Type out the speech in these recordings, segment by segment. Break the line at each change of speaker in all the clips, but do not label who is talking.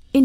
verscheen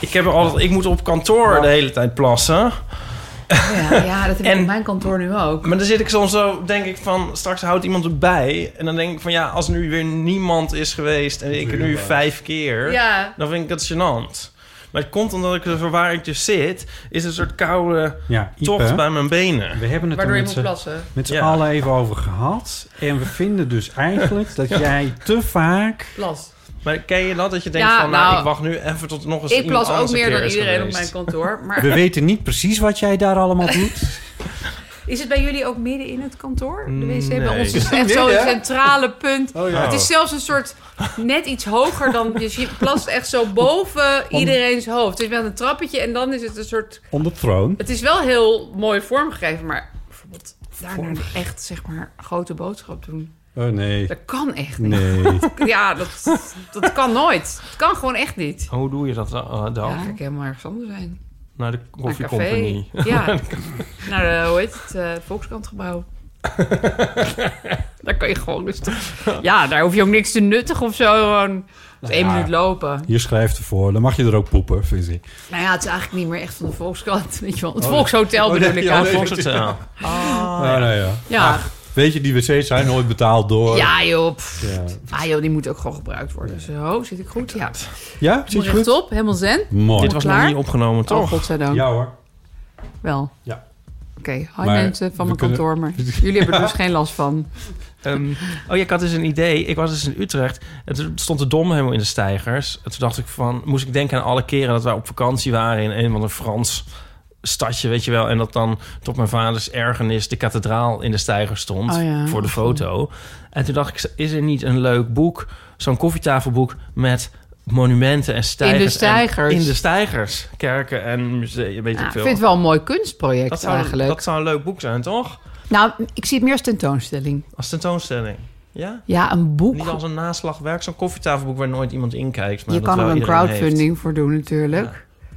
Ik heb er altijd, ik moet op kantoor de hele tijd plassen.
Ja, ja, dat heb ik
En-
op mijn kantoor nu ook.
Maar dan zit ik soms zo, denk ik van, straks houdt iemand erbij. En dan denk ik van, ja, als nu weer niemand is geweest en ik er nu vijf keer,
Ja.
dan vind ik het gênant. Maar het komt omdat ik er waar ik dus zit, is een soort koude
Ja, Ipe,
tocht bij mijn benen.
we hebben het er
Waardoor je
met
moet
z'n,
plassen.
met z'n
Ja.
allen even over gehad. En we vinden dus eigenlijk dat jij te vaak...
Plas.
Maar ken je dat, dat je denkt
Ja,
van, nou,
nou,
ik wacht nu even tot nog eens
Ik
iemand
plas ook
anders een
meer
keer
dan
is
iedereen op
geweest.
mijn kantoor.
We
Maar
weten niet precies wat jij daar allemaal doet.
is het bij jullie ook midden in het kantoor? De wc bij
Mm, Nee.
ons is echt zo'n centrale punt. Het is zelfs een soort net iets hoger dan... Dus je plast echt zo boven iedereen's hoofd. Dus je bent een trappetje en dan is het een soort...
On the throne.
Het is wel heel mooi vormgegeven, maar bijvoorbeeld daarna echt zeg maar grote boodschap doen.
Oh nee.
Dat kan echt niet.
Nee.
Ja, dat, dat kan nooit. Het kan gewoon echt niet.
Hoe doe je dat dan? eh, dan?
Ja, ik helemaal ergens anders zijn.
Naar de
Naar een
koffiecompagnie.
Ja, naar de, hoe heet het, eh Volkskantgebouw. daar kan je gewoon rustig... Ja, daar hoef je ook niks te nuttigen of zo. Gewoon dus één
ja.
minuut lopen.
Je schrijft ervoor. Dan mag je er ook poepen, vind ik.
Nou ja, het is eigenlijk niet meer echt van de Volkskant. Weet je wel. Het Volkshotel bedoel ik
Ja,
eigenlijk.
volgens het wel.
Ah, nou ja.
Ja.
Weet je, die wc's zijn nooit betaald door...
ja, joh. pff.
Ja?
Ah joh, die moet ook gewoon gebruikt worden. Zo, zit ik goed? Ja.
Ja, zit je goed?
Rechtop, helemaal zen.
Mooi.
Dit was nog
Klaar?
niet opgenomen,
Oh,
toch?
godzijdank.
Ja hoor.
Wel.
Ja.
Oké, hi
Maar
mensen van
we
mijn kantoor, maar jullie hebben er dus geen last van.
Ehm, oh ja, ik had dus een idee. Ik was dus in Utrecht. En toen stond de dom helemaal in de stijgers. En toen dacht ik van... Moest ik denken aan alle keren dat wij op vakantie waren... in een van een Frans stadje, weet je wel. En dat dan tot mijn vaders ergernis... de kathedraal in de stijger stond
Oh ja.
voor de foto. En toen dacht ik, is er niet een leuk boek? Zo'n koffietafelboek met monumenten en stijgers. en-
stijgers.
In de stijgers. Kerken en musea, weet
Ja,
ik
ik
veel.
vind het wel een mooi kunstproject
dat, zou,
eigenlijk.
dat zou een leuk boek zijn, toch?
Nou, ik zie het meer als tentoonstelling.
Als tentoonstelling. Ja?
Ja, een boek.
Niet als een naslagwerk, zo'n koffietafelboek waar nooit iemand in kijkt. Maar
Je
dat
kan er
wel
een
iedereen
crowdfunding voor doen natuurlijk.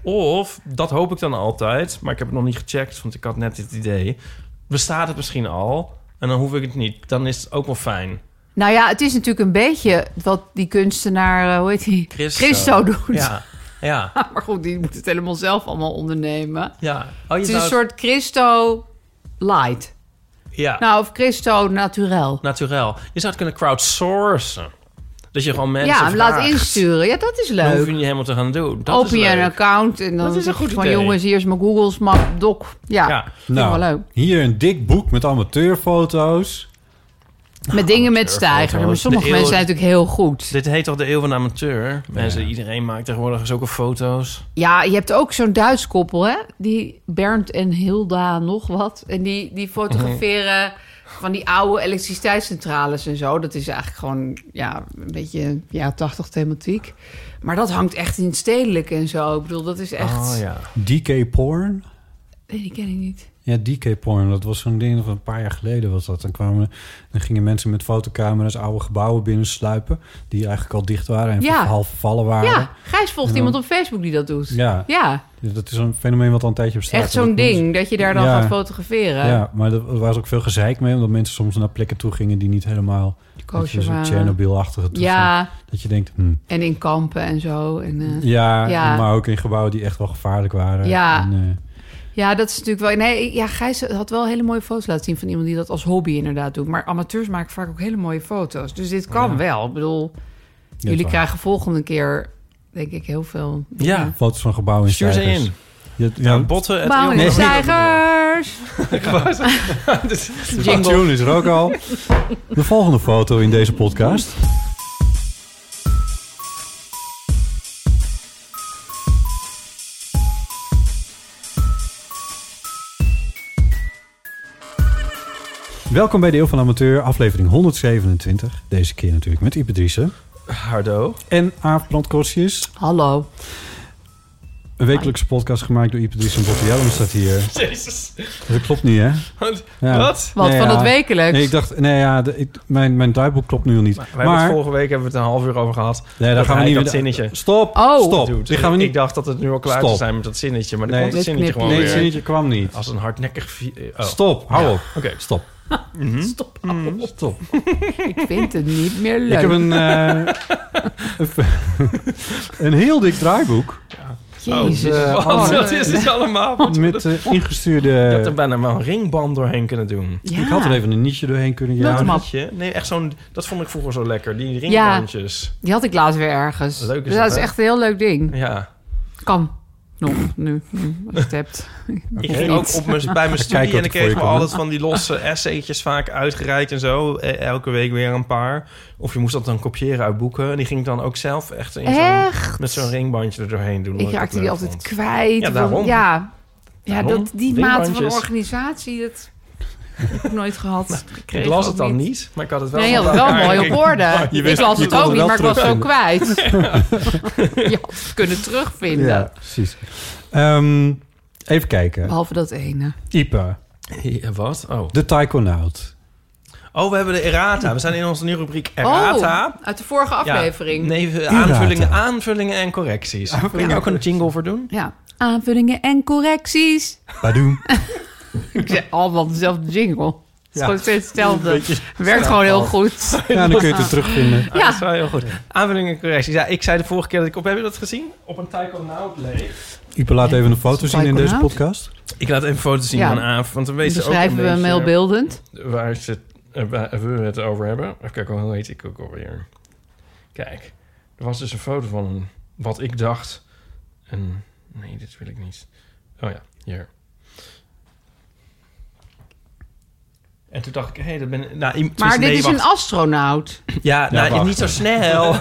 heeft. Of, dat hoop ik dan altijd, maar ik heb het nog niet gecheckt, want ik had net dit idee. Bestaat het misschien al en dan hoef ik het niet. Dan is het ook wel fijn.
Nou ja, het is natuurlijk een beetje wat die kunstenaar, eh, hoe heet die?
Christo.
doet.
Ja, ja,
Maar goed, die moet het helemaal zelf allemaal ondernemen.
ja. Oh, je
Het is
zou-
een soort Christo light.
Ja,
Nou, of Christo
Nou,
naturel.
naturel. Je zou het kunnen crowdsourcen. Dat je gewoon mensen
ja, hem laat
vraagt.
insturen. Ja, dat is
Dan hoef
leuk.
je niet helemaal te gaan doen. Dat
Open
is
je een
leuk.
account en dan
Dat is een
zeg je
goed
van
idee.
jongens, hier is mijn Google's map doc. Ja,
Ja.
vind ik
Nou.
wel leuk.
hier een dik boek met amateurfoto's.
Met dingen met
amateurfoto's.
stijgers. Maar sommige
De eeuw-
mensen zijn natuurlijk heel goed.
Dit heet toch de eeuw van de amateur? Mensen, iedereen maakt tegenwoordig zulke foto's.
Ja, je hebt ook zo'n Duits koppel, hè? Die Bernd en Hilda nog wat. En die, die fotograferen van die oude elektriciteitscentrales en zo. Dat is eigenlijk gewoon ja, een beetje ja, 80 thematiek. Maar dat hangt echt in het stedelijk en zo. Ik bedoel, dat is echt...
Oh ja.
DK Porn.
Nee, die ken ik niet.
Ja, DK Porn. Dat was zo'n ding van een paar jaar geleden was dat. Dan, kwamen, dan gingen mensen met fotocamera's oude gebouwen binnensluipen. Die eigenlijk al dicht waren en
Ja.
half vervallen waren.
Ja, Gijs volgt
En dan-
iemand op Facebook die dat doet.
Ja. dus
Ja,
Dat is een fenomeen wat al een tijdje bestaat.
echt zo'n
Dat mensen-
ding dat je daar dan
Ja.
gaat fotograferen.
Ja, maar er er was ook veel gezeik mee. Omdat mensen soms naar plekken toe gingen die niet helemaal... Dat je
Koosje
zo'n
waren.
Chernobyl-achtige toestand.
eh, Ja,
Dat je denkt, hm,
en in kampen en zo. En, eh,
Ja,
Ja.
maar ook in gebouwen die echt wel gevaarlijk waren.
Ja.
En, eh,
ja. Ja, dat is natuurlijk wel... Nee, ja, Gijs had wel hele mooie foto's laten zien van iemand die dat als hobby inderdaad doet. Maar amateurs maken vaak ook hele mooie foto's. Dus dit kan wel. Ik bedoel, jullie
waar.
krijgen volgende keer, denk ik, heel veel...
Ja,
Foto's van gebouwen in
stuur ze in.
Je,
Ja,
ja,
botten. het
Bouwen
eeuw-
de
Nee.
stijgers!
de tune is er ook al. De volgende foto in deze podcast. Welkom bij de Eeuw van de Amateur, aflevering 127. Deze keer natuurlijk met Ipe Driessen
Hardo.
en Aaf Brandkorstjes.
Hallo.
Een wekelijkse podcast gemaakt door Ipe Driessen en Botte Jellem staat hier.
Jezus.
Dat klopt niet, hè? Ja.
Wat?
Wat,
Nee,
van
ja.
het wekelijks?
Nee, ik dacht, nee, ja, de- ik- mijn, mijn duikboek klopt nu al niet.
We hebben het vorige week hebben we het een half uur over gehad.
nee, daar
Dat
gaan we
hij dat
niet weer-
zinnetje
Stop,
Oh.
stop.
doet.
Dit gaan we
Ik
niet.
dacht dat het nu al klaar zou
Stop.
zijn met dat zinnetje, maar dan
Nee.
komt het
Dit
zinnetje
knippen.
gewoon
Nee,
weer.
het zinnetje kwam niet.
Als een hardnekkig... vi- Oh.
Stop, hou op.
Oké.
Stop. Hm?
Stop.
Stop.
Ik vind het niet meer Hmm. leuk.
Ik heb een, eh, een, een heel dik draaiboek
Jezus.
eh,
Wat,
oh,
wat is dit allemaal? Moeten we
met eh, ingestuurde...
dat- Je had er bijna wel een ringband doorheen kunnen doen.
Ja.
Ik had er even een nietje doorheen kunnen
Laat hem
jagen.
maar.
Weet je? Nee, echt zo'n... Dat vond ik vroeger zo lekker. Die ringbandjes.
Die had ik laatst weer ergens.
Leuk is
dus
dat,
dat is
hè?
echt een heel leuk ding.
Ja.
Kan. Nog, nu, nu, als je het hebt.
Ik ging ook op mijn, bij mijn
Kijk
studie
wat
en ik
er voor
kreeg
je
me
komt.
altijd van die losse essaytjes vaak uitgereikt en zo. E- Elke week weer een paar. Of je moest dat dan kopiëren uit boeken. En die ging ik dan ook zelf echt in zo'n,
Echt?
met zo'n ringbandje er doorheen doen.
Ik
omdat
raakte
het leuk
die altijd
vond.
kwijt.
Ja,
Van-
daarom.
Ja, ja
Daarom.
dat, die mate van
Dingbandjes.
organisatie, dat heb ik nooit gehad. kreeg
Ik las
ook
het dan niet. maar ik had het wel.
Nee, je had
van
het wel
elkaar.
mooi
Ik-
op orde.
je wist-
ik las
je
het
kon
ook niet,
het wel
maar ik was zo
terugvinden.
kwijt. je had het kunnen terugvinden.
Ja, precies. Ehm, even kijken.
Behalve dat ene.
Ipe,
Ja, wat? Oh.
de taikonaut.
oh, we hebben de errata. We zijn in onze nieuwe rubriek errata.
Oh, uit de vorige
Ja,
aflevering. Ja,
nee, aanvullingen, aanvullingen en correcties. Kun je daar ook een jingle voor doen?
aanvullingen en correcties.
Badoem.
Ik zei allemaal dezelfde jingle. Het is
Ja.
gewoon steeds hetzelfde. Werkt gewoon heel goed.
Ja, dan kun je het er terugvinden.
Ja. Ah, Dat is
Ja,
wel heel goed. Aanvullingen en correcties. Ja, ik zei de vorige keer dat ik op... Heb je dat gezien? Op een taikonaut leeg.
Ipe laat even een foto zien in deze
Taikonaut?
podcast.
Ik laat even foto's zien
Ja.
van Aaf, want dan weet ze ook een
beschrijven we hem heel
beetje eh,
beeldend.
waar, ze, eh, waar we het over hebben. Even kijken, hoe heet ik ook alweer? Kijk, er was dus een foto van een, wat ik dacht. Een, nee, dit wil ik niet. Oh ja, hier. En toen dacht ik, hé, dat ben nou, iem-
Maar
toen-
dit
nee,
is
wacht.
een astronaut.
Ja, nou,
wacht.
niet zo snel.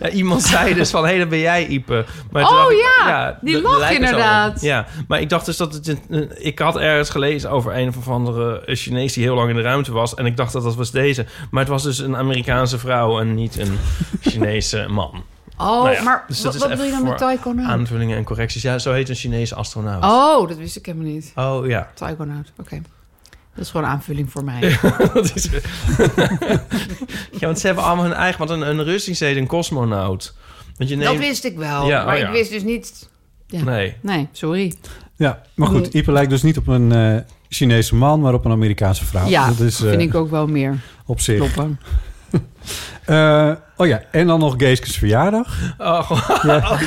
Ja, Iemand zei dus van, hé, dat ben jij, Ipe. Maar toen
Oh,
dacht ik,
ja, die
dat
lag
lijkt er zo op.
inderdaad.
Ja, maar ik dacht dus dat het... een- Ik had ergens gelezen over een of andere Chinees die heel lang in de ruimte was. En ik dacht dat dat was deze. Maar het was dus een Amerikaanse vrouw en niet een Chinese man.
Oh,
Nou ja,
maar
dus dat
wat,
is even
wat bedoel je dan met
voor
taikonaut?
Aanvullingen en correcties. Ja, zo heet een Chinese astronaut.
Oh, dat wist ik helemaal niet.
Oh, ja.
Taikonaut, oké. Dat is gewoon een aanvulling voor mij.
Dat is... ja, want ze hebben allemaal hun eigen... Want een, een Russisch heet een cosmonaut. Want je
Dat
neemt...
wist ik wel,
Ja,
maar
oh ja.
ik wist dus niet... Ja. Nee.
Nee.
sorry.
Ja, maar goed, Ipe lijkt dus niet op een eh, Chinese man, maar op een Amerikaanse vrouw.
ja,
dat
dat
is eh,
vind ik ook wel meer
op zich.
kloppen.
Eh, oh ja, en dan nog Geeske's verjaardag.
Oh,
Ja.
oké.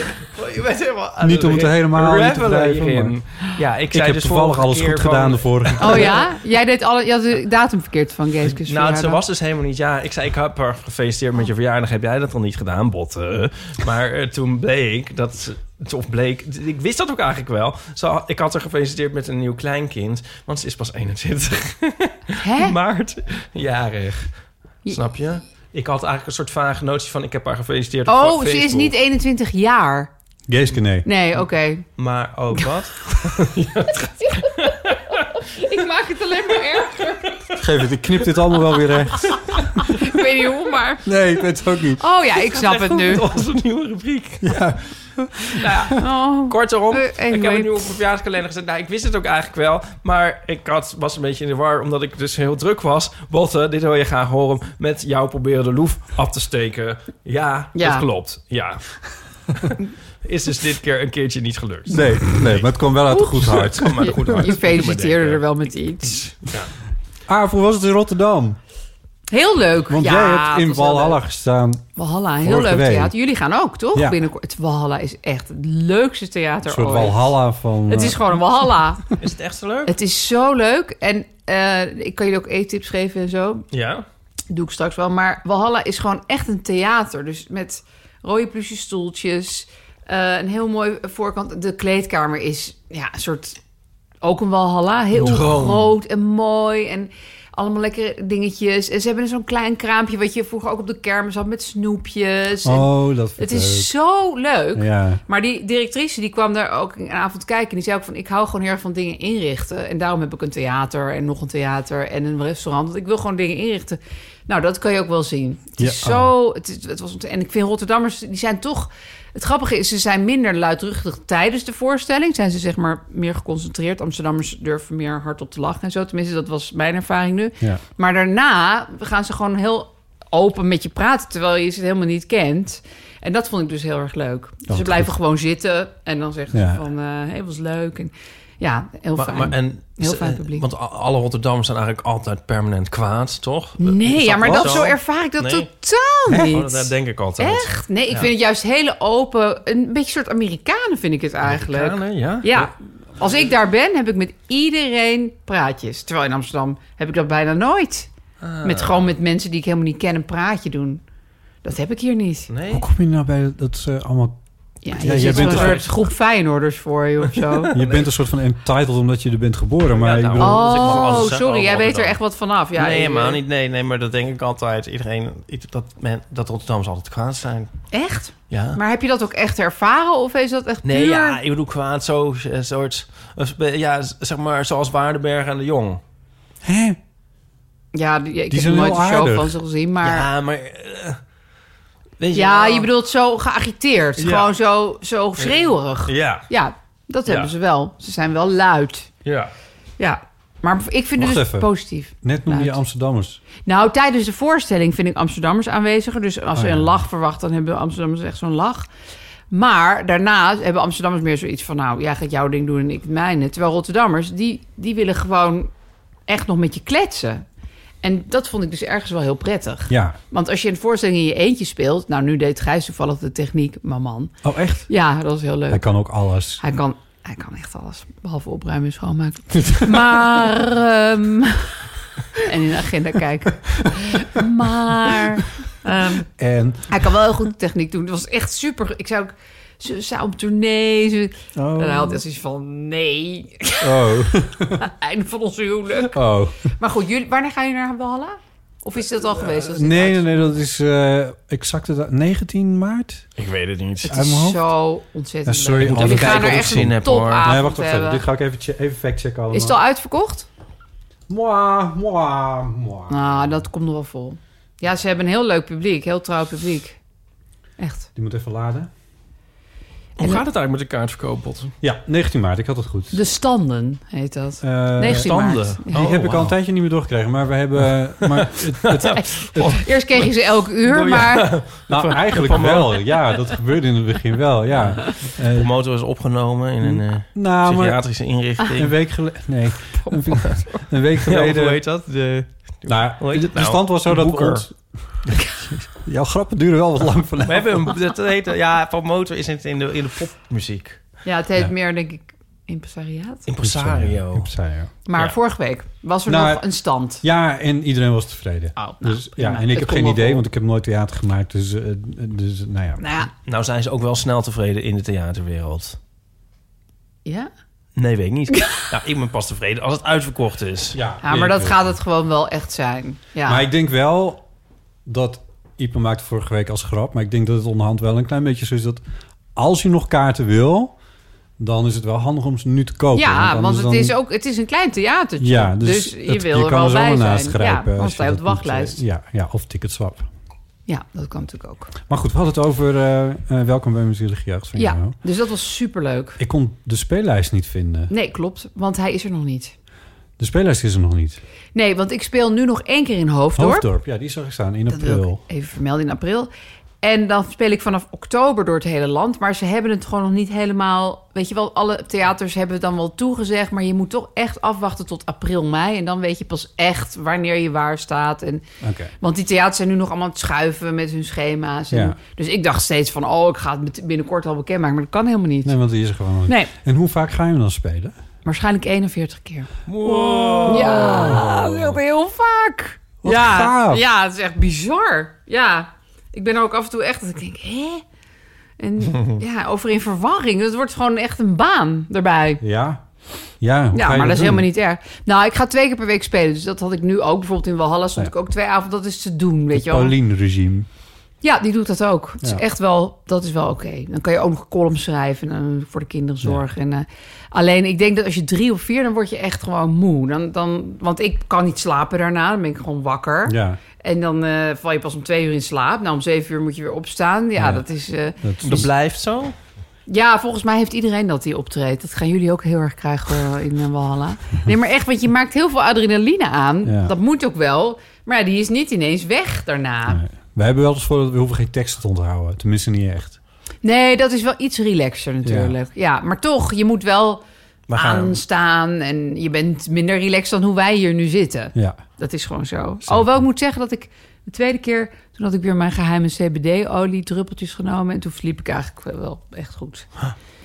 Je bent helemaal aan
Niet om het
re-
helemaal in te
revelen
blijven,
hierin. Ja, ik,
Ik,
zei
heb
dus
toevallig
vorige
alles
keer
goed
van-
gedaan de vorige keer.
Oh ja? Jij deed alle, je had de datum verkeerd van Geeske's
Nou, ze
verjaardag.
was dus helemaal niet. Ja, ik zei, ik heb haar gefeliciteerd met je verjaardag. Heb jij dat dan niet gedaan, botten? Maar eh, toen bleek dat... ze- Of bleek... Ik wist dat ook eigenlijk wel. Ze had- ik had haar gefeliciteerd met een nieuw kleinkind. Want ze is pas 21
Hè?
maart jarig. Snap je? Ik had eigenlijk een soort vage notie van... Ik heb haar gefeliciteerd op
Oh,
Facebook.
ze is niet 21 jaar.
Geeske, nee.
Nee, oké.
Maar, oh, wat?
Ik maak het alleen maar erg.
Geef het, ik knip dit allemaal wel weer recht.
Ik weet niet hoe, maar...
Nee, ik weet het ook niet.
Oh ja, ik snap het nu.
Onze nieuwe rubriek. Nou ja,
Oh.
Kortom,
Eh,
ik heb
anyway.
het nu op mijn verjaardagskalender gezet. Nou, ik wist het ook eigenlijk wel. Maar ik had, was een beetje in de war, omdat ik dus heel druk was. Botte, dit wil je graag horen. Met jou proberen de loef af te steken. Ja,
Ja.
dat klopt. Ja. Is dus dit keer een keertje niet gelukt.
Nee, nee, maar het kwam wel uit een goed hart.
Kom maar goed
Je feliciteerde er wel met iets.
Ja.
Ah, Aaf, hoe was het in Rotterdam?
Heel leuk.
Want
ja,
jij
het
hebt in
was heel
Walhalla
leuk.
gestaan.
Walhalla, heel
vorige
leuk
week.
theater. Jullie gaan ook, toch?
Ja.
Binnenkort. Het Walhalla is echt het leukste theater
Een soort
ooit.
Walhalla van...
Het is
eh,
gewoon een Walhalla.
Is het echt zo leuk?
het is zo leuk. En eh, ik kan jullie ook eettips geven en zo.
Ja.
Doe ik straks wel. Maar Walhalla is gewoon echt een theater. Dus met rode plusje stoeltjes. eh, een heel mooi voorkant. De kleedkamer is ja, een soort... Ook een Walhalla. Heel
Droom.
groot en mooi. En allemaal lekkere dingetjes. En ze hebben zo'n klein kraampje... wat je vroeger ook op de kermis had met snoepjes. En
Oh, dat vind
het
ik
is zo leuk.
leuk. Ja.
Maar die directrice die kwam daar ook een avond kijken. En die zei ook van, ik hou gewoon heel erg van dingen inrichten. En daarom heb ik een theater en nog een theater en een restaurant. Want ik wil gewoon dingen inrichten. Nou, dat kan je ook wel zien. Het is
Ja.
zo... Het, is- het was, ont- en ik vind Rotterdammers, die zijn toch... Het grappige is, ze zijn minder luidruchtig tijdens de voorstelling. Zijn ze zeg maar meer geconcentreerd. Amsterdammers durven meer hardop te lachen en zo. Tenminste, dat was mijn ervaring nu.
Ja.
Maar daarna gaan ze gewoon heel open met je praten, terwijl je ze helemaal niet kent. En dat vond ik dus heel erg leuk. Dus ze
wat
blijven gewoon zitten en dan zeggen
Ja.
ze van, eh hey, was leuk. En, ja, heel
Maar,
fijn.
maar, en,
Heel fijn publiek.
Want a- alle Rotterdammers zijn eigenlijk altijd permanent kwaad, toch?
nee,
Is
ja, maar
ook
dat, zo ervaar ik dat
Nee.
totaal niet.
Oh, dat, dat denk ik altijd.
Echt? Nee, ik
Ja.
vind het juist hele open, een beetje een soort Amerikanen vind ik het eigenlijk.
Amerikanen, ja?
Ja. Als ik daar ben, heb ik met iedereen praatjes. Terwijl in Amsterdam heb ik dat bijna nooit.
Ah.
Met gewoon met mensen die ik helemaal niet ken een praatje doen. Dat heb ik hier niet.
Nee?
Hoe kom je nou bij dat ze allemaal...
Ja,
Ja,
je
jij
zit
bent
een
een
soort groep Feyenoorders voor je of zo.
Je bent een soort van entitled omdat je er bent geboren. Maar
Ja,
ik
nou,
bedoel,
Dus ik mag alles
Oh,
zeggen
sorry,
over
jij weet er
Rotterdam.
echt wat vanaf. Ja,
nee,
je-
eh,
maar niet. Nee, nee, maar dat denk ik altijd. Iedereen, i- dat, men, dat Rotterdammers altijd kwaad zijn.
Echt?
Ja.
Maar heb je dat ook echt ervaren of is dat echt
Nee,
puur?
ja, ik bedoel kwaad zo, eh, soort, eh, ja, z- zeg maar, zoals Waardenberg en de Jong.
hè?
Ja, die- ik heb
zijn
nooit
heel
een show
aardig.
van ze gezien, maar... Ja,
ja, maar, eh, weet je wel.
je bedoelt zo geagiteerd.
Ja.
Gewoon zo, zo schreeuwerig.
Ja,
Ja, dat
Ja.
hebben ze wel. Ze zijn wel luid.
ja.
Ja. Maar ik vind het
Wacht
dus
even.
positief.
Net noemde je
Luid.
Amsterdammers.
Nou, tijdens de voorstelling vind ik Amsterdammers aanweziger. Dus als
Oh,
ze een
ja.
lach verwacht, dan hebben Amsterdammers echt zo'n lach. Maar daarna hebben Amsterdammers meer zoiets van... nou, jij gaat jouw ding doen en ik het mijne. Terwijl Rotterdammers, die, die willen gewoon echt nog met je kletsen. En dat vond ik dus ergens wel heel prettig.
Ja.
Want als je een voorstelling in je eentje speelt... nou, nu deed Gijs toevallig de techniek, maar man.
Oh, echt?
Ja, dat is heel leuk.
Hij kan ook alles.
Hij kan, hij kan echt alles, behalve opruimen en schoonmaken. maar, ehm, en in de agenda kijken. Maar, ehm,
En...
hij kan wel heel goed techniek doen. Het was echt super. Ik zou ook, ze zou op tournee. Ze,
Oh.
En hij had echt zoiets van, nee,
Oh.
einde van ons huwelijk.
oh.
Maar goed, jullie, wanneer ga je naar Walhalla? Of is dat al geweest? als dit
Nee, nee,
uit-
nee. Dat is eh exact het- 19 maart.
Ik weet het niet.
Het
Uit mijn
is
hoofd.
zo ontzettend
Ja, sorry,
leuk.
ik moet
Jullie
even
gaan
kijken
er
of ik
echt
zin
een
heb, hoor.
topavond
nee, wacht, wacht even.
Ah, hebben.
Dit ga ik even, che- even factchecken allemaal.
Is het al uitverkocht?
Mwah, mwah, mwah.
Nou, dat komt nog wel vol. Ja, ze hebben een heel leuk publiek, heel trouw publiek. Echt.
Die moet even laden.
Hoe gaat het eigenlijk met de kaartverkoopbot?
Ja, 19 maart. Ik had het goed.
De standen heet dat.
Eh,
19
Standen.
maart.
Die
Oh,
heb ik al een
wauw.
tijdje niet meer doorgekregen. Maar we hebben... maar het, het-
Eerst kreeg je ze elk
Oh,
uur, maar
nou, eigenlijk wel. Ja, dat gebeurde in het begin wel. Ja.
De
Eh,
motor is opgenomen in een eh,
nou, maar
psychiatrische
een
inrichting.
week geleden... Nee. Een week- Een week
Ja, hoe
geleden...
heet dat? De,
Nou,
Hoe heet het
de
nou?
stand was zo dat we
Boeker.
ons... Jouw grappen duren wel wat lang
we
vandaag.
hebben een, dat heet, ja, van motor is het in de, in de popmuziek.
ja, het heet
Ja.
meer, denk ik, impresariaat.
Impresario.
Impresario.
Maar
Ja.
vorige week was er
Nou,
nog een stand.
Ja, en iedereen was tevreden.
Oh, nou,
dus, ja,
prima.
en ik
Het
heb
kon
geen
nog
idee,
wel.
want ik heb nooit theater gemaakt. Dus, eh, dus nou ja.
Nou ja,
Nou zijn ze ook wel snel tevreden in de theaterwereld.
ja.
Nee, weet ik niet. nou, ik ben pas tevreden als het uitverkocht is.
Ja,
ja maar dat gaat het gewoon wel echt zijn. Ja.
Maar ik denk wel dat... Ipe maakte vorige week als grap, maar ik denk dat het onderhand wel een klein beetje zo is dat... als je nog kaarten wil, dan is het wel handig om ze nu te kopen.
ja, want
anders
het
dan-
is ook het is een klein theatertje.
Ja, dus,
je
het-
wil
je
er
kan
wel
zomaar
bij
naast
zijn.
grijpen
ja,
als
want
je
hij op
dat
de
moet,
wachtlijst.
eh, ja, ja, of ticketswap.
Ja, dat kan natuurlijk ook.
Maar goed, we hadden het over eh, eh, Welkom bij Muziek Jeugd van
Ja,
jou.
dus dat was superleuk.
Ik kon de speellijst niet vinden.
Nee, klopt, want hij is er nog niet.
De speellijst is er nog niet.
Nee, want ik speel nu nog één keer in Hoofddorp.
Hoofddorp, ja, die zag ik staan in
Dat wil
april.
ik even vermelden in april. En dan speel ik vanaf oktober door het hele land. Maar ze hebben het gewoon nog niet helemaal. Weet je wel, alle theaters hebben het dan wel toegezegd. Maar je moet toch echt afwachten tot april, mei. En dan weet je pas echt wanneer je waar staat. En,
Oké.
Want die theaters zijn nu nog allemaal aan het schuiven met hun schema's. En,
Ja.
Dus ik dacht steeds van: oh, ik ga het met- binnenkort al bekendmaken. Maar dat kan helemaal niet.
Nee, want die is er gewoon. nog niet.
Nee.
En hoe vaak ga je hem dan spelen?
Waarschijnlijk 41 keer. Ja, dat is heel vaak.
Wat
ja,
gaaf.
ja, het is echt bizar. Ja, ik ben er ook af en toe echt dat ik denk, hè? En ja, over in verwarring. Het wordt gewoon echt een baan erbij.
Ja. Ja, hoe
Ja,
ga
maar
je
dat is
doen?
helemaal niet erg. Nou, ik ga twee keer per week spelen. Dus dat had ik nu ook. Bijvoorbeeld in Walhalla stond
Ja.
ik ook twee avonden. Dat is te doen, weet
Het
je wel.
Paulien-regime.
Ja, die doet dat ook. Het
Ja.
is echt wel, dat is wel oké. Dan kan je ook nog columns schrijven en eh, voor de kinderen zorgen. En, eh, alleen, ik denk dat als je drie of vier, dan word je echt gewoon moe. Dan, dan, want ik kan niet slapen daarna, dan ben ik gewoon wakker.
Ja,
En dan eh, val je pas om twee uur in slaap. Nou, om zeven uur moet je weer opstaan. Ja,
Ja.
dat is... eh,
dat
Dat blijft zo.
ja, volgens mij heeft iedereen dat die optreedt. Dat gaan jullie ook heel erg krijgen hoor, in eh, Walhalla. Nee, maar echt, want je maakt heel veel adrenaline aan.
Ja.
Dat moet ook wel. Maar ja, die is niet ineens weg daarna.
Nee. Wij hebben wel eens voor dat we hoeven geen teksten te onthouden. Tenminste, niet echt.
Nee, dat is wel iets relaxer natuurlijk. Ja, maar toch, je moet wel
We gaan,
aanstaan en je bent minder relaxed dan hoe wij hier nu zitten.
Ja.
Dat is gewoon zo. Alhoewel ik moet zeggen dat ik de tweede keer, toen had ik weer mijn geheime CBD-olie druppeltjes genomen en toen sliep ik eigenlijk wel echt goed.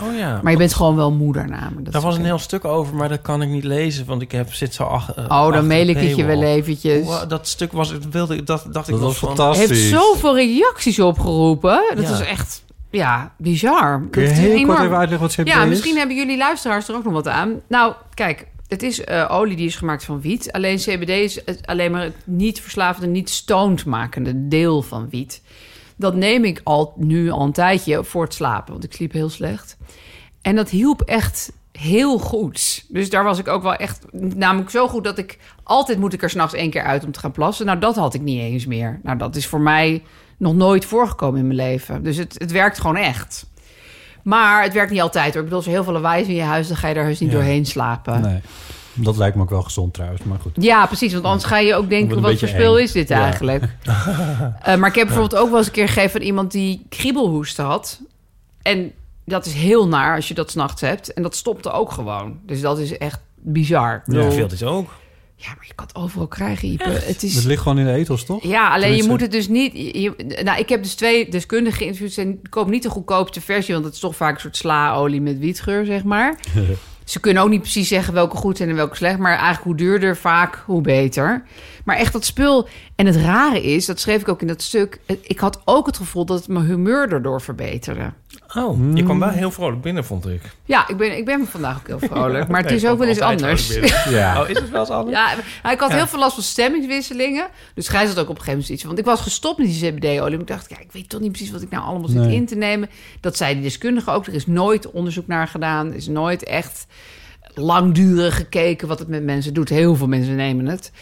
oh ja.
Maar je bent gewoon wel moeder namelijk.
Daar was een heel stuk over, maar dat kan ik niet lezen, want ik heb, zit zo ach, eh,
Oh,
achter
dan
de
mail ik het je
paywall.
wel eventjes.
Wow, dat stuk was, dat wilde, ik- dat dacht ik nog
Dat was
van-
Je
fantastisch.
hebt zoveel reacties opgeroepen. Dat
Ja.
is echt, ja, bizar.
Kun je
dat is
heel
enorm.
kort even uitleggen wat CBD
Ja,
is?
misschien hebben jullie luisteraars er ook nog wat aan. Nou, kijk, het is eh, olie die is gemaakt van wiet. Alleen CBD is het, alleen maar het niet verslavende, niet stoned makende deel van wiet. Dat neem ik al nu al een tijdje voor het slapen, want ik sliep heel slecht. En dat hielp echt heel goed. Dus daar was ik ook wel echt, namelijk zo goed dat ik altijd moet ik er s'nachts één keer uit om te gaan plassen. Nou, dat had ik niet eens meer. Nou, dat is voor mij nog nooit voorgekomen in mijn leven. Dus het, het werkt gewoon echt. Maar het werkt niet altijd hoor. Ik bedoel, als er heel veel lawaai is in je huis, dan ga je daar heus niet
Ja.
doorheen slapen.
Nee. Dat lijkt me ook wel gezond trouwens, maar goed.
Ja, precies. Want anders ga je ook
Wordt
denken,
een
wat
beetje
voor spul
eng.
is dit
Ja.
eigenlijk? Eh, maar ik heb bijvoorbeeld ook wel eens een keer gegeven aan iemand die kriebelhoest had. En dat is heel naar als je dat s'nachts hebt. En dat stopte ook gewoon. Dus dat is echt bizar.
Ja,
Ja.
veel is ook.
Ja, maar je kan het overal krijgen, Ipe. Het
Het
is...
ligt gewoon in de etels, toch?
Ja, alleen je
Tenminste-
moet het dus niet... je- je- nou, ik heb dus twee deskundigen geïnterviewd. En koop niet de goedkoopste versie, want dat is toch vaak een soort slaolie met wietgeur, zeg maar. Ze kunnen ook niet precies zeggen welke goed zijn en welke slecht. Maar eigenlijk hoe duurder vaak, hoe beter. Maar echt dat spul. En het rare is, dat schreef ik ook in dat stuk. eh, Ik had ook het gevoel dat mijn humeur daardoor verbeterde.
Oh, je kwam wel heel vrolijk binnen, vond ik.
Ja, ik ben, ik ben vandaag ook heel
Oh,
vrolijk. Maar het
Nee,
is ook wel eens
altijd
anders.
vrolijk binnen.
Ja.
Oh, is het wel eens anders?
Ja, maar ik had heel veel last van stemmingswisselingen. Dus Gijs had ook op een gegeven moment iets. Want ik was gestopt met die CBD-olie. Maar ik dacht, ja, ik weet toch niet precies wat ik nou allemaal zit
Nee.
in te nemen. Dat zei die deskundige ook. Er is nooit onderzoek naar gedaan. Er is nooit echt langdurig gekeken wat het met mensen doet. Heel veel mensen nemen het.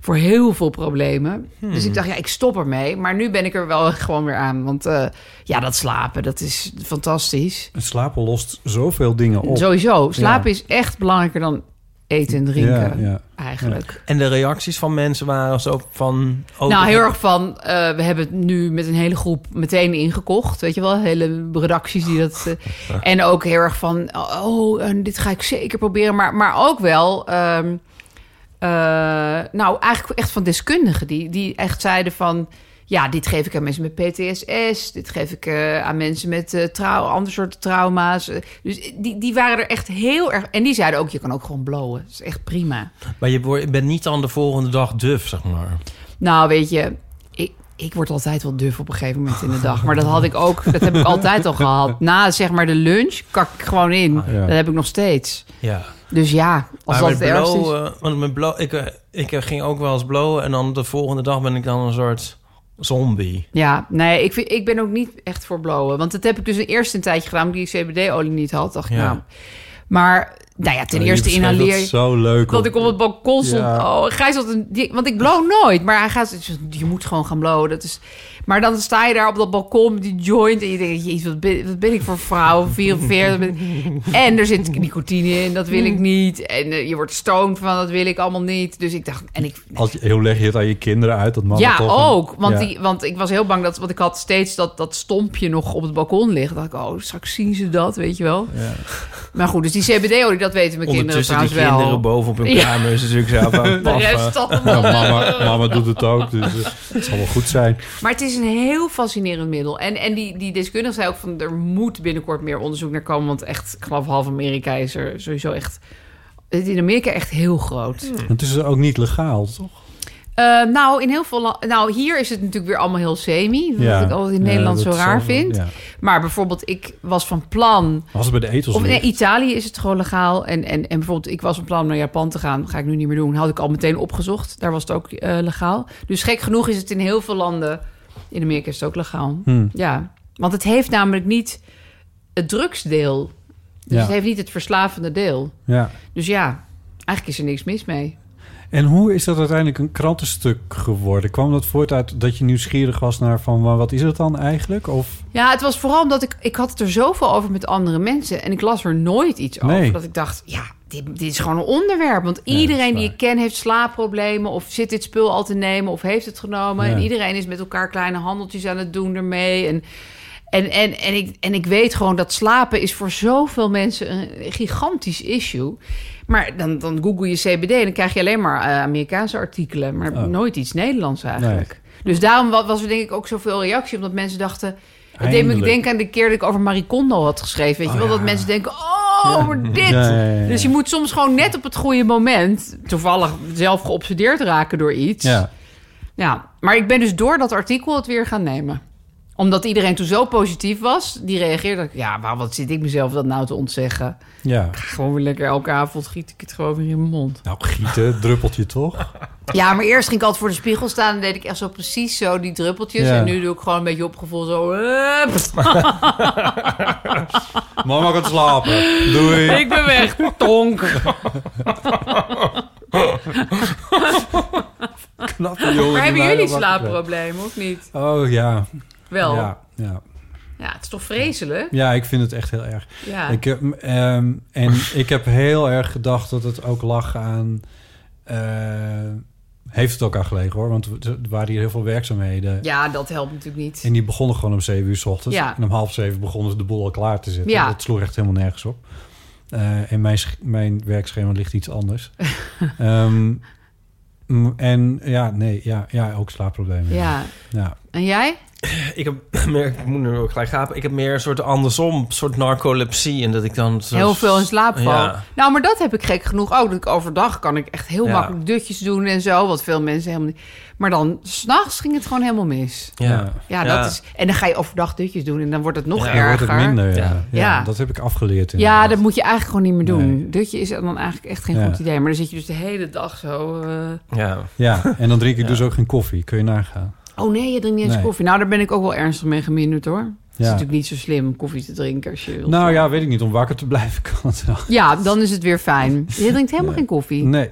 Voor heel veel problemen.
Hmm.
Dus ik dacht, ja, ik stop ermee. Maar nu ben ik er wel gewoon weer aan. Want eh, ja, dat slapen, dat is fantastisch.
Het slapen lost zoveel dingen op.
Sowieso, slapen
Ja.
is echt belangrijker dan eten en drinken.
Ja, ja.
Eigenlijk.
En de reacties van mensen waren zo van... oh,
nou,
dat-
heel erg van, eh, we hebben het nu met een hele groep meteen ingekocht. Weet je wel, hele redacties die dat... eh, en ook heel erg van, oh, en dit ga ik zeker proberen. Maar, maar ook wel, ehm, eh, nou, eigenlijk echt van deskundigen. Die, die echt zeiden van, ja, dit geef ik aan mensen met PTSS. Dit geef ik eh, aan mensen met eh trau- andere soorten trauma's. Eh, dus die, die waren er echt heel erg... En die zeiden ook, je kan ook gewoon blowen. Dat is echt prima.
Maar je wordt- je bent niet dan de volgende dag duf, zeg maar.
Nou, weet je, ik, ik word altijd wel duf op een gegeven moment in de dag. Maar dat had ik ook, dat heb ik altijd al gehad. Na zeg maar de lunch kak ik gewoon in.
Ah, ja.
Dat heb ik nog steeds.
Ja.
Dus ja,
maar
als dat het
met
ergste is.
blowen, want met blow, ik, eh, ik eh, ging ook wel eens blowen en dan de volgende dag ben ik dan een soort zombie.
Ja, nee, ik, vind, ik ben ook niet echt voor blowen. Want dat heb ik dus eerst een tijdje gedaan, omdat ik die CBD-olie niet had. Dacht ik,
Ja.
nou. Maar Nou ja, ten
Oh, je
eerste
beschrijft dat
inhaleer je...
zo leuk.
Dat ik op het balkon stond.
Ja.
Oh, Gijs had een... die- want ik blow nooit. Maar hij gaat... Je moet gewoon gaan blowen. Dat is, maar dan sta je daar op dat balkon met die joint. En je denkt, jezus, wat ben, wat ben ik voor vrouw? 44. ben- en er zit nicotine in. Dat wil ik niet. En eh, je wordt stoned van. Dat wil ik allemaal niet. Dus ik dacht... En ik,
Als je, heel leg je het aan je kinderen uit, dat mannen
ja,
toch... een-
ook. Want,
Ja.
Die, want ik was heel bang dat... Want ik had steeds dat, dat stompje nog op het balkon liggen. dacht ik, oh, straks zien ze dat, weet je wel.
Ja.
Maar goed, dus die CBD-olie, dat weten mijn kinderen
Ondertussen die
trouwens
kinderen
wel.
boven op hun
Ja.
kamer is natuurlijk zo van
De
paffen.
rest
Ja,
allemaal.
mama, mama doet het ook, dus eh, het zal wel goed zijn.
Maar het is een heel fascinerend middel. En, en die, die deskundige zei ook van... er moet binnenkort meer onderzoek naar komen. Want echt, ik geloof half Amerika is er sowieso echt... het is In Amerika echt heel groot.
Het is ook niet legaal, toch?
Eh, nou, in heel veel la- Nou, hier is het natuurlijk weer allemaal heel semi. Wat ik altijd in
Ja,
Nederland
dat
zo
zal
raar
wel,
vind.
ja.
Maar bijvoorbeeld, ik was van plan...
Als het bij de etels
Of in
ligt.
Italië is het gewoon legaal. En, en, en bijvoorbeeld, ik was van plan om naar Japan te gaan. Ga ik nu niet meer doen. Had ik al meteen opgezocht. Daar was het ook eh, legaal. Dus gek genoeg is het in heel veel landen. In Amerika is het ook legaal. Ja, want het heeft namelijk niet het drugsdeel. Dus
Ja.
het heeft niet het verslavende deel.
ja.
Dus ja, eigenlijk is er niks mis mee.
En hoe is dat uiteindelijk een krantenstuk geworden? Kwam dat voort uit dat je nieuwsgierig was naar van... maar wat is het dan eigenlijk? Of
Ja, het was vooral omdat ik... Ik had het er zoveel over met andere mensen. En ik las er nooit iets
Nee.
over. Dat ik dacht, ja, dit, dit is gewoon een onderwerp. Want iedereen
dat is
die
waar.
ik ken heeft slaapproblemen... of zit dit spul al te nemen of heeft het genomen.
Ja.
En iedereen is met elkaar kleine handeltjes aan het doen ermee. En, en, en, en, ik, en ik weet gewoon dat slapen is voor zoveel mensen een gigantisch issue. Maar dan, dan google je CBD en dan krijg je alleen maar eh, Amerikaanse artikelen. Maar
Oh.
nooit iets Nederlands eigenlijk. Dus daarom wa- was er denk ik ook zoveel reactie. Omdat mensen dachten... Het deed me
Eindelijk.
denken aan de keer dat ik over Marie Kondo had geschreven. Weet je wel, dat mensen denken, oh, maar dit.
Ja, ja, ja, ja.
Dus je moet soms gewoon net op het goede moment... toevallig zelf geobsedeerd raken door iets.
Ja.
Ja, maar ik ben dus door dat artikel het weer gaan nemen. Omdat iedereen toen zo positief was, die reageerde... ja, waarom wat zit ik mezelf dat nou te ontzeggen?
ja.
Gewoon weer lekker elke avond giet ik het gewoon weer in mijn mond.
Nou, gieten, druppeltje toch?
Ja, maar eerst ging ik altijd voor de spiegel staan... en deed ik echt zo precies zo die druppeltjes.
Ja.
En nu doe ik gewoon een beetje opgevoel zo... eh, pff,
Mama gaat slapen. Doei.
ik ben weg, tonk.
Knappe
Maar
jongen.
hebben
die mij
jullie
nog wakker
slaapproblemen of niet?
krijgt. Oh ja.
Wel. Ja.
Ja, ja.
het is toch vreselijk?
ja, ik vind het echt heel erg.
Ja.
Ik, heb, ehm, en ik heb heel erg gedacht dat het ook lag aan... eh, heeft het ook aan gelegen hoor, want er waren hier heel veel werkzaamheden.
ja, dat helpt natuurlijk niet.
En die begonnen gewoon om 7 uur s ochtends.
Ja.
En om half zeven begonnen ze de boel al klaar te zetten.
Ja.
Dat sloeg echt helemaal nergens op. Eh, en mijn, sch- mijn werkschema ligt iets anders. Ehm, mm, en ja, nee, ja, ja ook slaapproblemen.
Ja.
ja.
En jij?
Ik heb meer, ik moet nu ook gelijk gapen. Ik heb meer een soort andersom, soort narcolepsie. En dat ik dan zo-
Heel veel in slaap val.
Ja.
Nou, maar dat heb ik gek genoeg ook. Dat ik overdag kan ik echt heel
Ja.
makkelijk dutjes doen en zo. Wat veel mensen helemaal niet. Maar dan s'nachts ging het gewoon helemaal mis.
Ja.
Ja.
Ja,
Ja.
dat is. En dan ga je overdag dutjes doen en dan wordt het nog
Ja,
Dan
erger.
wordt het minder. Ja.
Ja.
Ja.
Ja.
dat heb ik afgeleerd.
Ja,
inderdaad.
dat moet je eigenlijk gewoon niet meer doen.
Nee.
Dutje is dan eigenlijk echt geen
Ja.
goed idee. Maar dan zit je dus de hele dag zo. eh,
Ja.
ja, en dan drink ik dus ook geen koffie. Kun je nagaan.
Oh nee, je drinkt niet eens
Nee.
koffie. Nou, daar ben ik ook wel ernstig mee geminderd hoor. Het is
Ja.
natuurlijk niet zo slim om koffie te drinken als je wilt.
Nou ja, weet ik niet. Om wakker te blijven kan het wel.
Ja, dan is het weer fijn. Je drinkt helemaal geen koffie.
Oh. Nee,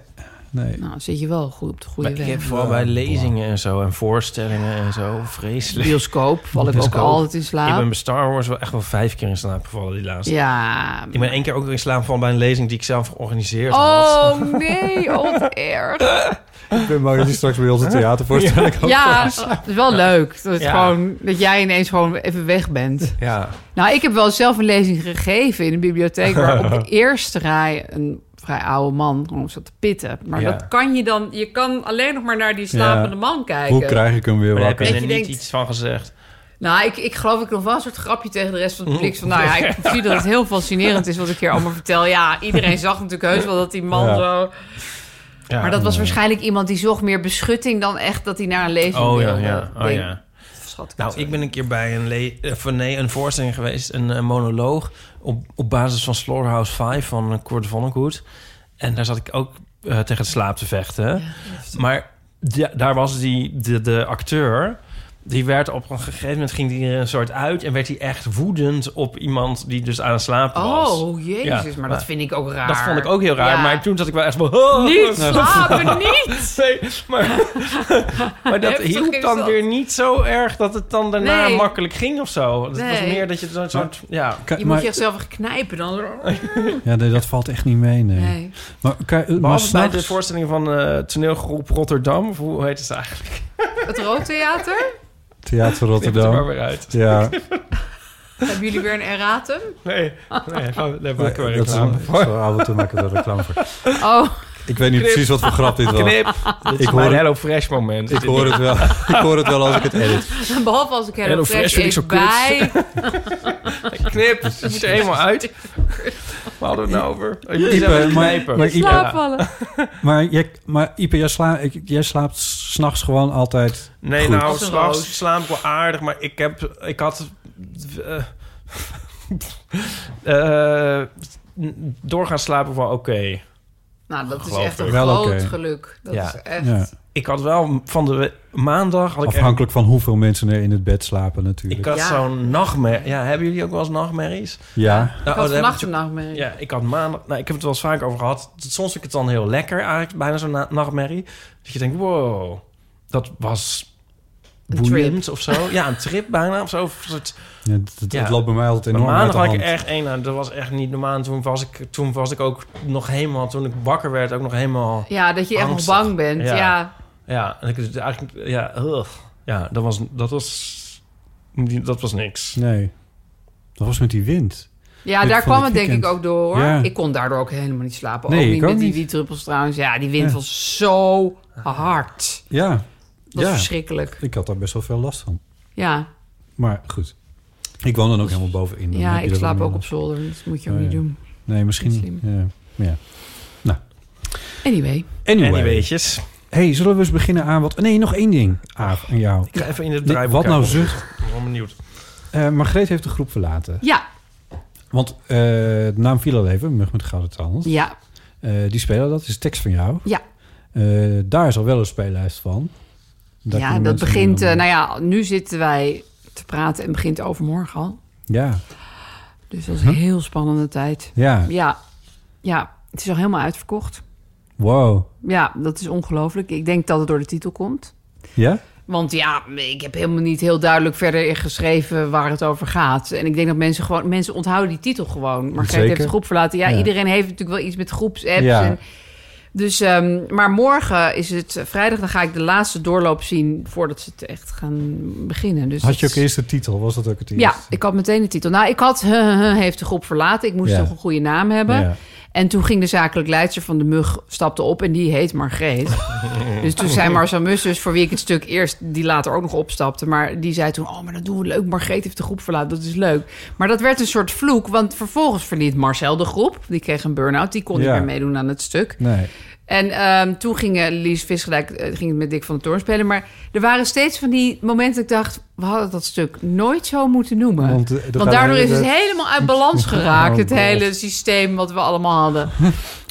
nee.
Nou, zit je wel goed op de goede
Maar ik
weg.
heb vooral bij lezingen en zo en voorstellingen en zo vreselijk.
Bioscoop val ik
Bioscoop.
ook altijd in
Ik ben
slaap.
bij Star Wars wel echt wel vijf keer in slaap gevallen die laatste.
Ja.
Ik ben één keer ook weer in slaap gevallen bij een lezing die ik zelf georganiseerd had.
Oh nee, oh, wat erg.
Ik ben mooi dat je straks bij onze theatervoorstelling ook
Ja, het is wel leuk. Dat, het
Ja.
gewoon, dat jij ineens gewoon even weg bent.
Ja,
Nou, ik heb wel zelf een lezing gegeven in de bibliotheek... waar op de eerste rij een vrij oude man gewoon zat te pitten. Maar
Ja.
dat kan je dan... Je kan alleen nog maar naar die slapende
Ja.
man kijken.
Hoe krijg ik hem weer
maar daar heb
wakker?
je
Dat
er
je
niet
denkt-
iets van gezegd.
Nou, ik, ik geloof ik nog wel een soort grapje tegen de rest van het publiek. Van, nou ja, ik zie dat het heel fascinerend is wat ik hier allemaal vertel. Ja, iedereen zag natuurlijk heus wel dat die man
Ja.
zo...
Ja.
Maar dat was waarschijnlijk iemand die zocht meer beschutting... dan echt dat hij naar een lezing
Oh ja,
wilde.
ja. Oh,
Denk-
ja.
Schat,
Nou, ik ben een keer bij een, le- of nee, een voorstelling geweest, een, eh, monoloog... Op, op basis van Slaughterhouse 5 van eh, Kurt Vonnegut. En daar zat ik ook eh, tegen het slaap te vechten. maar da- daar was die, de, de acteur... Die werd op een gegeven moment ging die er een soort uit en werd hij echt woedend op iemand die dus aan het slapen was.
Oh, jezus,
Ja,
maar dat vind ik ook raar.
Dat vond ik ook heel raar,
Ja.
maar toen zat ik wel echt van... Oh,
Niet slapen, niet!
Nee, maar, maar dat
Heftig
hielp
is
dan
dat.
weer niet zo erg dat het dan daarna
Nee.
makkelijk ging of zo. Het was
Nee.
meer dat je zo'n soort... Ja.
Ka-
Je
maar- Eh,
moet jezelf echt knijpen dan.
Ja, nee, dat valt echt niet mee, nee.
Nee.
Maar, ka- maar
Behalve bij nou de
s'nachts...
voorstelling van eh, toneelgroep Rotterdam. Of hoe heet het eigenlijk?
Het Roodtheater?
Theater
Ik er maar
Rotterdam.
weer uit.
Ja,
Hebben jullie weer een erratum?
Nee, nee, gaan, daar maken we
dat is
reclame
een
voor.
zo af en toe maken we er reclame voor.
Oh,
Ik weet niet
Knip.
precies wat voor grap dit was.
Knip. Dit is
Ik
mijn
hoor-
Hello Fresh moment.
Ik hoor, het wel, ik hoor het wel als ik het edit.
behalve als ik
Hello
Hello
Fresh
Fresh
vind ik zo
eet bij.
Knip, het moet er helemaal uit. We hadden het nou over. Ik moet
Ipe,
even
maar-
knijpen.
maar Ipe-
Ja.
Slaapvallen.
Maar, jij, maar Ipe, jij, sla, ik- jij slaapt s'nachts gewoon altijd...
Nee,
Goed.
nou,
Als een
s'nachts
roos.
slaap ik wel aardig, maar ik heb... Ik had... eh eh, doorgaan slapen wel oké.
Nou, dat is
Geloof
echt
ik.
een
Wel
groot
oké.
geluk. Dat
Ja.
is echt...
Ja.
Ik had wel van de we- maandag... Had ik echt-
Afhankelijk van hoeveel mensen er in het bed slapen
ik
natuurlijk.
had
Ja.
zo'n nachtmerrie. Ja, hebben jullie ook wel eens nachtmerries?
ja.
Nou,
ik had
dat heb
vannacht
ik-
een nachtmerrie.
Ja, ik had maandag... Nou, ik heb het wel eens vaak over gehad. Soms vind ik het dan heel lekker eigenlijk, bijna zo'n na- nachtmerrie. Dat je denkt, wow, dat was...
Een trip.
Boeiend of zo. Ja, een trip bijna of zo. Of een soort
Ja, dat, dat
Ja.
loopt bij mij altijd
Maar
enorm uit
maandag
de
had
hand.
ik echt één. nou, Dat was echt niet normaal. En Toen was, ik, toen was ik ook nog helemaal, toen ik wakker werd, ook nog helemaal.
Ja, dat je echt nog
Angstig.
bang bent.
Ja.
Ja.
Ja, en ik, dus eigenlijk, ja, ugh. ja, dat was, dat was, dat was niks.
Nee. Dat was met die wind.
Ja,
Dit
daar
van
kwam
het
het denk ik
weekend.
ook door. hoor.
Ja.
Ik kon daardoor ook helemaal niet slapen.
Nee,
ook
ik
niet
ook
met die,
niet.
die druppels trouwens. Ja, die wind
Ja.
was zo hard.
Ja.
Dat was
ja.
verschrikkelijk.
Ik had daar best wel veel last van.
Ja,
Maar goed. Ik woon dan ook helemaal bovenin. Dan
ja
heb je
ik
er wel
slaap
meer
ook op
last.
zolder. dus Dat moet je ook
Oh,
niet
ja.
doen.
Nee, misschien.
Niet
Ja. ja.
Anyway.
En
Anyway.
die weetjes.
hey, zullen we eens beginnen aan wat... Nee, nog één ding,
Oh,
Aaf, aan jou.
Ik ga even in het
Nee,
draaiboek
wat nou
kijken.
zucht?
Ik ben wel benieuwd.
Eh Margreet heeft de groep verlaten.
Ja,
Want eh, de naam viel al even, Mug met Gouden Tand.
ja,
Eh, die spelen dat, is tekst van jou.
Ja.
Eh, daar is al wel een speellijst van. Daar
ja
kunnen
dat
mensen
begint...
dan-
eh, nou ja, nu zitten wij te praten en begint overmorgen al.
Ja,
Dus dat is een heel spannende tijd.
ja.
Ja, ja, het is al helemaal uitverkocht.
Wow.
Ja, dat is ongelooflijk. Ik denk dat het door de titel komt.
Ja?
Want ja, ik heb helemaal niet heel duidelijk verder geschreven waar het over gaat. En ik denk dat mensen gewoon... Mensen onthouden die titel gewoon. Maar
Zeker.
heeft de groep verlaten. Ja,
Ja.
iedereen heeft natuurlijk wel iets met groepsapps.
Ja.
En, dus, ehm, maar morgen is het eh, vrijdag. Dan ga ik de laatste doorloop zien voordat ze het echt gaan beginnen. Dus
Had je
dat
ook
is-
eerst de titel? Was dat ook het eerst?
Ja, ik had meteen de titel. Nou, ik had heeft de groep verlaten. Ik moest
Ja.
toch een goede naam hebben.
Ja.
En toen ging de zakelijk leidster van de mug stapte op en die heet Margreet. dus toen zei Marcel Mussers, voor wie ik het stuk eerst, die later ook nog opstapte, maar die zei toen: Oh, maar dat doen we leuk. Margreet heeft de groep verlaten, dat is leuk. Maar dat werd een soort vloek, want vervolgens verliet Marcel de groep. Die kreeg een burn-out, die kon
Ja.
niet meer meedoen aan het stuk.
Nee.
En ehm, toen ging eh, Lies Visgelijk eh, ging het met Dick van den Toorn spelen. Maar er waren steeds van die momenten dat ik dacht... we hadden dat stuk nooit zo moeten noemen.
Want,
Want,
eh, dat gaat
daardoor
de
is het
hele-
helemaal uit balans geraakt.
Oh,
het
God.
hele systeem wat we allemaal hadden.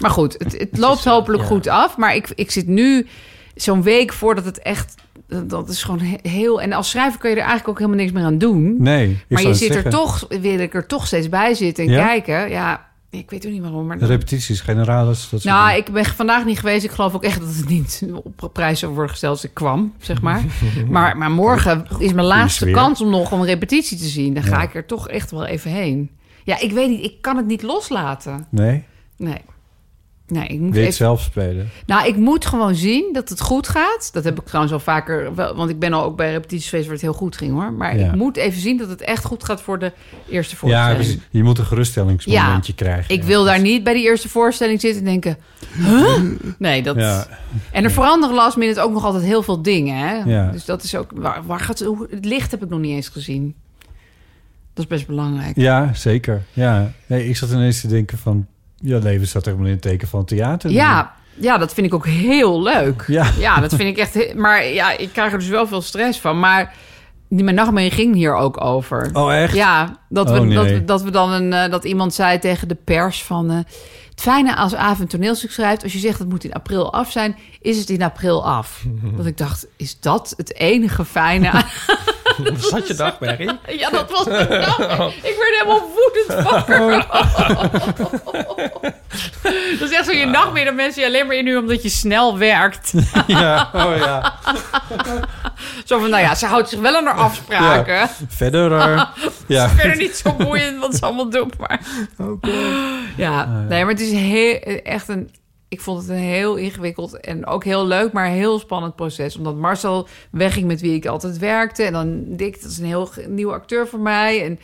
maar goed, het, het loopt hopelijk
ja.
goed af. Maar ik, ik zit nu zo'n week voordat het echt... dat- Dat is gewoon he- heel... En als schrijver kun je er eigenlijk ook helemaal niks meer aan doen.
Nee. ik
maar
zou
je
het
zit
zeggen.
er toch... Wil ik er toch steeds bij zitten en
Ja?
kijken. Ja, ik weet ook niet waarom. Maar
Repetities, generales, dat soort
nou,
dingen.
ik ben vandaag niet geweest. Ik geloof ook echt dat het niet op prijs zou worden gesteld als ik kwam, zeg maar. Maar, maar morgen is mijn laatste
sfeer.
kans om nog een repetitie te zien. Dan ga
Ja.
ik er toch echt wel even heen. Ja, ik weet niet. Ik kan het niet loslaten.
Nee,
Nee. Nee, ik moet
weet
even...
zelf spelen.
Nou, ik moet gewoon zien dat het goed gaat. Dat heb ik trouwens al vaker... Wel, want ik ben al ook bij repetities geweest waar het heel goed ging, hoor. Maar
Ja.
ik moet even zien dat het echt goed gaat voor de eerste
Ja,
voorstelling.
precies. je moet een geruststellingsmomentje krijgen.
Ik wil daar niet bij die eerste voorstelling zitten en denken... Huh? Nee, dat...
Ja.
En er veranderen last minute ook nog altijd heel veel dingen, hè?
Ja.
Dus dat is ook... Waar, waar gaat, hoe, het licht heb ik nog niet eens gezien. Dat is best belangrijk.
Ja, zeker. Ja. Nee, ik zat ineens te denken van... Ja, leven staat helemaal in het teken van theater.
Ja, ja, dat vind ik ook heel leuk.
Ja.
dat vind ik echt... he- Maar ja, ik krijg er dus wel veel stress van. Maar die- mijn nachtmerrie ging hier ook over.
Oh, echt?
Ja, dat we,
Oh, nee.
dat, we- dat we dan een, eh, dat iemand zei tegen de pers van. eh, Het fijne als Aaf een toneelstuk schrijft, als je zegt het moet in april af zijn, is het in april af. Dat ik dacht, is dat het enige fijne aan-
Wat zat je dag, Barry?
Ja, dat was het. Nou, ik werd helemaal woedend wakker. Oh. dat is echt zo je nachtmerrie. Dat mensen je alleen maar inhuren omdat je snel werkt.
ja, oh ja.
Zo van, nou ja, ze houdt zich wel aan haar afspraken.
Verder. eh, ja.
Verder niet zo boeiend wat ze allemaal doet, maar... Oh, Ja, nee, maar het is heel, echt een... Ik vond het een heel ingewikkeld en ook heel leuk, maar heel spannend proces. Omdat Marcel wegging met wie ik altijd werkte. En dan Dick, dat is een heel ge- nieuwe acteur voor mij. En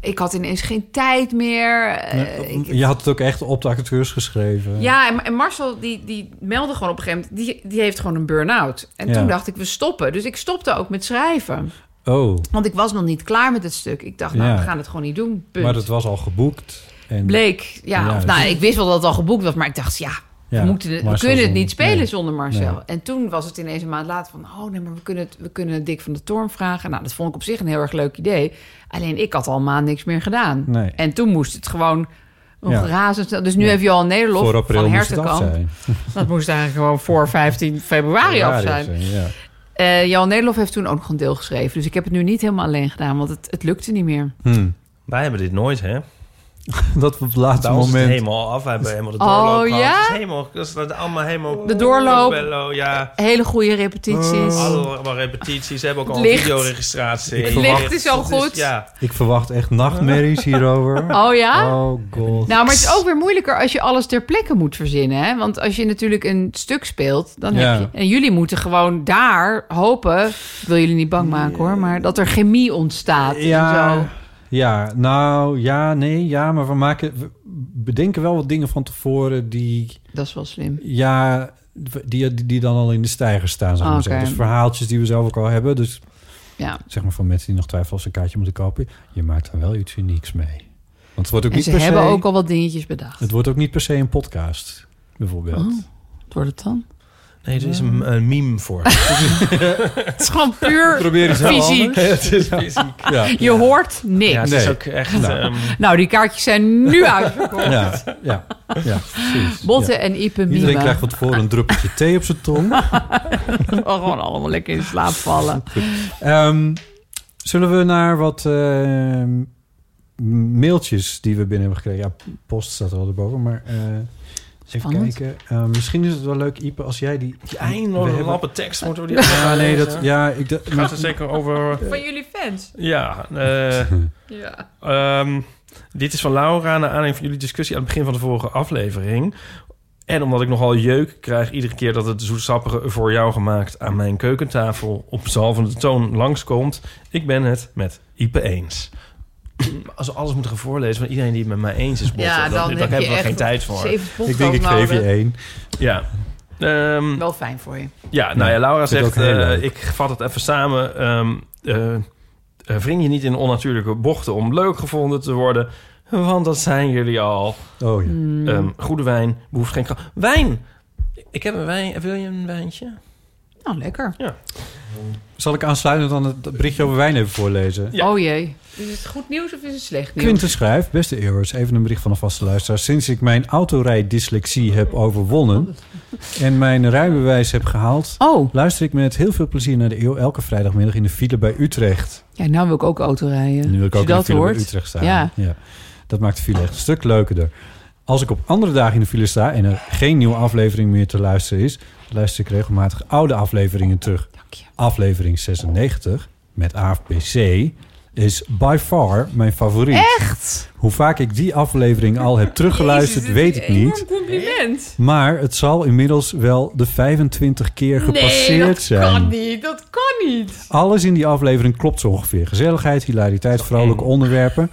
ik had ineens geen tijd meer. Eh, ik-
Je had het ook echt op de acteurs geschreven.
ja, en, en Marcel die, die meldde gewoon op een gegeven moment... die, die heeft gewoon een burn-out. En
Ja.
toen dacht ik, we stoppen. Dus ik stopte ook met schrijven.
Oh,
Want ik was nog niet klaar met het stuk. Ik dacht, nou,
Ja.
we gaan het gewoon niet doen. Punt.
maar dat was al geboekt. En,
Bleek, ja.
Ja,
of,
dus-
nou, ik wist wel dat het al geboekt was, maar ik dacht, ja,
Ja,
we, moeten, we
Marcel
kunnen het
zonder-
niet spelen
nee.
zonder Marcel.
Nee.
En toen was het ineens een maand later van, oh nee, maar we kunnen, het, we kunnen Dick van de Toorn vragen. Nou, dat vond ik op zich een heel erg leuk idee. Alleen ik had al een maand niks meer gedaan.
Nee.
En toen moest het gewoon nog
Ja.
razendsnel. Dus nu heb je al een
voor
nederlof
april
van
moest het af
hersenkamp.
zijn.
Dat moest eigenlijk gewoon voor 15 februari af
Ja,
zijn.
dit Ja.
Eh, Jan Nederlof heeft toen ook nog een deel geschreven. Dus ik heb het nu niet helemaal alleen gedaan, want het, het lukte niet meer.
Hm.
Wij hebben dit nooit, hè?
Dat op het laatste
Bij ons is het
moment.
helemaal af. Wij hebben helemaal de
Oh,
doorloop gehad.
ja?
Het is helemaal, dat is dat allemaal helemaal...
De doorloop.
Bello, ja.
Hele goede repetities.
Oh.
Allemaal repetities. Ze hebben ook al
Het
een
licht.
videoregistratie.
Het licht
Dat
is al
dat
goed.
ja.
Ik verwacht echt nachtmerries hierover.
Oh ja?
Oh god.
Nou, maar het is ook weer moeilijker als je alles ter plekke moet verzinnen. Hè? Want als je natuurlijk een stuk speelt, dan
Ja.
heb je... En jullie moeten gewoon daar hopen... Ik wil jullie niet bang maken hoor, maar dat er chemie ontstaat. En zo.
ja, ja, nou ja, nee, ja, maar we maken, we bedenken wel wat dingen van tevoren die,
Dat is wel slim.
ja, die, die, die dan al in de stijger staan, zou ik maar
Oké.
zeggen. Dus verhaaltjes die we zelf ook al hebben. Dus
Ja.
zeg maar van mensen die nog twijfelen of ze een kaartje moeten kopen, je maakt er wel iets unieks mee. Want het wordt ook
En
niet
ze
per se,
hebben ook al wat dingetjes bedacht.
het wordt ook niet per se een podcast,
Oh.
bijvoorbeeld.
Wat wordt het dan?
Nee, er is een, een meme voor. Het
Het is gewoon puur...
Probeer eens heel
Fysiek.
anders. Het is
is niet-
ja.
Je hoort niks.
Ja, het
Nee.
is ook echt...
Nou.
ehm,
Nou, die kaartjes zijn nu uitverkocht.
Ja, ja, ja, precies.
Botten
Ja.
en Ipe
Iedereen
Mima.
krijgt van tevoren een druppeltje thee op zijn tong.
Oh, Gewoon allemaal lekker in slaap vallen.
Ehm, zullen we naar wat ehm, mailtjes die we binnen hebben gekregen? Ja, post staat er wel erboven, maar eh, even
Spannend.
kijken. Ehm, misschien is het wel leuk, Ipe, als jij die...
die
We
eindeloze
hebben-
lappe tekst moeten we die...
Ja, nee, dat... Ja, ik... Dat,
Gaat er zeker over...
Van jullie fans?
Ja, eh...
Ja.
Ehm, dit is van Laura, naar aanleiding van jullie discussie aan het begin van de vorige aflevering. En omdat ik nogal jeuk krijg iedere keer dat het zoetsappige voor jou gemaakt aan mijn keukentafel op zalvende toon langskomt. Ik ben het met Ipe eens. Als we alles moeten gaan voorlezen van iedereen die het met mij eens is, botten,
Ja,
dan, dan,
dan, heb je
hebben we
echt
geen tijd voor.
zeven
ik denk, ik
podcasts
geef je
nodig.
één.
Ja. Ehm,
Wel fijn voor je.
ja, nou ja, Laura
Vind ik
zegt,
ook heel
eh,
leuk.
ik vat het even samen. ehm eh, eh, wring je niet in onnatuurlijke bochten om leuk gevonden te worden. Want dat zijn jullie al.
Oh ja.
Hmm.
Ehm, goede wijn behoeft geen... kra- Wijn! Ik heb een wijn. Wil je een wijntje?
Nou, lekker.
Zal ik aansluitend dan het berichtje over wijn even voorlezen?
Ja.
Oh jee. Is het goed nieuws of is het slecht nieuws?
Quinten schrijft, beste Eeuwers, even een bericht van een vaste luisteraar. Sinds ik mijn autorijddyslexie heb overwonnen en mijn rijbewijs heb gehaald...
Oh,
luister ik met heel veel plezier naar de Eeuw elke vrijdagmiddag in de file bij Utrecht.
ja, nou wil ik ook auto rijden.
Nu wil ik
Als je
ook in de
dat
file bij
hoort.
Utrecht staan.
Ja.
Dat maakt de file echt een stuk leukerder. Als ik op andere dagen in de file sta en er geen nieuwe aflevering meer te luisteren is, luister ik regelmatig oude afleveringen terug.
Dank je.
Aflevering 96 met AFPC is by far mijn favoriet.
Echt?
Hoe vaak ik die aflevering al heb teruggeluisterd,
Jezus,
weet
dit
ik
is een
niet.
enorm compliment.
Maar het zal inmiddels wel de 25 keer gepasseerd
nee, dat
zijn.
kan niet. Dat kan niet.
Alles in die aflevering klopt zo ongeveer. Gezelligheid, hilariteit, vrolijke onderwerpen.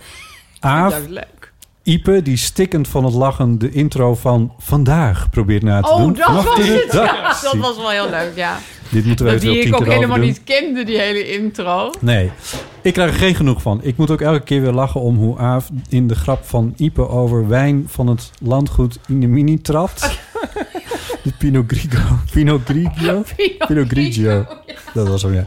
Aaf,
Ja, leuk.
Ipe, die stikkend van het lachen de intro van vandaag probeert na te doen.
Oh, dat was
Wacht,
het. Ja,
redactie.
dat was wel heel leuk, ja.
Dit moeten we
Dat
even
die ik
tien
ook
keer
helemaal
overdoen.
niet kende, die hele intro.
Nee, ik krijg er geen genoeg van. Ik moet ook elke keer weer lachen om hoe Aaf in de grap van Ipe over wijn van het landgoed Inemini trapt. De Pinot Grigio. Pinot Grigio? Pinot Grigio. Dat was hem, ja.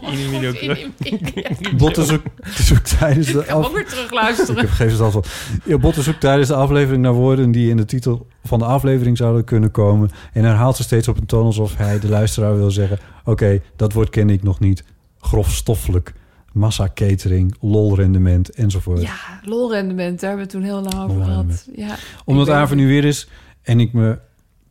Bot is ook, is ook tijdens de
Ik ga hem
af...
ook weer
Ik
terugluisteren.
heb geen verstand van. Ja, Bot is ook tijdens de aflevering naar woorden die in de titel van de aflevering zouden kunnen komen. En herhaalt ze steeds op een toon alsof hij de luisteraar wil zeggen... Oké, dat woord ken ik nog niet. Grofstoffelijk. Massa-catering. Lolrendement. Enzovoort.
Ja, lolrendement, daar hebben we het toen heel lang over gehad.
Lolrendement.
Ja,
Omdat
Ik weet
Aaf er nu weer is en ik me...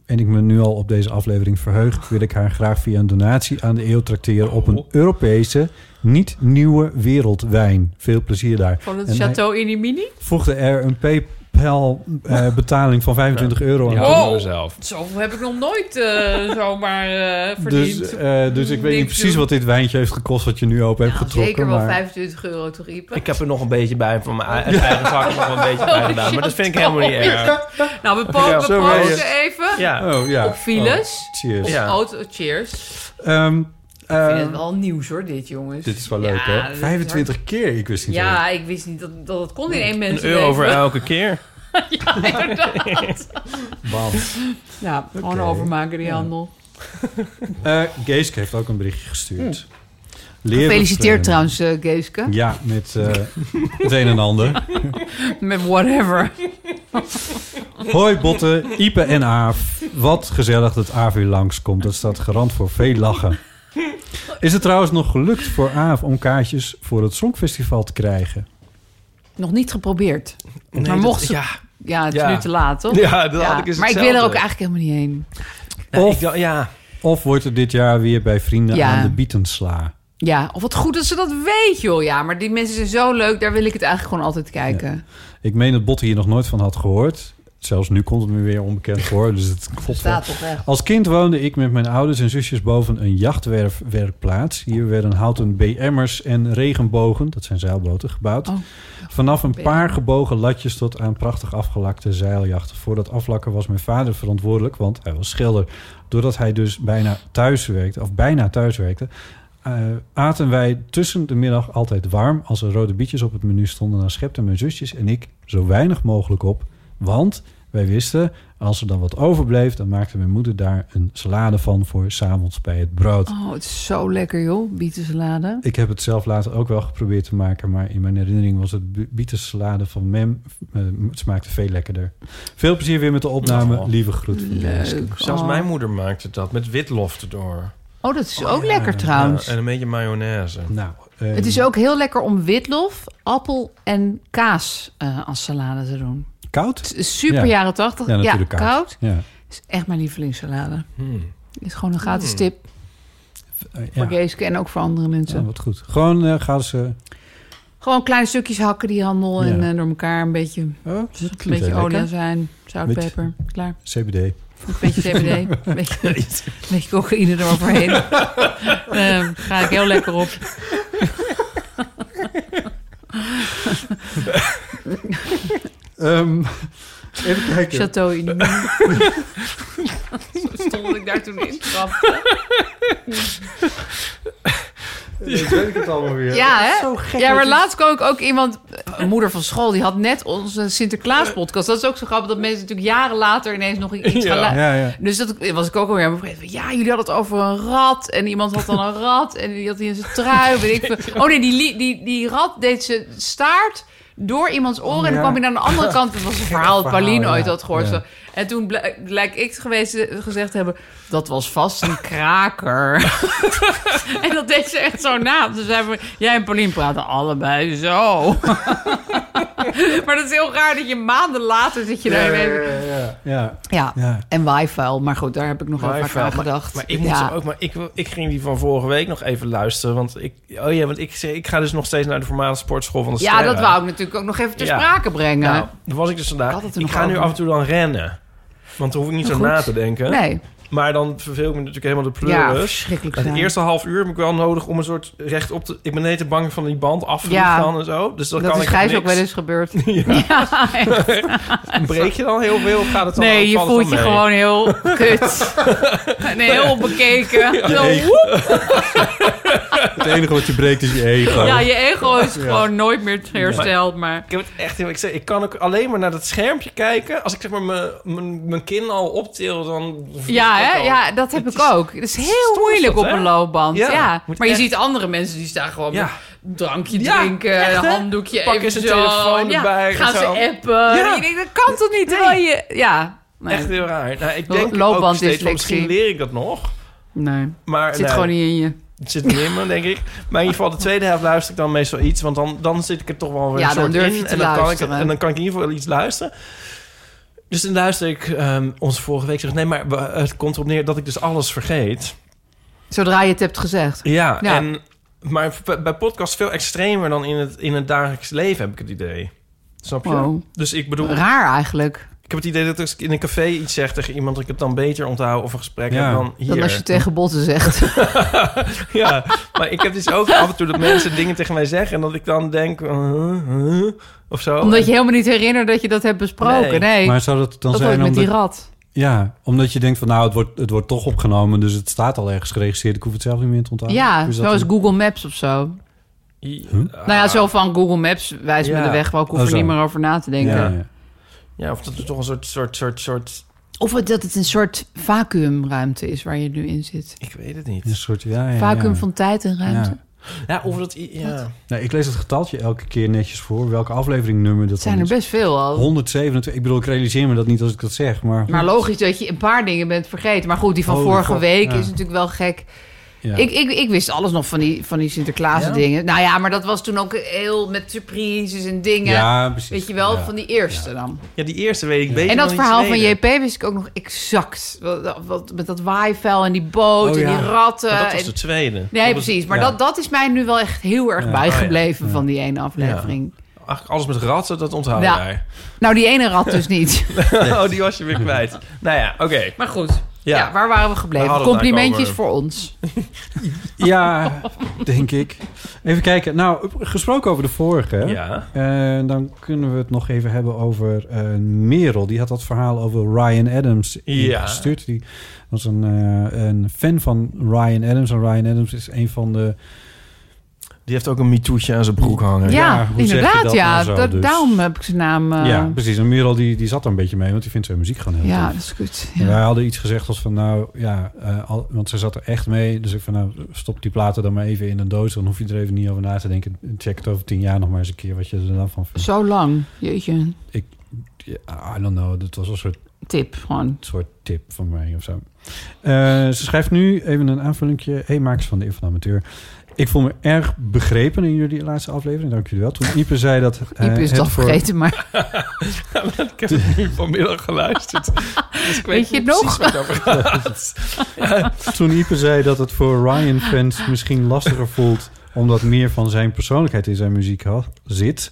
En ik me nu al op deze aflevering verheug, wil ik haar graag via een donatie aan de eeuw tracteren op een Europese, niet nieuwe wereldwijn. Veel plezier daar.
Van het
En hij-
Château Inimini?
voegde er een PayPal eh, betaling van 25 euro aan.
Ja, Oh,
Wow.
doen we zelf.
Zo heb ik nog nooit eh, zomaar eh, verdiend.
Dus, eh, dus ik weet niet
Niks
precies
doen.
wat dit wijntje heeft gekost wat je nu open hebt
Nou,
getrokken.
zeker wel
maar
25 euro toch, Ipe?
Ik heb er nog een beetje bij van mijn eigen eigen zak nog een beetje
Oh,
bij gedaan. Maar dat vind ik helemaal niet erg.
Nou, we, po
Ja,
we
zo ben je.
pauzen even.
Ja.
Oh ja.
Op files.
Oh, cheers.
Ja. Eh,
Auto, cheers.
Ehm,
Ik vind
ehm,
het wel nieuws hoor, dit jongens.
dit is wel leuk,
Ja, dit
hè?
is
25 keer, ik wist
hard.
niet.
Ja, ik wist niet dat dat het kon in één mens.
Een euro voor elke keer.
zo. Bam.
Ja, gewoon
Oké.
overmaken die handel.
Eh, Geeske heeft ook een berichtje gestuurd. Leer
Hm. Gefeliciteerd
bevrijden.
trouwens, eh, Geeske.
Ja, met eh, het een en ander.
Met whatever.
Hoi Botten, Ipe en Aaf. Wat gezellig dat Aaf weer langskomt. Dat staat garant voor veel lachen. Is het trouwens nog gelukt voor Aaf om kaartjes voor het Songfestival te krijgen?
Nog niet geprobeerd.
Nee,
maar
dat-
mocht ze... Ja,
Ja,
het is
Ja.
nu te laat, toch?
ja dat had ik eens
maar ik wil er ook
hetzelfde.
eigenlijk helemaal niet heen.
Nou,
Of-
ik dacht- ja.
Of wordt het dit jaar weer bij vrienden
Ja.
aan de bietensla?
Ja, of wat goed dat ze dat weet, joh. Ja, maar die mensen zijn zo leuk. Daar wil ik het eigenlijk gewoon altijd kijken.
Ik meen dat Botten hier nog nooit van had gehoord. Zelfs nu komt het me weer onbekend voor, dus het klopt wel.
Staat toch echt.
Als kind woonde ik met mijn ouders en zusjes boven een jachtwerfwerkplaats. Hier werden houten BM'ers en regenbogen, dat zijn zeilboten, gebouwd.
Oh.
Vanaf een
BM.
paar gebogen latjes tot aan prachtig afgelakte zeiljachten. Voor dat aflakken was mijn vader verantwoordelijk, want hij was schilder. Doordat hij dus bijna thuis werkte, of bijna thuis werkte... eh, aten wij tussen de middag altijd warm. Als er rode bietjes op het menu stonden, dan schepten mijn zusjes en ik zo weinig mogelijk op. Want wij wisten, als er dan wat overbleef, dan maakte mijn moeder daar een salade van voor s'avonds bij het brood.
Oh, het is zo lekker, joh. Bietensalade.
Ik heb het zelf later ook wel geprobeerd te maken, maar in mijn herinnering was het bi- bietensalade van Mem. eh, het smaakte veel lekkerder. Veel plezier weer met de opname.
Oh.
Lieve groet van Geeske.
Leuk.
Zelfs
oh.
mijn moeder maakte dat met witlof erdoor.
Oh, dat is
Oh,
ook
ja.
lekker
Ja,
trouwens.
Eh, en een beetje mayonaise.
Nou, eh,
Het is ook heel lekker om witlof, appel en kaas eh, als salade te doen.
koud.
Het is super
Ja.
jaren tachtig.
Ja,
Ja,
natuurlijk
koud.
koud. Ja.
is echt mijn lievelingssalade.
Hmm.
Is gewoon een gratis
Mm.
tip
Eh,
voor
ja.
Geeske en ook voor andere mensen.
Ja, wat goed. Gewoon eh, gaan ze.
Gewoon kleine stukjes hakken die handel en
Ja.
eh, door elkaar een beetje, een
Oh, dat klinkt
beetje
heel lekker.
olijfijn, zout,
Beetje-
peper, klaar.
CBD.
Een beetje CBD, een beetje, een beetje cocaïne eroverheen. Ehm ga ik heel lekker op.
Ehm, even kijken.
Chateau in de- Zo stond ik daar toen in. Grap.
Dit weet ik het allemaal weer.
Ja, hè?
Zo gek.
Ja,
dat
maar
je-
laatst kwam ik ook iemand... Een moeder van school, die had net onze Sinterklaas-podcast. Dat is ook zo grappig dat mensen natuurlijk jaren later ineens nog iets gaan lu-
Ja, ja.
Dus dat was ik ook alweer aan het begrepen. Ja, jullie hadden het over een rat. En iemand had dan een rat. En die had die in zijn trui. Weet ik veel. Oh nee, die, li- die, die rat deed zijn staart door iemands oren. En
Ja.
dan kwam hij naar de andere kant. Dat was een verhaal dat
verhaal,
Pauline ooit
ja.
had gehoord.
Ja.
En toen blijk- blijkt ik geweest, eh, gezegd te hebben... dat was vast een kraker. en dat deed ze echt zo na. Dus zei van, jij en Pauline praten allebei zo. maar dat is heel raar dat je maanden later zit je daar...
ja,
ineens-
ja, ja, ja.
Ja.
Ja.
En wifi, maar goed, daar heb ik nog wel vaak
Wi-Fi,
aan
maar-
gedacht.
Maar ik, moet
ja.
ze ook, maar ik, ik ging die van vorige week nog even luisteren. Want ik, oh ja, want ik, ik ga dus nog steeds naar de voormalige sportschool van de
ja,
Sterren.
dat wou ik natuurlijk ook nog even ter
Ja.
sprake brengen.
Nou, daar was ik dus
Ik
vandaag.
had het
Ik,
er nog
ga nu
over.
af en toe dan rennen. Want dan hoef ik niet zo
Goed.
na te denken.
nee,
Maar dan verveel ik me natuurlijk helemaal de
ja,
pleuris.
verschrikkelijk
Het
zijn.
eerste half uur heb ik wel nodig om een soort recht op te... Ik ben net te bang van die band af te
Ja.
gaan en zo. Dus dan
dat
kan
is
ik nog
Gijs ook
niks.
wel eens gebeurd. Ja, echt.
Breek je dan heel veel of gaat het dan
nee, je
valt het
voelt je
dan mee?
gewoon heel kut. en heel bekeken. Zo,
eigen-
woep.
het enige wat je breekt is je ego.
Ja, je ego is gewoon nooit meer hersteld, maar...
Ik heb het echt heel... Ik, zeg, ik kan ook alleen maar naar dat schermpje kijken. Als ik zeg maar mijn- mijn mijn kin al optil, dan...
Ja,
ik
hè?
al.
ja, dat heb
Het
ik
is-
ook. Het is
stom
heel
is
moeilijk
dat,
op
hè?
een loopband.
Ja,
Ja,
moet
maar je
echt-
ziet andere mensen die staan gewoon
Ja.
met drankje
Ja,
drinken,
echt, hè?
handdoekje
Pak
even
eens een
zo.
telefoon
Ja,
erbij en
Gaan ze
zo.
appen.
Ja.
Je denkt, dat kan toch niet? Terwijl je... Ja, nee.
Echt heel raar. Nou, ik
Lo-
denk ook steeds
loopbanddyslectie.
van, misschien leer ik dat nog.
nee.
Maar
Het zit
nee,
gewoon niet in je.
het zit niet in me, denk ik. Maar in ieder geval, de tweede helft luister ik dan meestal iets. Want dan, dan zit ik er toch wel weer
Ja,
een
dan
soort
durf
in.
je te
en, dan kan ik,
luisteren.
en dan kan ik in ieder geval iets luisteren. Dus dan luister ik ehm, onze vorige week. Zeg, nee, maar we- het komt erop neer dat ik dus alles vergeet.
Zodra je het hebt gezegd.
Ja,
Ja.
En, maar v- bij podcast veel extremer dan in het, in het dagelijks leven, heb ik het idee. Snap je?
Wow.
Dus ik bedoel,
Raar eigenlijk.
ik heb het idee dat als ik in een café iets zeg tegen iemand... dat ik het dan beter onthoud of een gesprek
Ja.
heb dan hier. Oh.
Dan als je het tegen botten zegt.
ja, maar ik heb dus ook af en toe dat mensen dingen tegen mij zeggen... en dat ik dan denk, eh, eh, of zo.
Omdat je helemaal niet herinnert dat je dat hebt besproken.
Nee.
Nee,
Maar zou dat dan
dat
zijn
wordt met
omdat,
die rat.
ja, omdat je denkt van nou, het wordt, het wordt toch opgenomen, dus het staat al ergens geregistreerd. Ik hoef het zelf niet meer te onthouden. Hoe
Ja,
is dat
zoals
dan?
Google Maps of zo.
Huh?
Nou ja, zo van Google Maps wijst me
Ah. Ja.
de weg, maar ik hoef
Oh,
er
zo.
niet meer over na te denken.
Ja, ja.
Ja, of dat er toch een soort, soort, soort, soort...
Of het- dat het een soort vacuümruimte is waar je nu in zit.
Ik weet het
Een
niet.
soort, ja, ja,
Vacuüm
ja.
van tijd en ruimte.
Ja.
Ja, of dat... Ja.
Nou, ik lees het getaltje elke keer netjes voor. Welke afleveringnummer dat
Het zijn
dan
er
is.
best veel al.
127. Ik bedoel, ik realiseer me dat niet als ik dat zeg, maar...
Maar logisch dat je een paar dingen bent vergeten. Maar goed, die van
Oh, die
vorige
van-
week
ja.
is natuurlijk wel gek.
Ja.
Ik, ik, ik wist alles nog van die, van die Sinterklaas
Ja?
dingen. Nou ja, maar dat was toen ook heel met surprises en dingen.
ja, precies.
Weet je wel,
Ja.
van die eerste dan.
ja, die eerste weet ik beter
En dat
dan die
verhaal van
tweede.
JP wist ik ook nog exact. Wat, wat- met dat waaivel en die boot
Oh,
en
ja.
die ratten.
Maar dat was dus
en-
de tweede.
Nee,
Dat was-
eh, precies. Maar
ja.
dat, dat is mij nu wel echt heel erg
Ja.
bijgebleven
Oh, ja.
van die ene aflevering.
Eigenlijk alles met ratten, dat onthoud
Ja.
jij.
Nou, die ene rat dus niet.
oh, die was je weer kwijt. Nou ja, oké.
maar goed, ja.
Ja.
waar waren we gebleven?
Daar hadden we het
Complimentjes
eigenlijk
voor ons.
Ja, denk ik. Even kijken. Nou, gesproken over de vorige.
Ja.
eh, dan kunnen we het nog even hebben over eh, Merel. Die had dat verhaal over Ryan Adams
Ja.
gestuurd. Die was een, eh, een fan van Ryan Adams. En Ryan Adams is een van de...
Die heeft ook een mitoetje aan zijn broek hangen.
Ja,
ja, hoe zeg je
inderdaad.
dat
ja,
nou zo,
Dat-
dus?
daarom heb ik zijn naam. eh,
ja,
ja,
precies. En Merel die, die zat er een beetje mee, want die vindt zijn muziek gewoon heel tof.
dat is goed.
En
Ja.
Wij hadden iets gezegd als van, nou ja, eh, al- want ze zat er echt mee. Dus ik van, nou stop die platen dan maar even in een doos. Dan hoef je er even niet over na te denken. Check het over tien jaar nog maar eens een keer wat je er dan van vindt.
Zo lang. Jeetje.
Ja, I don't know, dat was een soort,
Tip gewoon.
soort tip van mij of zo. Eh, ze schrijft nu even een aanvullingje. Hey, makers van de Eeuw van de Amateur. Ik voel me erg begrepen in jullie laatste aflevering. Dank jullie wel. Toen Ipe zei dat... eh,
Iep is
het
het al
voor-
vergeten, maar
Ik heb het nu vanmiddag geluisterd. Dus ik
Weet je
niet
het
precies waar het over gaat.
Toen Ipe zei dat het voor Ryan-fans misschien lastiger voelt... omdat meer van zijn persoonlijkheid in zijn muziek had, zit...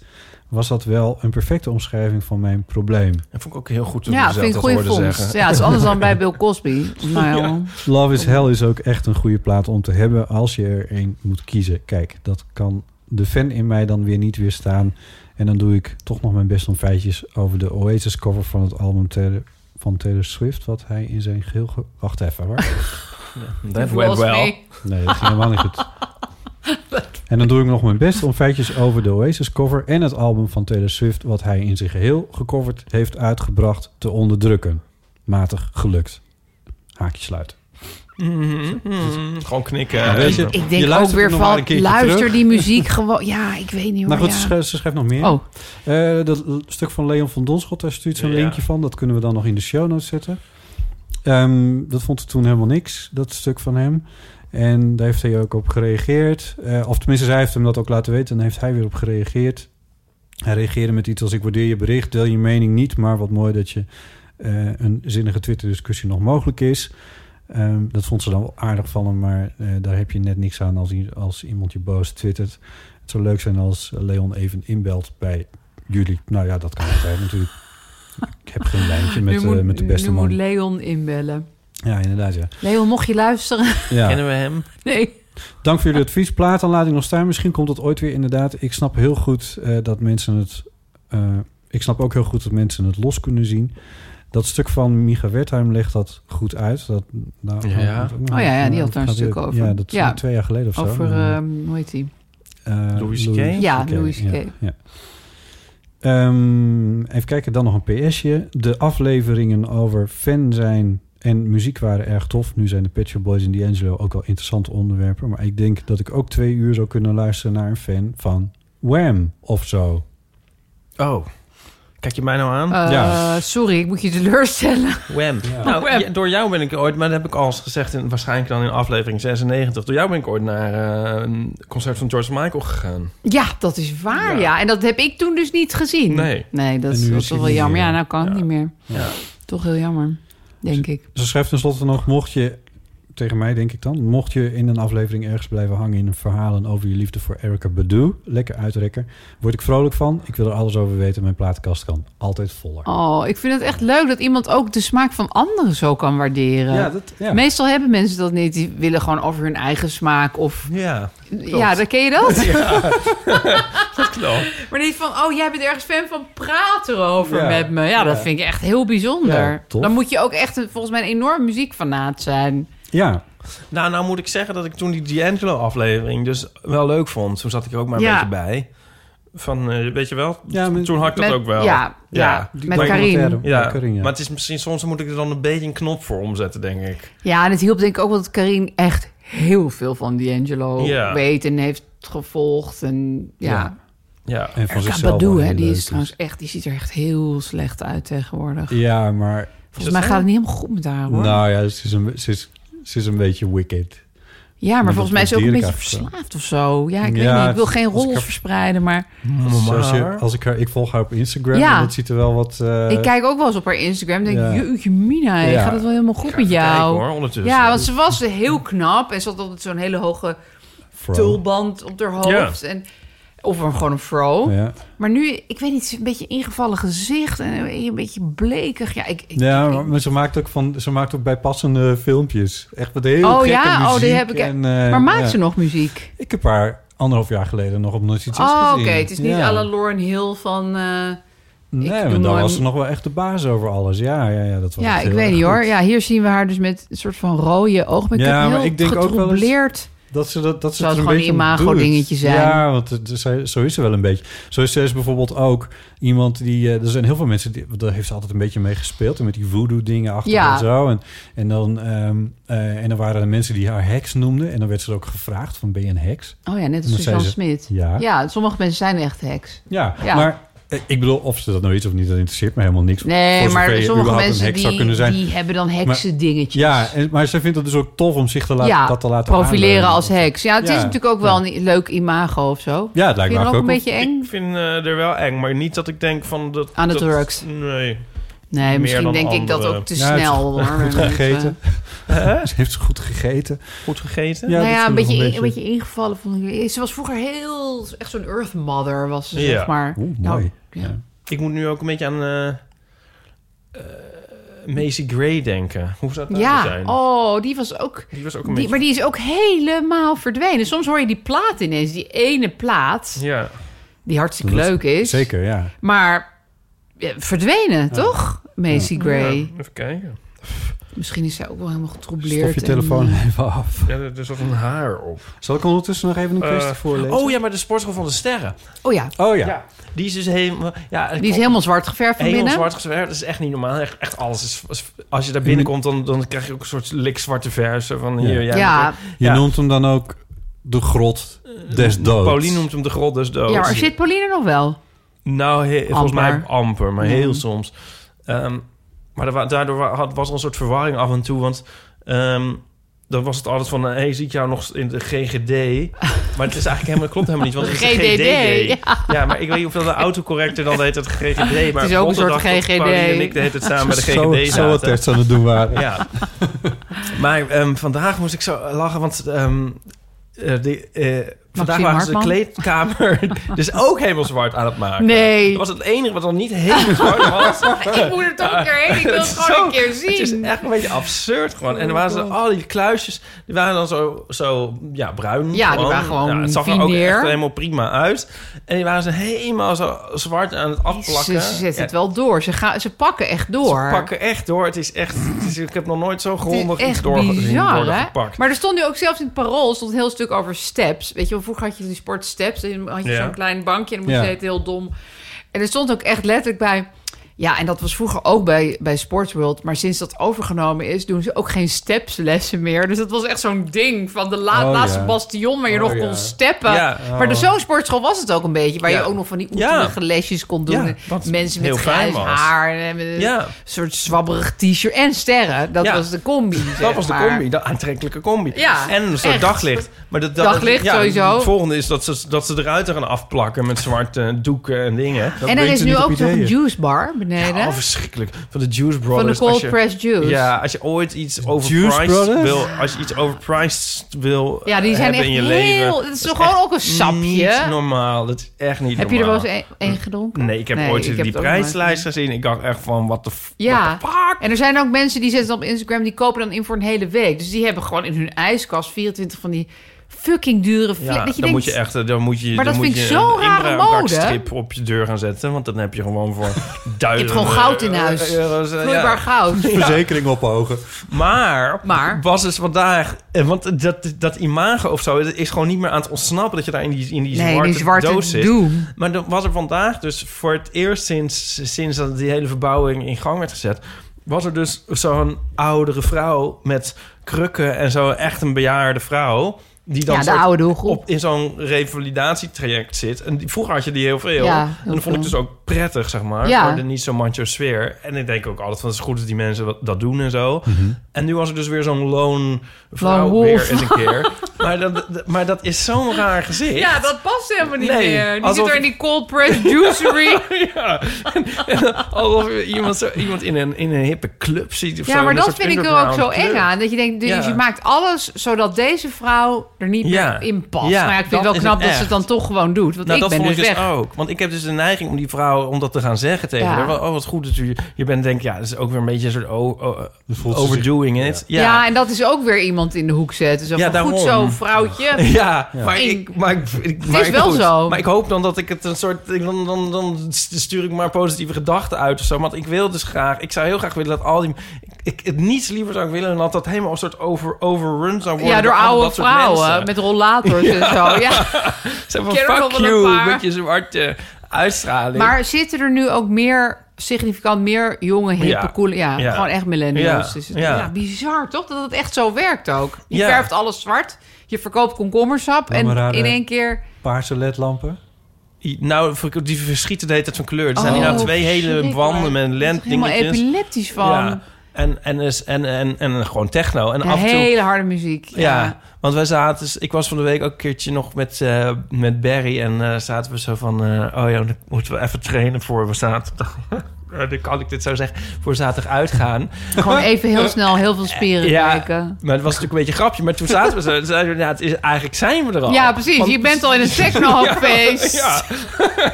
was dat wel een perfecte omschrijving van mijn probleem.
Dat vond ik ook heel goed toen
ja,
ze
vind ik een
dat
goede
hoorden
vondst.
zeggen.
Ja, het is anders dan bij Bill Cosby. Maar ja.
Love is Hell is ook echt een goede plaat om te hebben... als je er één moet kiezen. Kijk, dat kan de fan in mij dan weer niet weerstaan. En dan doe ik toch nog mijn best om feitjes... over de Oasis-cover van het album Taylor, van Taylor Swift... wat hij in zijn geheel... ge- Wacht even, hoor.
That went well.
Nee, dat is helemaal niet goed. En dan doe ik nog mijn best om feitjes over de Oasis-cover... en het album van Taylor Swift... wat hij in zijn geheel gecoverd heeft uitgebracht... te onderdrukken. Matig gelukt. Haakje sluiten.
Mhm, mhm. Gewoon knikken.
Ja, weet je-
Ik denk ook
luistert
weer
nog maar
van,
een keertje
luister
terug.
die muziek gewoon. Ja, ik weet niet hoor.
Nou goed,
ja.
ze schrijft, ze schrijft nog meer.
Oh,
Eh, dat l- stuk van Leon van Donschot, daar stuurt ze een
Ja.
linkje van. Dat kunnen we dan nog in de show notes zetten. Ehm, dat vond ik toen helemaal niks, dat stuk van hem. En daar heeft hij ook op gereageerd. Eh, of tenminste, zij heeft hem dat ook laten weten. En daar heeft hij weer op gereageerd. Hij reageerde met iets als... Ik waardeer je bericht, deel je mening niet. Maar wat mooi dat je eh, een zinnige Twitter-discussie nog mogelijk is. Ehm, dat vond ze dan wel aardig van hem. Maar eh, daar heb je net niks aan als, i- als iemand je boos twittert. Het zou leuk zijn als Leon even inbelt bij jullie. Nou ja, dat kan altijd natuurlijk. Ik heb geen lijntje met,
nu moet,
eh, met de beste
nu moet
man.
Leon inbellen.
Ja, inderdaad, ja.
Leon, mocht je luisteren?
ja.
Kennen we hem?
Nee.
Dank voor jullie advies. Plaat aanlating nog staan. Misschien komt dat ooit weer inderdaad. Ik snap heel goed eh, dat mensen het... eh, ik snap ook heel goed dat mensen het los kunnen zien. Dat stuk van Micha Wertheim legt dat goed uit. Dat, nou,
Ja, ja.
nou,
Oh ja, ja, die had
dat
daar een
gaat
stuk
weer-
over.
Ja, dat is
Ja.
twee jaar geleden of zo.
Over,
Maar,
ehm, hoe heet die?
eh,
Louis C.K.?
Ja, Louis C.K.
ja, ja. Ehm, even kijken, dan nog een PSje. De afleveringen over fan zijn en muziek waren erg tof. Nu zijn de Pet Shop Boys en D'Angelo ook wel interessante onderwerpen. Maar ik denk dat ik ook twee uur zou kunnen luisteren naar een fan van Wham of zo.
Oh. Kijk je mij nou aan?
Eh,
Ja.
Sorry, ik moet je teleurstellen.
Wham. Nou,
Wham.
ja, door jou ben ik ooit, maar dat heb ik al eens gezegd, in, waarschijnlijk dan in aflevering 96. Door jou ben ik ooit naar eh, een concert van George Michael gegaan.
Ja, dat is waar, ja.
Ja.
En dat heb ik toen dus niet gezien.
Nee.
Nee, dat
En
is,
nu
dat
is
is toch
hij
wel
niet
jammer.
meer.
Ja, nou kan het
Ja.
niet meer.
Ja.
Toch heel jammer, denk ik.
Ze schrijft Dus tenslotte nog, mocht je, tegen mij denk ik dan... mocht je in een aflevering ergens blijven hangen in een verhalen... over je liefde voor Erica Badu, lekker uitrekken... word ik vrolijk van. Ik wil er alles over weten. Mijn plaatkast kan altijd voller.
Oh, ik vind het echt leuk dat iemand ook de smaak van anderen zo kan waarderen.
dat,
Meestal hebben mensen dat niet. Die willen gewoon over hun eigen smaak of...
Ja,
Ja, dan ken je dat?
dat klopt.
Maar niet van, oh, jij bent ergens fan van praat erover
Ja.
met me. Ja, dat
Ja.
vind ik echt heel bijzonder.
Ja, tof.
dan moet je ook echt een, volgens mij een enorm muziekfanaat zijn.
Ja,
Nou, nou moet ik zeggen dat ik toen die D'Angelo-aflevering dus wel leuk vond. Toen zat ik er ook maar een
Ja.
beetje bij. Van, eh, weet je wel?
Ja, maar-
toen had ik dat
Met-
ook wel.
Ja, ja,
Ja.
met
Die
Karin.
documentaire.
Ja,
Met Karin, ja.
maar het is misschien soms moet ik er dan een beetje een knop voor omzetten, denk ik.
Ja, en het hielp denk ik ook wel dat Karin echt heel veel van D'Angelo
Ja.
weet en heeft gevolgd. En ja,
Ja.
Ja,
en van
Erka
zichzelf
Badu,
wel
hè,
heel
die
leuk dus.
is trouwens echt, die ziet er echt heel slecht uit tegenwoordig.
Ja, maar...
dat
Volgens mij
zo?
gaat het niet helemaal goed met haar, hoor.
Nou ja, ze is een, ze is, ze is een beetje wicked.
ja, maar
dat
volgens mij is ze ook een
probeerde
beetje
ik eigenlijk wel.
verslaafd of zo. Ja, ik
Ja,
weet niet, ik wil
het-
geen
als ik
rols
haar-
verspreiden, maar...
Dus
Maar-
als, je, als ik haar... Ik volg haar op Instagram
Ja.
en dat ziet er wel wat... eh,
Ik kijk ook wel eens op haar Instagram en denk,
Ja.
jeetje mina, hè,
Ja.
gaat het wel helemaal goed
Ik ga
met
even
jou?
kijken, hoor, ondertussen. Dus
ja, want ze was heel knap en ze had altijd zo'n hele hoge
fro.
tulband op haar hoofd. En, of een, gewoon een fro.
Ja.
Maar nu, ik weet niet, ze heeft een beetje ingevallen gezicht en een beetje blekig. Ja, ik, ik,
Ja,
ik-
maar- maar ze maakt ook, van, ze maakt ook bijpassende filmpjes. Echt met heel
Oh
gekke
ja? Oh,
muziek.
die heb ik-
en, eh,
maar maakt
ja.
ze nog muziek?
Ik heb haar anderhalf jaar geleden nog op Nooit iets
Oh,
gezien.
oké. Het is niet
Ja.
alle Lauren Hill van... eh,
Nee, maar
doe
dan
nooit-
was ze nog wel echt de baas over alles. Ja, ja, ja dat was
ja,
echt
ik
heel
weet
erg
niet hoor.
goed.
Ja, hier zien we haar dus met een soort van rode oogmake-up.
Ja, maar
heel
ik denk ook wel eens-
getrobleerd.
Dat ze dat, dat ze
Zou
het
het
een
gewoon
beetje
een imago
doet.
dingetje zijn?
Ja, want het- ze- zo is ze wel een beetje. Zo is ze is bijvoorbeeld ook iemand die... eh, Er zijn heel veel mensen, die, want daar heeft ze altijd een beetje mee gespeeld. En met die voodoo-dingen achter
Ja.
en zo. En, en, dan, ehm, eh, en dan waren er mensen die haar heks noemden. En dan werd ze er ook gevraagd van, ben je een heks?
Oh ja, net als
Dan zei
Suzanne
ze-
Smit.
Ja.
Ja, sommige mensen zijn echt heks.
Ja,
Ja.
maar eh, ik bedoel, of ze dat nou is of niet, dat interesseert me helemaal niks.
Nee,
Voor
maar
zover je
sommige
überhaupt
mensen
een heks zou
die,
kunnen zijn.
die hebben dan heksendingetjes.
Ja, en- maar ze vindt het dus ook tof om zich te laten,
Ja,
dat te laten
profileren
aanleunen.
als heks. Ja, het
Ja,
is natuurlijk ook wel een leuk imago of zo.
Ja, het
Vind
lijkt
je
me
dat ook
eigenlijk
een
ook.
beetje
Ik
eng?
vind eh, er wel eng, maar niet dat ik denk van... Dat,
Aan de
dat-
drugs.
Nee.
Nee,
meer
misschien
dan
denk ik dat
andere.
ook te
Ja, het is
snel. hoor.
Goed
Dat, eh,
gegeten.
Hè?
Ze heeft ze goed gegeten.
Goed gegeten?
Ja,
nou
dat
ja, een
vind ik
beetje,
nog
een beetje ingevallen. Vond ik. Ze was vroeger heel... Echt zo'n earth mother was ze,
Ja.
zeg maar.
Oeh,
Nou,
mooi.
ja.
Ik moet nu ook een beetje aan eh eh, Macy Gray denken. Hoe zou dat nou
Ja,
zijn?
oh, die was ook...
Die was ook een
Die, maar
beetje...
die is ook helemaal verdwenen. Soms hoor je die plaat ineens. Die ene plaat,
Ja.
die hartstikke
Dat-
leuk is.
Zeker, ja.
Maar ja, verdwenen, toch? Macy Gray.
Ja, even kijken.
Misschien is zij ook wel helemaal getrobleerd.
Stof je
en-
telefoon even af.
Ja, er er zat een haar op.
Zal ik ondertussen nog even een kwestie
Eh,
voorlezen?
Oh ja, maar de sportschool van de sterren.
Oh ja,
Oh ja.
Ja. Die is dus helemaal... Ja,
die is helemaal zwart geverfd van
Helemaal
binnen.
zwart gezwerfd. Dat is echt niet normaal. Echt, echt alles is... is- Als je daar binnenkomt, dan, dan krijg je ook een soort likzwarte verse van...
Ja.
Hier,
Ja,
jij
ja,
bent
Je
Ja.
noemt hem dan ook de grot
Eh,
des
ook-
doods.
Pauline noemt hem de grot des doods.
maar zit Pauline nog wel?
Nou, he- volgens mij
Amper.
amper, maar heel
Mm.
soms. Ehm, maar er wa- daardoor wa- had, was er een soort verwarring af en toe, want... ehm, dan was het altijd van, hé, hey, zie ik jou nog in de GGD? Maar het is eigenlijk helemaal, klopt helemaal niet, want het is de
GDD,
GDD. Ja. maar ik weet niet hoeveel de autocorrector dan heet het GGD. Maar
Het is ook een soort
Rotterdam,
GGD.
Pauline en ik de hele tijd samen bij de GGD zaten.
Zo, zo wat test aan het doen waren.
Ja. maar ehm, vandaag moest ik zo lachen, want ehm, eh, die, eh, Vandaag
Maxime
waren ze de
Hartman.
kleedkamer dus ook helemaal zwart aan het maken.
Nee.
Dat was het enige wat dan niet helemaal zwart was.
Ik moet er toch een keer heen. Ik wil het
is
gewoon
zo-
een keer
Het is
zien. Oh
echt een beetje absurd gewoon. En dan waren ze al die kluisjes, die waren dan zo, zo ja, bruin.
Ja, die waren gewoon
het zag er ook
fineer.
echt helemaal prima uit. En die waren ze helemaal zo zwart aan het
Ze,
afplakken.
ze zetten
Ja,
het wel door. Ze, gaan, ze pakken echt door.
Ze pakken echt door. Het is echt, het is- ik heb nog nooit zo
Het is
grondig iets
echt
door,
bizar,
door
hè?
gepakt.
Maar er stond nu ook zelfs in het parool stond een heel stuk over steps. Weet je wel, vroeger had je die sportsteps. En dan had je
Ja.
zo'n klein bankje en dan moest
Ja.
je het heel dom. En er stond ook echt letterlijk bij... Ja, en dat was vroeger ook bij, bij Sportsworld. Maar sinds dat overgenomen is, doen ze ook geen stepslessen meer. Dus dat was echt zo'n ding van de la-
Oh,
laatste
ja.
bastion... waar je
Oh,
nog
ja.
kon steppen.
Ja. Oh.
Maar de zo'n sportschool was het ook een beetje. Waar je
Ja.
ook nog van die
Ja.
oetelige lesjes kon doen.
Ja,
En
wat
Mensen
heel
met grijs
fijn was.
haar. En met een
Ja.
soort zwabberig t-shirt. En sterren. Dat
Ja.
was de combi.
Dat was de
maar.
combi, de aantrekkelijke combi.
Ja,
en een soort
echt.
daglicht. Maar dat, dat,
Daglicht sowieso.
Het volgende is dat ze, dat ze de ruiten gaan afplakken met zwarte doeken en dingen.
Dat
en er
brengt
is
u
nu
niet op
ook nog een
ideeën.
juice bar beneden.
Oh, verschrikkelijk. Van de Juice Brothers.
van de
als
cold
je-
press juice.
Ja, als je ooit iets
Brothers?
overpriced wil, als je iets overpriced wil
Ja, die zijn
eh, hebben
echt
in je
heel...
leven.
Het is toch gewoon ook een
Niet
sapje?
normaal. Dat is echt niet
Heb je er
normaal.
wel eens een, een gedronken?
Nee, ik heb ooit
ik
die
het ook nooit.
prijslijst gezien. Ik dacht echt van, wat de
Ja, en er zijn ook mensen die zetten op Instagram... die kopen dan in voor een hele week. Dus die hebben gewoon in hun ijskast 24 van die fucking dure... fle-
Ja, dan
dat je denkt,
moet je echt, eh, dan moet je,
Maar
dan moet
dat vind ik
je
zo'n
een
rare
inbraakstrip op je deur gaan zetten, want dan heb je gewoon voor duizenden
gewoon goud in huis.
euro's, eh, ja.
vloeibaar goud.
Verzekering ophogen.
Maar,
Maar?
was dus vandaag, eh, want dat, dat imago of zo dat is gewoon niet meer aan het ontsnappen dat je daar in die, in die,
Nee,
zwarte,
die zwarte
doos zit.
doem.
Maar dan was er vandaag dus voor het eerst sinds, sinds dat die hele verbouwing in gang werd gezet... was er dus zo'n oudere vrouw met krukken en zo echt een bejaarde vrouw... die dan
Ja, de
soort
oude doelgroep.
op, in zo'n revalidatietraject zit. En die, vroeger had je die heel veel.
Ja, heel
en dat vond ik
veel.
dus ook prettig, zeg maar.
Ja.
Voor de niet zo macho sfeer. En ik denk ook altijd van het is goed dat die mensen wat- dat doen en zo. En nu was er dus weer zo'n loon vrouw
Lone wolf.
weer eens een keer. maar, dat, maar dat is zo'n raar gezicht.
Ja, dat past helemaal niet
Nee,
meer. Die
alsof-
zit er in die cold press juicery.
Ja, alsof je iemand, zo, iemand in, een, in een hippe club ziet of zo.
Ja, maar
in een
dat
soort
vind ik er ook zo
underground
eng
club.
aan. Dat je denkt, dus
Ja.
je maakt alles zodat deze vrouw er niet
Ja.
meer in past.
Ja,
maar ja, ik
dat
vind het wel
is
knap
het
dat ze het
echt.
dan toch gewoon doet. Want
Nou, dat
ik ben
vond
dus
ik dus
weg.
ook. Want ik heb dus de neiging om die vrouw om dat te gaan zeggen tegen
Ja.
haar. Wel, Oh, wat goed dat u... Je bent denk ik, ja, dat is ook weer een beetje een soort o- o-
Dan voelt ze zich-
overdoing it.
Ja.
Ja, ja.
en dat is ook weer iemand in de hoek zetten. Zo
Ja,
van, goed
daarom.
zo, vrouwtje.
maar
Eng.
ik... Maar ik, ik- maar
is
ik-
wel
goed.
zo.
Maar ik hoop dan dat ik het een soort... ik- Dan, dan, dan stuur ik maar positieve gedachten uit of zo. Want ik wil dus graag... Ik zou heel graag willen dat al die... Ik, ik- het niets liever zou ik willen dan dat dat helemaal een soort over, overrun zou worden.
Ja, door
allemaal
oude
dat soort
vrouwen
mensen.
met rollators en zo. Ja.
Zo van,
Ik ken er nog
fuck
wel een
you,
paar.
met je zwarte uitstraling.
Maar zitten er nu ook meer, significant meer jonge, hippe,
Ja.
coole... Ja,
Ja.
gewoon echt millennials.
Ja.
Is het. Ja.
Ja.
bizar toch? Dat het echt zo werkt ook. Je
Ja.
verft alles zwart, je verkoopt komkommersap...
Ja, maar
en
rare-
in één keer...
Paarse ledlampen.
Nou, die verschieten de hele tijd van kleur. Er zijn
Oh,
hier nou twee hele
verschrikkelijk.
wanden met
Ik
lent
word er helemaal
dingetjes.
epileptisch van.
En, en, is- en, en, en gewoon techno. En
Ja,
af en toe...
hele harde muziek. Ja.
Ja, want wij zaten... Ik was van de week ook een keertje nog met, eh, met Barry. En eh, zaten we zo van... eh, oh ja, dan moeten we even trainen voor we zaterdag... Eh, dan kan ik dit zo zeggen. Voor zaterdag uitgaan.
Gewoon even heel snel heel veel spieren
Ja.
kijken.
Maar het was natuurlijk een beetje een grapje. Maar toen zaten we zo. Toen zeiden we, nou, het is, eigenlijk zijn we er al.
Ja, precies.
Want-
je bent al in een technofeest. ja,
Ja,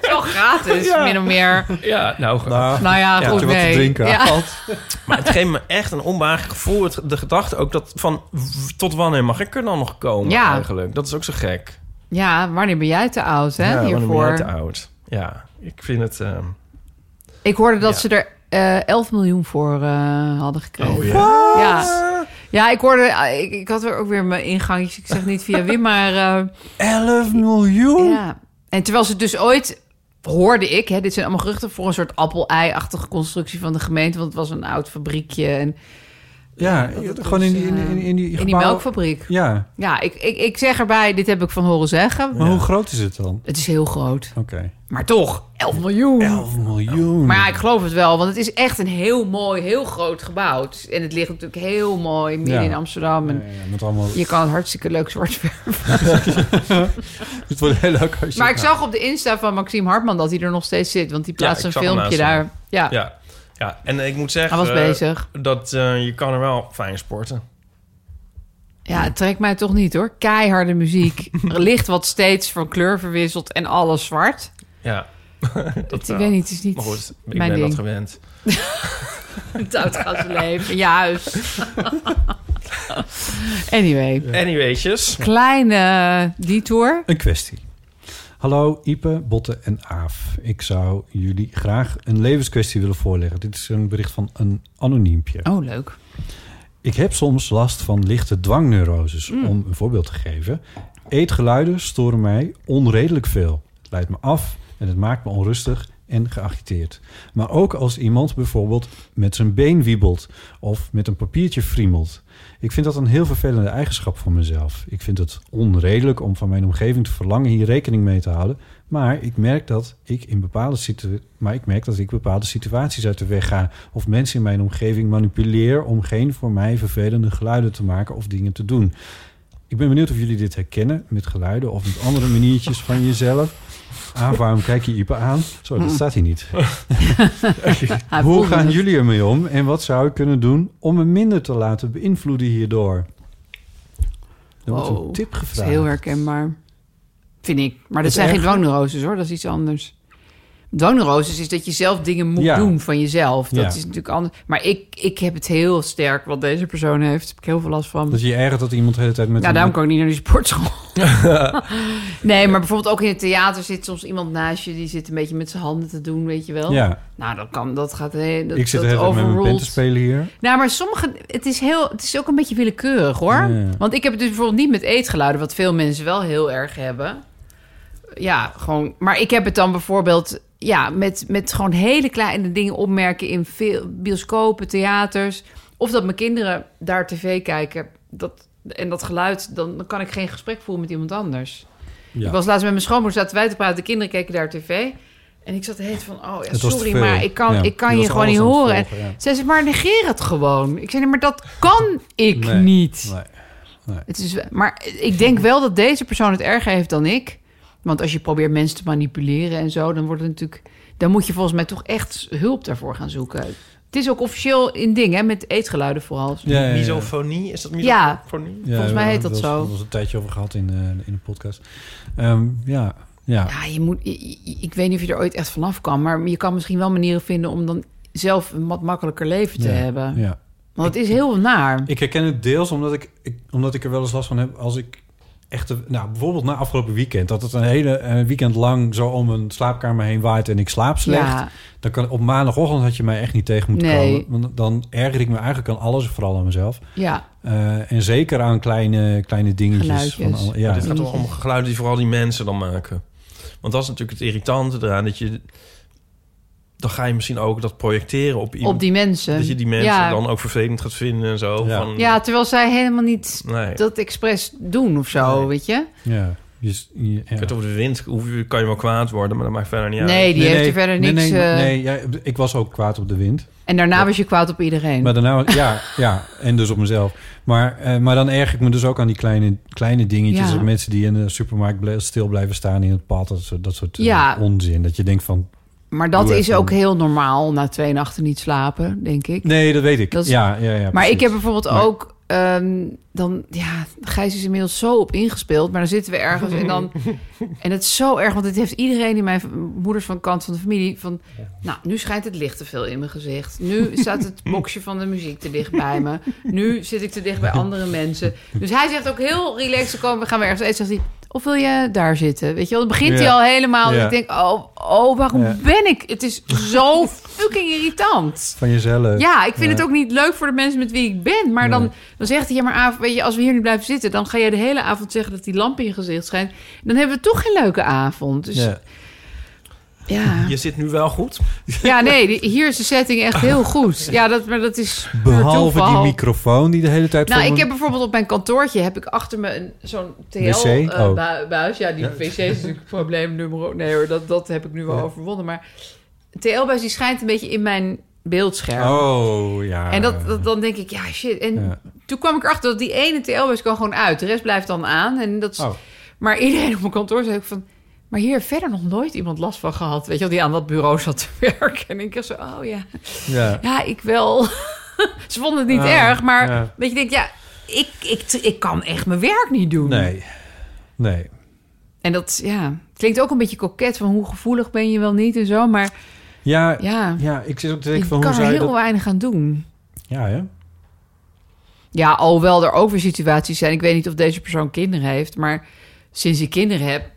Wel gratis,
Ja.
min of meer.
ja, nou...
Nou,
Nou ja,
Ja.
goed,
je wat te
nee.
drinken
Ja.
haalt.
Maar het geeft me echt een onbehaaglijk gevoel. Het- de gedachte ook dat van w- tot wanneer mag ik er dan nog komen
Ja.
eigenlijk. Dat is ook zo gek.
Ja, wanneer ben jij te oud, hè,
ja, wanneer ben
hiervoor?
jij te oud? Ja, ik vind het... ehm,
Ik hoorde dat
Ja.
ze er eh 11 miljoen voor eh, hadden gekregen.
Oh,
ja. ja. Ja, ik hoorde... eh, Ik, ik had er ook weer mijn ingangjes. Ik zeg niet via Wim, maar... eh,
11 miljoen?
Ja. En terwijl ze dus ooit hoorde ik, hè, dit zijn allemaal geruchten voor een soort appel-ei-achtige constructie van de gemeente, want het was een oud fabriekje en
Ja, gewoon in die, in, in, in die
eh, in die
gebouwen-
melkfabriek.
Ja,
Ja, ik, ik, ik zeg erbij, dit heb ik van horen zeggen.
maar hoe groot is het dan?
Het is heel groot,
Oké.
maar toch 11 miljoen.
11 miljoen.
Maar ja, ik geloof het wel, want het is echt een heel mooi, heel groot gebouw. Het is- En het ligt natuurlijk heel mooi midden
Ja.
in Amsterdam. En
Ja, ja, met allemaal...
je kan het hartstikke leuk zwart verven.
Het wordt heel leuk als je...
Maar ik zag op de Insta van Maxime Hartman dat hij er nog steeds zit, want die plaatst
ik
een
zag hem
filmpje daar.
laatst
Ja,
ja. eh, ja, en ik moet zeggen...
hij was
eh,
bezig.
Dat eh, je kan er wel fijn sporten.
Ja, het trekt mij toch niet hoor. Keiharde muziek. Licht wat steeds van kleur verwisselt en alles zwart.
Ja.
Het,
dat, eh,
ik
wel.
weet niet, het is niet
Maar goed, ik
mijn
ben
ding.
dat gewend.
Het uitgaansleven in je huis. anyway,
Anyways.
kleine detour.
Een kwestie. Hallo Ipe, Botte en Aaf. Ik zou jullie graag een levenskwestie willen voorleggen. Dit is een bericht van een anoniempje.
Oh, leuk.
Ik heb soms last van lichte dwangneuroses. Om een voorbeeld te geven. Eetgeluiden storen mij onredelijk veel. Het leidt me af en het maakt me onrustig en geagiteerd. Maar ook als iemand bijvoorbeeld met zijn been wiebelt of met een papiertje friemelt. Ik vind dat een heel vervelende eigenschap van mezelf. Ik vind het onredelijk om van mijn omgeving te verlangen hier rekening mee te houden. Maar ik merk dat ik in bepaalde, situ maar ik merk dat ik bepaalde situaties uit de weg ga. Of mensen in mijn omgeving manipuleer om geen voor mij vervelende geluiden te maken of dingen te doen. Ik ben benieuwd of jullie dit herkennen met geluiden of met andere maniertjes van jezelf. Ah, waarom kijk je Ipe aan? Zo, dat staat hier niet.
Hij
Hoe
voelde
gaan
het.
jullie ermee om en wat zou ik kunnen doen om me minder te laten beïnvloeden hierdoor? Er wordt
Wow,
een tip
Dat is
gevraagd.
heel herkenbaar. Vind ik. Maar dat
Het
zijn geen
erge-
dwangneuroses hoor, dat is iets anders. Dwangneuroses is dat je zelf dingen moet
Ja.
doen van jezelf. Dat
Ja.
is natuurlijk anders. Maar ik, ik heb het heel sterk wat deze persoon heeft. Daar heb ik heel veel last van.
Dat je je ergert dat iemand de hele tijd met
Ja,
een-
daarom kan ik niet naar die sportschool. nee, maar bijvoorbeeld ook in het theater zit soms iemand naast je... die zit een beetje met zijn handen te doen, weet je wel.
Ja,
Nou, dat kan, dat gaat... Hé, dat,
ik zit de
dat
hele tijd met mijn pen
overruled.
te spelen hier.
Nou, maar sommige... Het is, heel, het is ook een beetje willekeurig, hoor.
Ja.
Want ik heb het dus bijvoorbeeld niet met eetgeluiden... wat veel mensen wel heel erg hebben. Ja, gewoon... Maar ik heb het dan bijvoorbeeld... Ja, met, met gewoon hele kleine dingen opmerken... in veel bioscopen, theaters... Of dat mijn kinderen daar tv kijken... Dat, en dat geluid... Dan, dan kan ik geen gesprek voeren met iemand anders.
Ja.
Ik was laatst met mijn schoonmoeder... zaten wij te praten, de kinderen keken daar tv... En ik zat heet van, oh ja,
Het was te
sorry,
veel.
maar ik kan,
Ja,
ik kan
je
je
was
gewoon
alles
niet
aan het
horen. En-
volgen, ja.
zij zei, maar negeer het gewoon. Ik zei, nee, maar dat kan ik
Nee,
niet.
Nee.
Het is, maar ik denk wel dat deze persoon het erger heeft dan ik. Want als je probeert mensen te manipuleren en zo, dan wordt het natuurlijk... Dan moet je volgens mij toch echt hulp daarvoor gaan zoeken. Het is ook officieel in ding, hè, met eetgeluiden vooral.
Ja,
Eh.
ja, ja.
Misofonie, is dat
Ja.
misofonie?
Ja,
Volgens
we
mij heet
hebben
dat
er wel
zo.
eens- Er was een tijdje over gehad in, eh, in de podcast. Ehm, ja, ja.
Ja, je moet, i- i- ik weet niet of je er ooit echt vanaf kan... maar je kan misschien wel manieren vinden om dan zelf een wat makkelijker leven te
ja,
hebben.
Ja.
Want het is heel naar.
Ik herken het deels omdat ik, ik, omdat ik er wel eens last van heb als ik echt... te- Nou, bijvoorbeeld na afgelopen weekend. Dat het een hele eh, weekend lang zo om een slaapkamer heen waait en ik slaap slecht.
Ja.
Dan kan, op maandagochtend had je mij echt niet tegen moeten
Nee.
komen. Want dan erger ik me eigenlijk aan alles, vooral aan mezelf.
Ja,
Eh, en zeker aan kleine, kleine dingetjes.
Geluidjes.
al- ja.
Maar dit gaat toch om
Dingetjes.
geluiden die vooral die mensen dan maken. Want dat is natuurlijk het irritante eraan. Dat je, dan ga je misschien ook dat projecteren op iemand.
op die mensen.
dat je die mensen
Ja.
dan ook vervelend gaat vinden en zo.
Ja.
Van,
Ja, terwijl zij helemaal niet
nee.
dat expres doen of zo,
Nee.
weet je?
ja. Dus, ja.
Ik weet over de wind hoe, kan je wel kwaad worden, maar dat maakt verder niet uit.
Nee, die
Nee,
heeft
nee,
er verder
nee,
niks...
Nee,
eh,
nee, ja, ik was ook kwaad op de wind.
En daarna was je kwaad op iedereen.
Maar daarna, ja, ja, en dus op mezelf. Maar, eh, maar dan erg ik me dus ook aan die kleine, kleine dingetjes.
Ja.
Als Mensen die in de supermarkt ble- stil blijven staan in het pad. Dat soort, dat soort eh,
Ja.
onzin. Dat je denkt van,
maar dat
Doe
is
even.
ook heel normaal, na twee nachten niet slapen, denk ik.
nee, dat weet ik.
Dat is-
ja, ja, ja,
maar ik
precies.
heb bijvoorbeeld
Maar-
ook... ehm, dan, ja, Gijs is inmiddels zo op ingespeeld, maar dan zitten we ergens en dan... En het is zo erg, want dit heeft iedereen in mijn v- moeders van kant van de familie van... Nou, nu schijnt het licht te veel in mijn gezicht. Nu staat het boxje van de muziek te dicht bij me. Nu zit ik te dicht bij andere mensen. Dus hij zegt ook heel relaxed te komen. We gaan weer ergens eten. Zegt hij, of wil je daar zitten? Weet je wel, dan begint hij
Ja.
al helemaal.
Ja.
Ik denk, oh, oh waarom
Ja.
ben ik? Het is zo fucking irritant.
Van jezelf.
Ja, ik vind
Ja.
het ook niet leuk voor de mensen met wie ik ben. Maar
Nee.
dan, dan zegt hij, ja maar Aaf, weet je, als we hier nu blijven zitten... dan ga jij de hele avond zeggen dat die lamp in je gezicht schijnt. Dan hebben we toch geen leuke avond. Dus ja,
Ja.
ja.
Je zit nu wel goed.
nee, die- hier is de setting echt heel goed. Ja, dat, maar dat is puur
Behalve die
toeval.
microfoon die de hele tijd
Nou,
voor
ik
me-
heb bijvoorbeeld op mijn kantoortje heb ik achter me een zo'n
Wc? Oh.
TL-buis. Ja, die
Ja.
wc is natuurlijk probleem nummer. Nee hoor, dat, dat heb ik nu wel
Ja.
overwonnen. Maar TL-buis die schijnt een beetje in mijn beeldscherm.
Oh, ja.
En dat, dat, dan denk ik, ja shit. En
Ja.
toen kwam ik erachter dat die ene TL-buis kan gewoon uit. De rest blijft dan aan. En dat is-
Oh.
Maar iedereen op mijn kantoor zei ook van... Maar hier heeft verder nog nooit iemand last van gehad. Weet je wel, die aan dat bureau zat te werken. En ik dacht zo, oh ja,
Ja.
ja, ik wel. Ze vonden het niet
Ja,
erg, maar
ja.
weet je, denk ja, ik, ik, ik kan echt mijn werk niet doen.
Nee. Nee.
En dat ja, klinkt ook een beetje koket van hoe gevoelig ben je wel niet en zo. Maar
Ja, ja.
ja,
ik zit ook te
ik
denken van
kan
hoe
er
zou je
heel
dat...
weinig aan doen.
Ja, hè?
Ja, alhoewel er ook weer situaties zijn. Ik weet niet of deze persoon kinderen heeft. Maar sinds ik kinderen heb,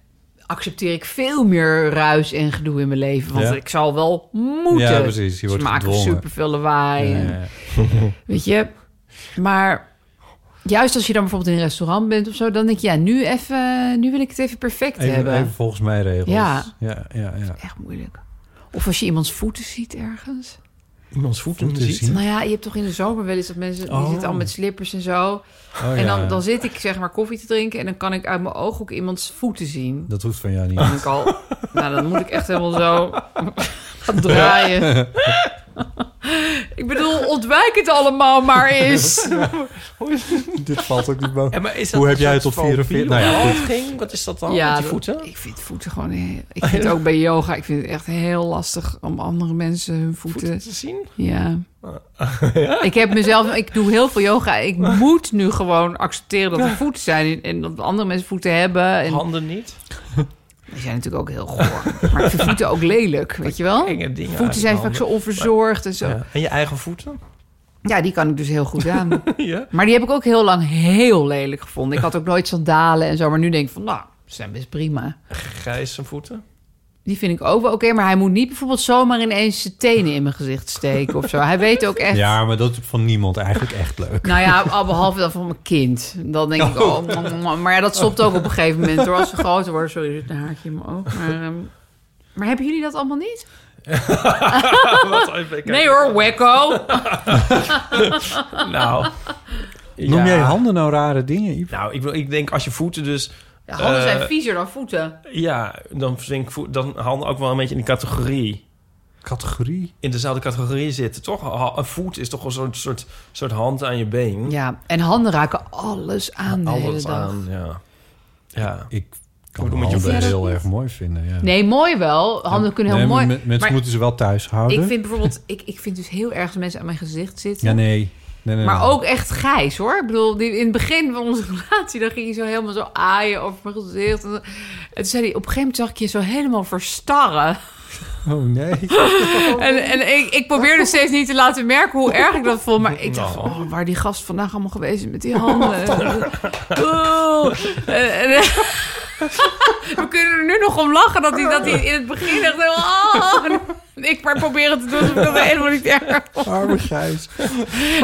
accepteer ik veel meer ruis en gedoe in mijn leven. Want
Ja.
ik zal wel moeten.
Ja, precies. Je wordt
Ze maken
gedwongen.
superveel lawaai.
Ja,
en-
ja, ja.
Weet je, maar juist als je dan bijvoorbeeld in een restaurant bent of zo, dan denk je, ja, nu even, nu wil ik het even perfect
Even,
hebben.
even volgens mij regels.
Ja.
Ja, ja, ja.
Echt moeilijk. Of als je iemands voeten ziet ergens.
Iemands voeten
Voeten
ziet.
zien.
Nou ja, je hebt toch in de zomer wel eens dat mensen die
Oh.
zitten al met slippers en zo.
Oh,
en
ja.
dan, dan zit ik zeg maar koffie te drinken en dan kan ik uit mijn ooghoek iemands voeten zien.
Dat hoeft van jou
Dan
niet.
denk ik al, nou dan moet ik echt helemaal zo gaan draaien. ik bedoel, ontwijk het allemaal maar eens.
Dit valt ook niet boven.
En maar is
Hoe heb
een
jij
soort
het op
van
44?
bier-
Nou ja, goed.
ging? Wat is dat dan?
Ja,
met die
dat-
voeten? Oh,
Ik vind voeten gewoon... heel- Ik vind ook bij yoga, ik vind het echt heel lastig om andere mensen hun voeten...
Voeten te zien?
Ja. Ik heb mezelf... Ik doe heel veel yoga. Ik moet nu gewoon accepteren dat er voeten zijn en, en dat andere mensen voeten hebben. En
Handen niet?
die zijn natuurlijk ook heel goor. Maar ik vind voeten ook lelijk, weet je wel?
Enge dingen. uit
Voeten zijn
je
vaak zo
handen.
onverzorgd en zo.
Ja. En je eigen voeten?
Ja, die kan ik dus heel goed aan.
ja.
Maar die heb ik ook heel lang heel lelijk gevonden. Ik had ook nooit sandalen en zo. Maar nu denk ik van, nou, ze zijn best prima.
Grijze voeten?
Die vind ik ook wel oké, maar hij moet niet bijvoorbeeld zomaar ineens zijn tenen in mijn gezicht steken of zo. Hij weet ook echt.
Ja, maar dat is van niemand eigenlijk echt leuk.
Nou ja, al behalve dat van mijn kind. Dan denk ik, oh, mm, mm, mm. maar ja, dat stopt ook op een gegeven moment. Hoor. Als ze groter worden, sorry, er zit een haartje in mijn oog. Maar, ehm, maar hebben jullie dat allemaal niet?
Wat even kijken.
Nee hoor, wekko.
Nou.
Noem
ja.
jij handen nou rare dingen, Iep?
Nou, ik, wil, ik denk als je voeten dus...
Ja, handen
Eh,
zijn viezer dan voeten.
Ja, dan vind ik voet- dan handen ook wel een beetje in die categorie.
Categorie?
In dezelfde categorie zitten, toch? Ha- Een voet is toch wel zo'n soort, soort hand aan je been.
Ja, en handen raken alles aan de hele
Alles
dag.
aan, ja. Ja.
Ik kan
Hoe doe
mijn
je
handen
vingers?
heel erg mooi vinden, ja.
Nee, mooi wel. Handen kunnen heel
Nee, maar
mooi.
men- Mensen
maar
moeten ze wel thuis houden.
ik vind bijvoorbeeld, ik, ik vind dus heel erg dat mensen aan mijn gezicht zitten.
Ja, nee. nee, nee, nee.
Maar ook echt grijs hoor. Ik bedoel, die, in het begin van onze relatie, dan ging je zo helemaal zo aaien over mijn gezicht. En, en toen zei hij, op een gegeven moment zag ik je zo helemaal verstarren.
Oh, nee.
En, en ik, ik probeerde steeds niet te laten merken hoe erg ik dat vond. Maar ik dacht,
Nou.
oh, waar die gast vandaag allemaal geweest is met die handen. Oeh. En- en- we kunnen er nu nog om lachen dat hij, dat hij in het begin echt heel... Oh, en ik maar proberen te doen alsof ik dat helemaal niet erg vond.
Arme Gijs.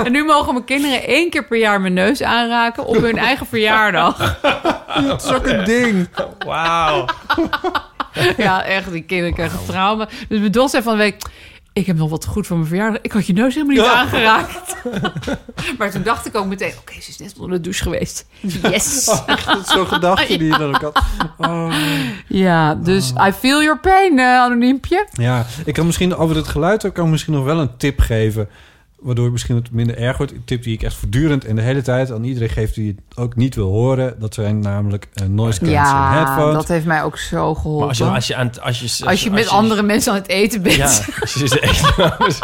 En nu mogen mijn kinderen één keer per jaar mijn neus aanraken op hun eigen verjaardag.
Dat is ook een ding.
Wauw.
Ja, echt, die kinderen krijgen trauma. Dus mijn dochter zei van de week... Ik heb nog wat goed voor mijn verjaardag. Ik had je neus helemaal niet aangeraakt. Maar toen dacht ik ook meteen... Oké, ze is net onder de douche geweest. Yes.
Dat is Oh, zo'n gedachte die je dan ook had. Oh.
Ja, dus I feel your pain, eh, anoniempje.
Ja, ik kan misschien over het geluid ook kan ik misschien nog wel een tip geven. Waardoor het misschien het minder erg wordt. Een tip die ik echt voortdurend en de hele tijd aan iedereen geef die het ook niet wil horen. Dat zijn namelijk eh, noise cancelling headphones.
heeft mij ook zo geholpen.
Maar als je, als je, aan, het- als je,
Als je met andere mensen aan het eten bent.
Ja, als je, echt, als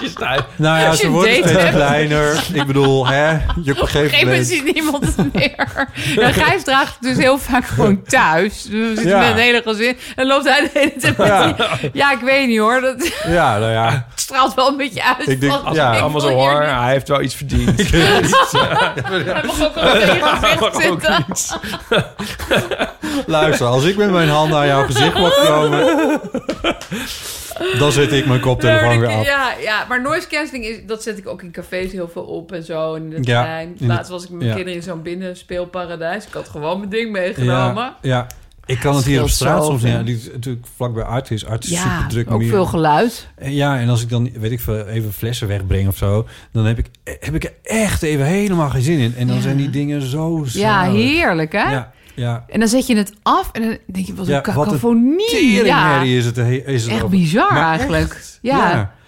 je staat...
Nou ja,
als je
ze
een
worden
date
steeds
hebt.
kleiner. Ik bedoel, hè, je op een
Op een
gegeven
gegeven moment
moment...
ziet niemand het meer. Ja, Gijs draagt het dus heel vaak gewoon thuis. Dus we zitten
Ja.
met een hele gezin. En loopt hij de hele tijd met
Ja.
die- Ja, ik weet niet hoor. Dat
Ja, nou ja.
straalt wel een beetje uit.
Ik denk,
van,
ja,
ik
allemaal
wil
zo
hier
hoor,
niet-
hij heeft wel iets verdiend.
Hij mag ook al tegen je gezicht zitten.
Luister, als ik met mijn handen aan jouw gezicht mag komen... dan zet ik mijn koptelefoon weer af.
Ja, ja, maar noise cancelling, is, dat zet ik ook in cafés heel veel op en zo. En in het
Ja,
trein.
in de-
Laatst was ik met mijn
ja.
kinderen in zo'n binnenspeelparadijs. Ik had gewoon mijn ding meegenomen.
Ja, ja. Ik kan het hier op
Scheelt
straat
zo
soms
veel.
niet. aan. Die is natuurlijk vlakbij Art is. Art is super druk.
geluid.
Ja, en als ik dan, weet ik veel, even flessen wegbreng of zo... dan heb ik, heb ik er echt even helemaal geen zin in. En dan
Ja.
zijn die dingen zo
Ja,
zalig.
heerlijk hè?
Ja, ja.
En dan zet je het af en dan denk je, wat een
Ja, wat een
cacophonie. Ja,
Teringherrie is het, is het
echt
ook.
bizar
Maar
eigenlijk.
echt,
ja.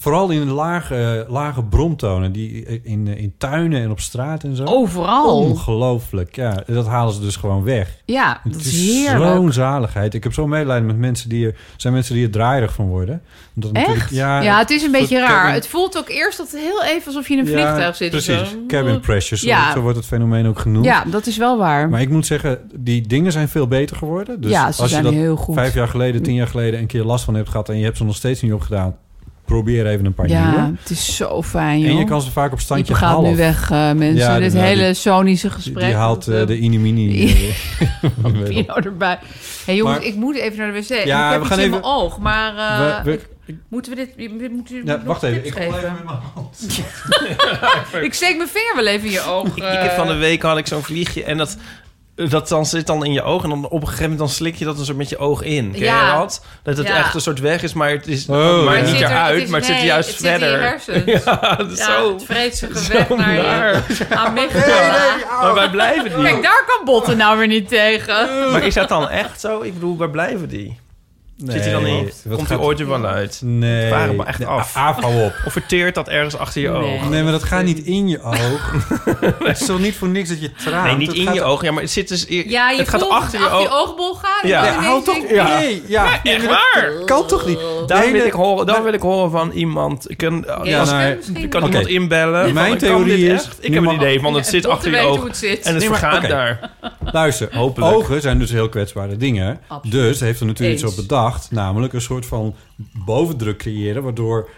Vooral in lage, lage bromtonen, die in, in tuinen en op straat en zo.
Oh, Overal.
Ongelooflijk, ja. Dat halen ze dus gewoon weg.
Ja,
Het
dat
is
is heerlijk.
zo'n zaligheid. Ik heb zo'n medelijden met mensen die er zijn mensen die er draaierig van worden. Omdat
Echt?
natuurlijk-
Ja, het is een beetje
soort
raar.
cabin-
Het voelt ook eerst dat heel even alsof je in een
ja,
vliegtuig zit. of
Precies,
zo.
cabin pressure, zo,
Ja.
zo wordt het fenomeen ook genoemd.
Ja, dat is wel waar.
Maar ik moet zeggen, die dingen zijn veel beter geworden. Dus
Ja, ze
als
zijn
je dat
heel goed.
vijf jaar geleden, tien jaar geleden een keer last van hebt gehad... en je hebt ze nog steeds niet opgedaan, probeer even een paar
ja,
nieuwe.
het is zo fijn, joh.
En je kan ze vaak op standje
Iep gaat
half.
nu weg, eh, mensen.
Ja,
Dit
die-
hele
die-
sonische
Die,
gesprek.
die haalt
met,
eh,
eh,
de inimini.
die-
eh, weer op.
Pino erbij. hey, jongens,
Maar-
ik moet even naar de wc.
Ja,
ik heb
we
iets
gaan
in
even-
mijn oog, maar eh,
We- we-
ik- moeten we dit... we- Moeten we
Ja,
nog
wacht even,
tips
ik
geven?
gooi even met mijn hand.
Ik steek mijn vinger wel even in je oog.
Ik heb
eh.
van de week had ik zo'n vliegje en dat, dat dan zit dan in je oog. En dan op een gegeven moment dan slik je dat een soort met je oog in. Ken
Ja.
je dat? Dat het
Ja.
echt een soort weg is, maar het is
Oh,
maar
ja.
niet
zit er-
eruit.
is-
maar het
nee,
zit juist
het Zit in je
verder.
hersens.
ja, dat is
Ja,
zo.
het vreet zich
zo
weg naar je
naar.
amygdala.
Maar wij blijven
Kijk,
die.
daar kan Botten nou weer niet tegen.
Maar is dat dan echt zo? Ik bedoel, waar blijven die? Zit hij dan
Nee,
in?
wat
Komt hij
gaat-
ooit er wel uit?
Nee.
Waren we echt
Nee,
af.
Af, hou op.
Of verteert dat ergens achter je
Nee.
oog?
Nee, maar dat gaat niet in je oog. Het is toch niet voor niks dat je traant?
Nee, niet
Het
in
gaat-
je oog. Ja, maar het zit dus...
Ja, je
het gaat
voelt
achter je oog.
oogbol gaan. en
Ja.
dan
Ja,
ineens
hou toch...
denk je,
Ja.
Nee, ja.
Nee, echt waar.
Kan toch niet?
Daar,
Nee,
wil,
nee.
ik horen, daar wil ik horen van iemand. Ik kan,
Jezus,
als-
nou,
kunnen we misschien-
kan
Oké.
iemand inbellen? van,
Mijn
kan
theorie
dit
is-
echt? Ik
nu
heb
mag-
een idee, want het
Ja,
zit
Botte
achter je
weet
oog.
hoe het zit.
En het
Nee, maar-
vergaat
oké.
daar.
Luister,
Hopelijk.
ogen zijn dus heel kwetsbare dingen.
Absoluut.
Dus heeft er natuurlijk
Eens.
iets op bedacht. Namelijk een soort van bovendruk creëren... waardoor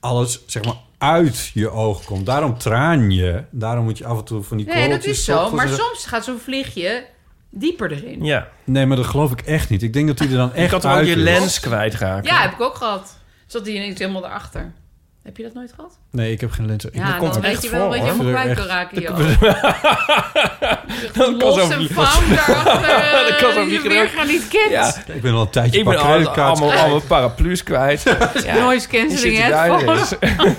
alles, zeg maar, uit je oog komt. Daarom traan je. Daarom moet je af en toe van die
Nee, dat
korreltjes
is zo.
zochten.
Maar soms gaat zo'n vliegje dieper erin.
Ja.
Nee, maar dat geloof ik echt niet. Ik denk dat die er dan
Je
echt
kan
uit
toch ook je
is.
lens kwijtraken?
Ja, heb ik ook gehad. Zat die ineens helemaal erachter. Heb je dat nooit gehad?
Nee, ik heb geen lens. Ik-
Ja,
komt
dan
het
weet
echt
je wel
voor,
dat je
hoor.
helemaal kwijt kan
Echt.
raken in je ogen.
kan
Los
zo'n
en
vlieg-
found daarachter.
Dat kan zo'n
eh, die je
vlieg er
weer
ook-
gaan niet kent.
Ja,
Ik ben al een tijdje
ik ben
paar
al-
creditcards
allemaal, allemaal paraplu's kwijt. Ja,
Noise
die
cancelling
zitten daar
headphones.
ineens.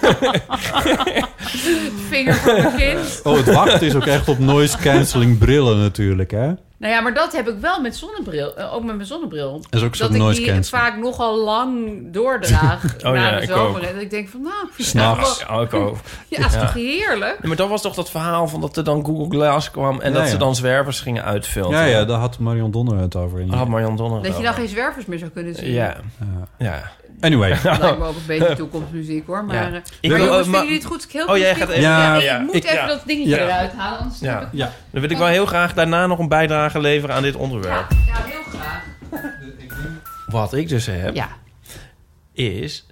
Vinger voor mijn kind.
Oh, het wachten is ook echt op noise cancelling brillen natuurlijk, hè?
Nou ja, maar dat heb ik wel met zonnebril. eh, ook met mijn zonnebril.
Dat is
Dat
ook zo'n
ik
noise
die
cancelling.
vaak nogal lang doordraag
Oh
na
ja,
de
ik
zomer.
ook.
En dat ik denk van, nou, ik vind het
S'nachts.
wel-
Ja, ook al.
Ja, is
Ja.
toch heerlijk?
Nee, Maar dat was toch dat verhaal van dat er dan Google Glass kwam... en
Ja,
dat
ja.
ze dan zwervers gingen uitfilmen.
Ja, ja, daar had Marion Donner het over. In.
Daar had Marjan Donner het
Dat je dan
over.
geen zwervers meer zou kunnen zien.
Ja, ja.
Anyway,
Dat lijkt me ook een beetje toekomstmuziek hoor. Maar,
Ja.
eh,
Ik
maar
wil-
jongens,
eh,
vinden
maar-
jullie het goed? Ik heel
Oh, jij
veel
gaat
spiegel-
even...
Ja,
Ik moet
ik-
even
ja.
dat dingetje
Ja.
eruit halen, anders
Ja.
heb ik...
ja.
Dan wil ik wel heel graag daarna nog een bijdrage leveren aan dit onderwerp.
Ja, ja, heel graag.
Wat ik dus heb,
Ja.
is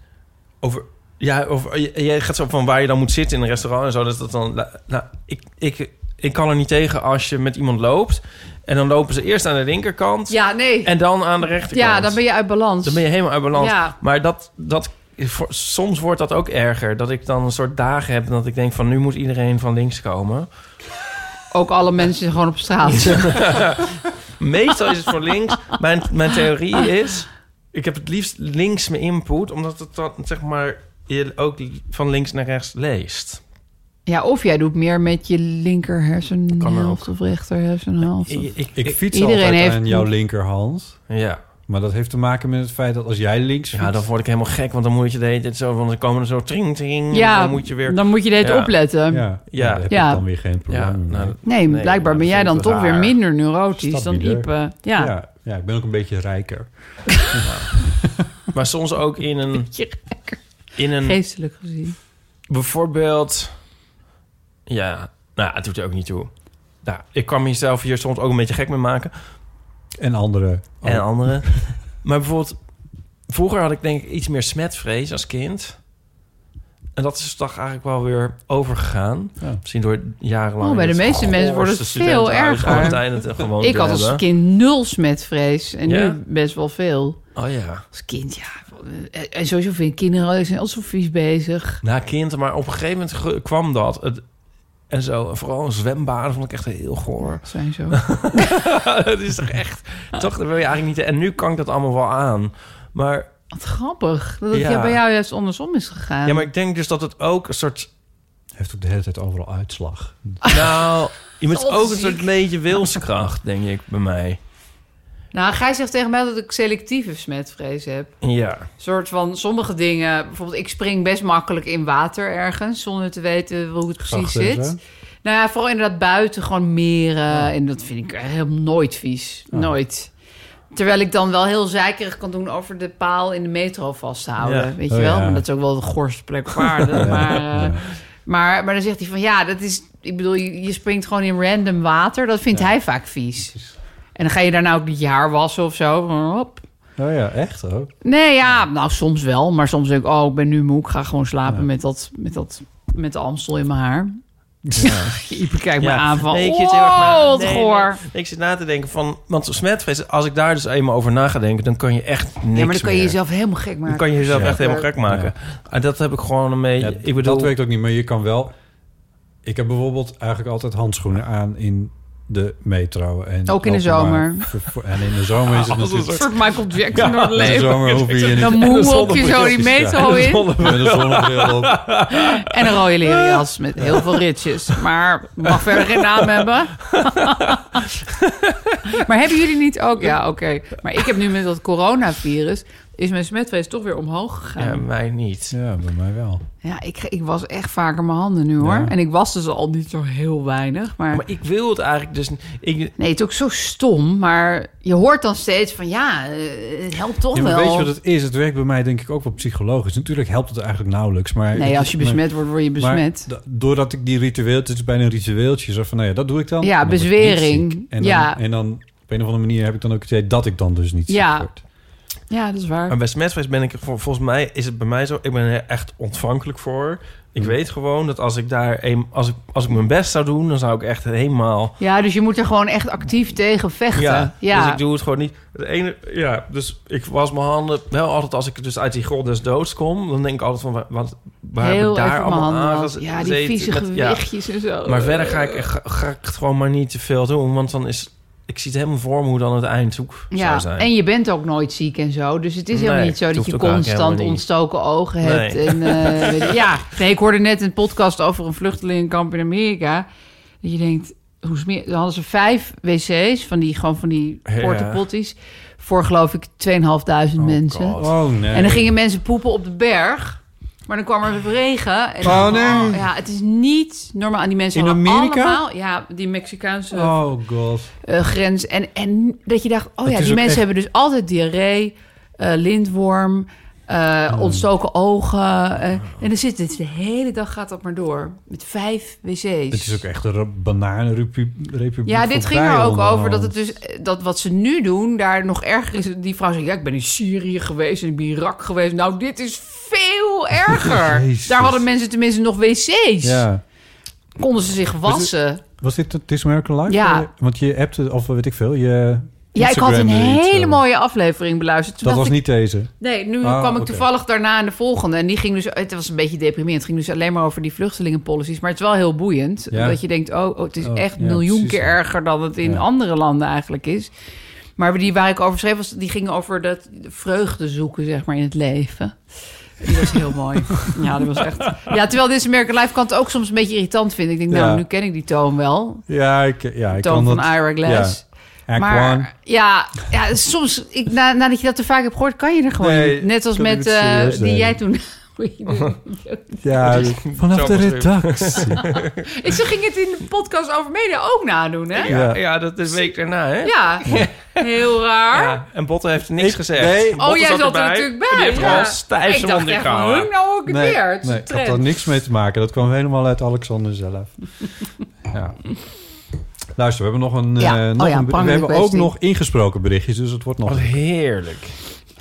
over. Ja, over, j- jij gaat zo van waar je dan moet zitten in een restaurant en zo. Dat dat dan. Nou, ik, ik, ik kan er niet tegen als je met iemand loopt. En dan lopen ze eerst aan de linkerkant.
ja, nee.
En dan aan de rechterkant.
Ja, dan ben je uit balans.
Dan ben je helemaal uit balans.
Ja.
Maar dat, dat, voor- soms wordt dat ook erger. Dat ik dan een soort dagen heb. en Dat ik denk van nu moet iedereen van links komen.
Ook alle mensen gewoon op straat.
Meestal is het voor links. Mijn, mijn theorie is... Ik heb het liefst links mijn input. Omdat het dan, zeg maar, je ook van links naar rechts leest.
Ja, of jij doet meer met je linker hersenhelft of rechter hersenhelft.
Ik, ik,
ik fiets
Iedereen
altijd
heeft-
aan jouw linkerhand.
ja.
Maar dat heeft te maken met het feit dat als jij links
ja, dan
fietst-
word ik helemaal gek. Want dan moet je de hele tijd zo... Want dan komen er zo tring, tring.
Ja,
dan moet je weer...
Dan moet je dit
Ja.
opletten.
ja,
Ja.
dan heb
Ja.
ik dan weer geen probleem
ja,
mee.
nou, dat-
Nee,
Nee,
blijkbaar
ja, dat
ben jij
vind
dan
ik
toch
raar.
weer minder neurotisch dan
Stabieler.
Ipe.
ja.
Ja.
Ja, ik ben ook een beetje rijker.
maar soms ook in een...
Je
In een
Geestelijk gezien.
bijvoorbeeld... Ja, nou, het doet er ook niet toe. Nou, ik kan mezelf hier soms ook een beetje gek mee maken.
En andere. Oh,
en anderen. maar bijvoorbeeld, vroeger had ik denk ik iets meer smetvrees als kind. En dat is dus toch eigenlijk wel weer overgegaan.
Ja.
Misschien door jarenlang...
Oh, bij de
het
meeste mensen wordt het
goorste
veel
studentenhuis
erger.
altijd het gewoon
Ik
te
had als
hebben.
kind nul smetvrees en
Ja?
nu best wel veel.
Oh ja.
Als kind, ja. En- En sowieso vind ik kinderen die zijn al zo vies bezig.
Na kind, maar op een gegeven moment ge- kwam dat. Het, en zo, en vooral een zwembaden vond ik echt heel goor.
Zijn zo.
Het is toch echt... Toch, dat wil je eigenlijk niet... En nu kan ik dat allemaal wel aan. Maar
Wat grappig. Dat het
Ja.
ja. bij jou juist andersom is gegaan.
Ja, maar ik denk dus dat het ook een soort...
Heeft ook de hele tijd overal uitslag.
Nou, je moet ook een
Onziek.
soort beetje wilskracht, denk ik, bij mij.
Nou, Gij zegt tegen mij dat ik selectieve smetvrees heb.
Ja.
Een soort van sommige dingen. Bijvoorbeeld, ik spring best makkelijk in water ergens zonder te weten hoe het precies
Grachten en
zit.
zo.
Nou ja, vooral inderdaad buiten, gewoon meren. En dat vind ik helemaal nooit vies. Nooit. Terwijl ik dan wel heel zeikerig kan doen over de paal in de metro vasthouden.
Ja.
Weet je
Oh
wel?
ja.
Want Dat is ook wel de gorste plek op aarde. maar, eh, maar, maar dan zegt hij van ja, dat is. Ik bedoel, je, je springt gewoon in random water. Dat vindt hij vaak vies. En dan ga je daarna ook niet je haar wassen of zo. Van, Hop.
Oh ja, echt ook.
Nee, ja, nou soms wel. Maar soms denk ik, oh, ik ben nu moe. Ik ga gewoon slapen met, dat, met, dat, met de amstel in mijn haar. je bekijkt me
Ja.
aan van,
Nee, ik
oh,
zit heel erg na-
wat
nee, nee.
goor.
Ik zit na te denken van... Want smetvrees, als ik daar dus eenmaal over na ga denken... dan kan je echt niks
Ja, maar dan kan je
meer.
jezelf helemaal gek maken.
Dan kan je jezelf
Ja.
echt helemaal gek maken. En dat heb ik gewoon een beetje...
Ja,
ik bedoel,
Dat werkt ook niet, maar je kan wel... Ik heb bijvoorbeeld eigenlijk altijd handschoenen aan in de metro. En
Ook in de
openbaar
zomer.
vervoer- En in de zomer is het
Een
natuurlijk...
soort Michael Jackson door het
In de
leven.
zomer hoef je je niet...
Dan moewolk je zo die metro in.
Met een zonnebril op.
En een rode leren jas met heel veel ritjes. Maar mag verder geen naam hebben. maar hebben jullie niet ook... Ja, oké. Maar ik heb nu met dat coronavirus... is mijn smetvrees toch weer omhoog
ja,
gegaan.
mij niet.
Ja, bij mij wel.
Ja, ik, ik was echt vaker mijn handen nu, hoor.
Ja.
En ik was dus al niet zo heel weinig. Maar...
Maar ik wil het eigenlijk dus... niet. Ik,
Nee, het is ook zo stom. Maar je hoort dan steeds van... Ja, eh, het helpt toch
Ja, maar
wel.
weet je wat het is? Het werkt bij mij denk ik ook wel psychologisch. Natuurlijk helpt het eigenlijk nauwelijks, maar...
Nee, als je besmet wordt, word je
Maar
besmet.
da- doordat ik die ritueel, het is bijna een ritueeltje, zo van, nou ja, dat doe ik dan.
Ja,
En dan word ik niet
bezwering.
ziek. En dan,
Ja.
en dan op een of andere manier heb ik dan ook het idee dat ik dan dus niet
Ja.
ziek word.
Ja, dat is waar.
maar bij smetvrees ben ik... er voor- Volgens mij is het bij mij zo... Ik ben er echt ontvankelijk voor. Ik weet gewoon dat als ik daar... Een, als, ik, als ik mijn best zou doen... dan zou ik echt helemaal...
Ja, dus je moet er gewoon echt actief tegen vechten. Ja,
Ja, dus ik doe het gewoon niet. Het ene, ja, dus ik was mijn handen wel altijd als ik dus uit die grot des doods kom, dan denk ik altijd van wa- wat waar heb
heel
ik daar
even mijn
allemaal
handen.
aan
was-
gez-
Ja, die
gezeten?
vieze
Met- ja.
gewichtjes en zo.
Maar verder ga ik, ga, ga ik het gewoon maar niet te veel doen, want dan is ik zie het helemaal voor me hoe dan het eindzoek zou
Ja,
zijn.
en je bent ook nooit ziek en zo. Dus het is helemaal
Nee,
niet zo
het
dat
hoeft
je
ook eigenlijk
constant
helemaal niet.
ontstoken ogen hebt.
Nee.
En, eh, weet ik- ja, nee, ik hoorde net een podcast over een vluchtelingenkamp in Amerika. Dat je denkt, hoe smeer... Dan hadden ze vijf wc's van die, gewoon van die
Ja.
portepotties. Voor geloof ik 2500 mensen.
God.
Oh, nee.
En dan gingen mensen poepen op de berg. Maar dan kwam er regen. En
Oh, nee.
ja, het is niet normaal. En die mensen
In
hadden
Amerika?
allemaal... Ja, die Mexicaanse
Oh god.
eh, grens. En, en dat je dacht... Oh
is
ja,
ook
die mensen
echt-
hebben dus altijd diarree, eh, lindworm, eh,
Oh.
ontstoken ogen. eh, En dan zit het de hele dag gaat dat maar door. Met vijf wc's.
Het is ook echt een re- bananenrepubliek.
Ja, dit ging er
voorbij
ook over
onderhand.
dat het dus dat wat ze nu doen daar nog erger is. Die vrouw zegt: Ja, ik ben in Syrië geweest en ik ben in Irak geweest. Nou, dit is veel erger.
Jezus.
daar hadden mensen tenminste nog wc's.
Ja.
Konden ze zich wassen.
Was dit het This American Life?
Ja.
Eh, Want je hebt het, of weet ik veel, je
Ja, ik had een
Instagram reads,
hele
eh,
mooie aflevering beluisterd. Toen
Dat
dacht
was
ik,
niet deze.
Nee, nu
Ah,
kwam ik
oké.
toevallig daarna in de volgende. En die ging dus, het was een beetje deprimerend. Het ging dus alleen maar over die vluchtelingenpolicies. Maar het is wel heel boeiend.
Ja.
Dat je denkt, oh, oh, het is
Oh,
echt
ja,
miljoen
precies,
keer
ja.
erger dan het in
Ja.
andere landen eigenlijk is. Maar die waar ik over schreef, was, die ging over dat vreugde zoeken, zeg maar, in het leven. Die was heel mooi. Ja, dat was echt... Ja, terwijl deze American Life kan het ook soms een beetje irritant vinden. Ik denk, nou,
Ja.
nu ken ik die toon wel.
Ja, ik, ja, ik
Toon
kan
van
dat.
Ira Glass.
ja. Act one.
Maar ja, ja, soms, ik, na, nadat je dat te vaak hebt gehoord, kan je er gewoon
Nee,
niet. Net als
kan ik
met
het
eh,
serieus
die
nemen.
jij toen...
Ja, vanaf de
Zo
redactie.
ik, ze ging het in de podcast over media ook nadoen, hè?
ja,
Ja.
ja, dat is week daarna, hè?
Ja, heel raar.
Ja, en Botte heeft niks
Ik-
gezegd.
nee. Oh,
Oh,
Botte
jij zat er
erbij.
natuurlijk bij.
Die heeft
ja.
gewoon stijf
Ik
zijn
dacht
mond
echt van,
ingehouden.
hoe nou ook weer? Het is
nee,
een
ik had daar
trend.
niks mee te maken. Dat kwam helemaal uit Alexander zelf. ja. Luister, we hebben nog een, eh,
Ja, oh
nog
ja,
een bericht.
prangende
we hebben ook
kwestie.
nog ingesproken berichtjes, dus het wordt nog,
Wat heerlijk.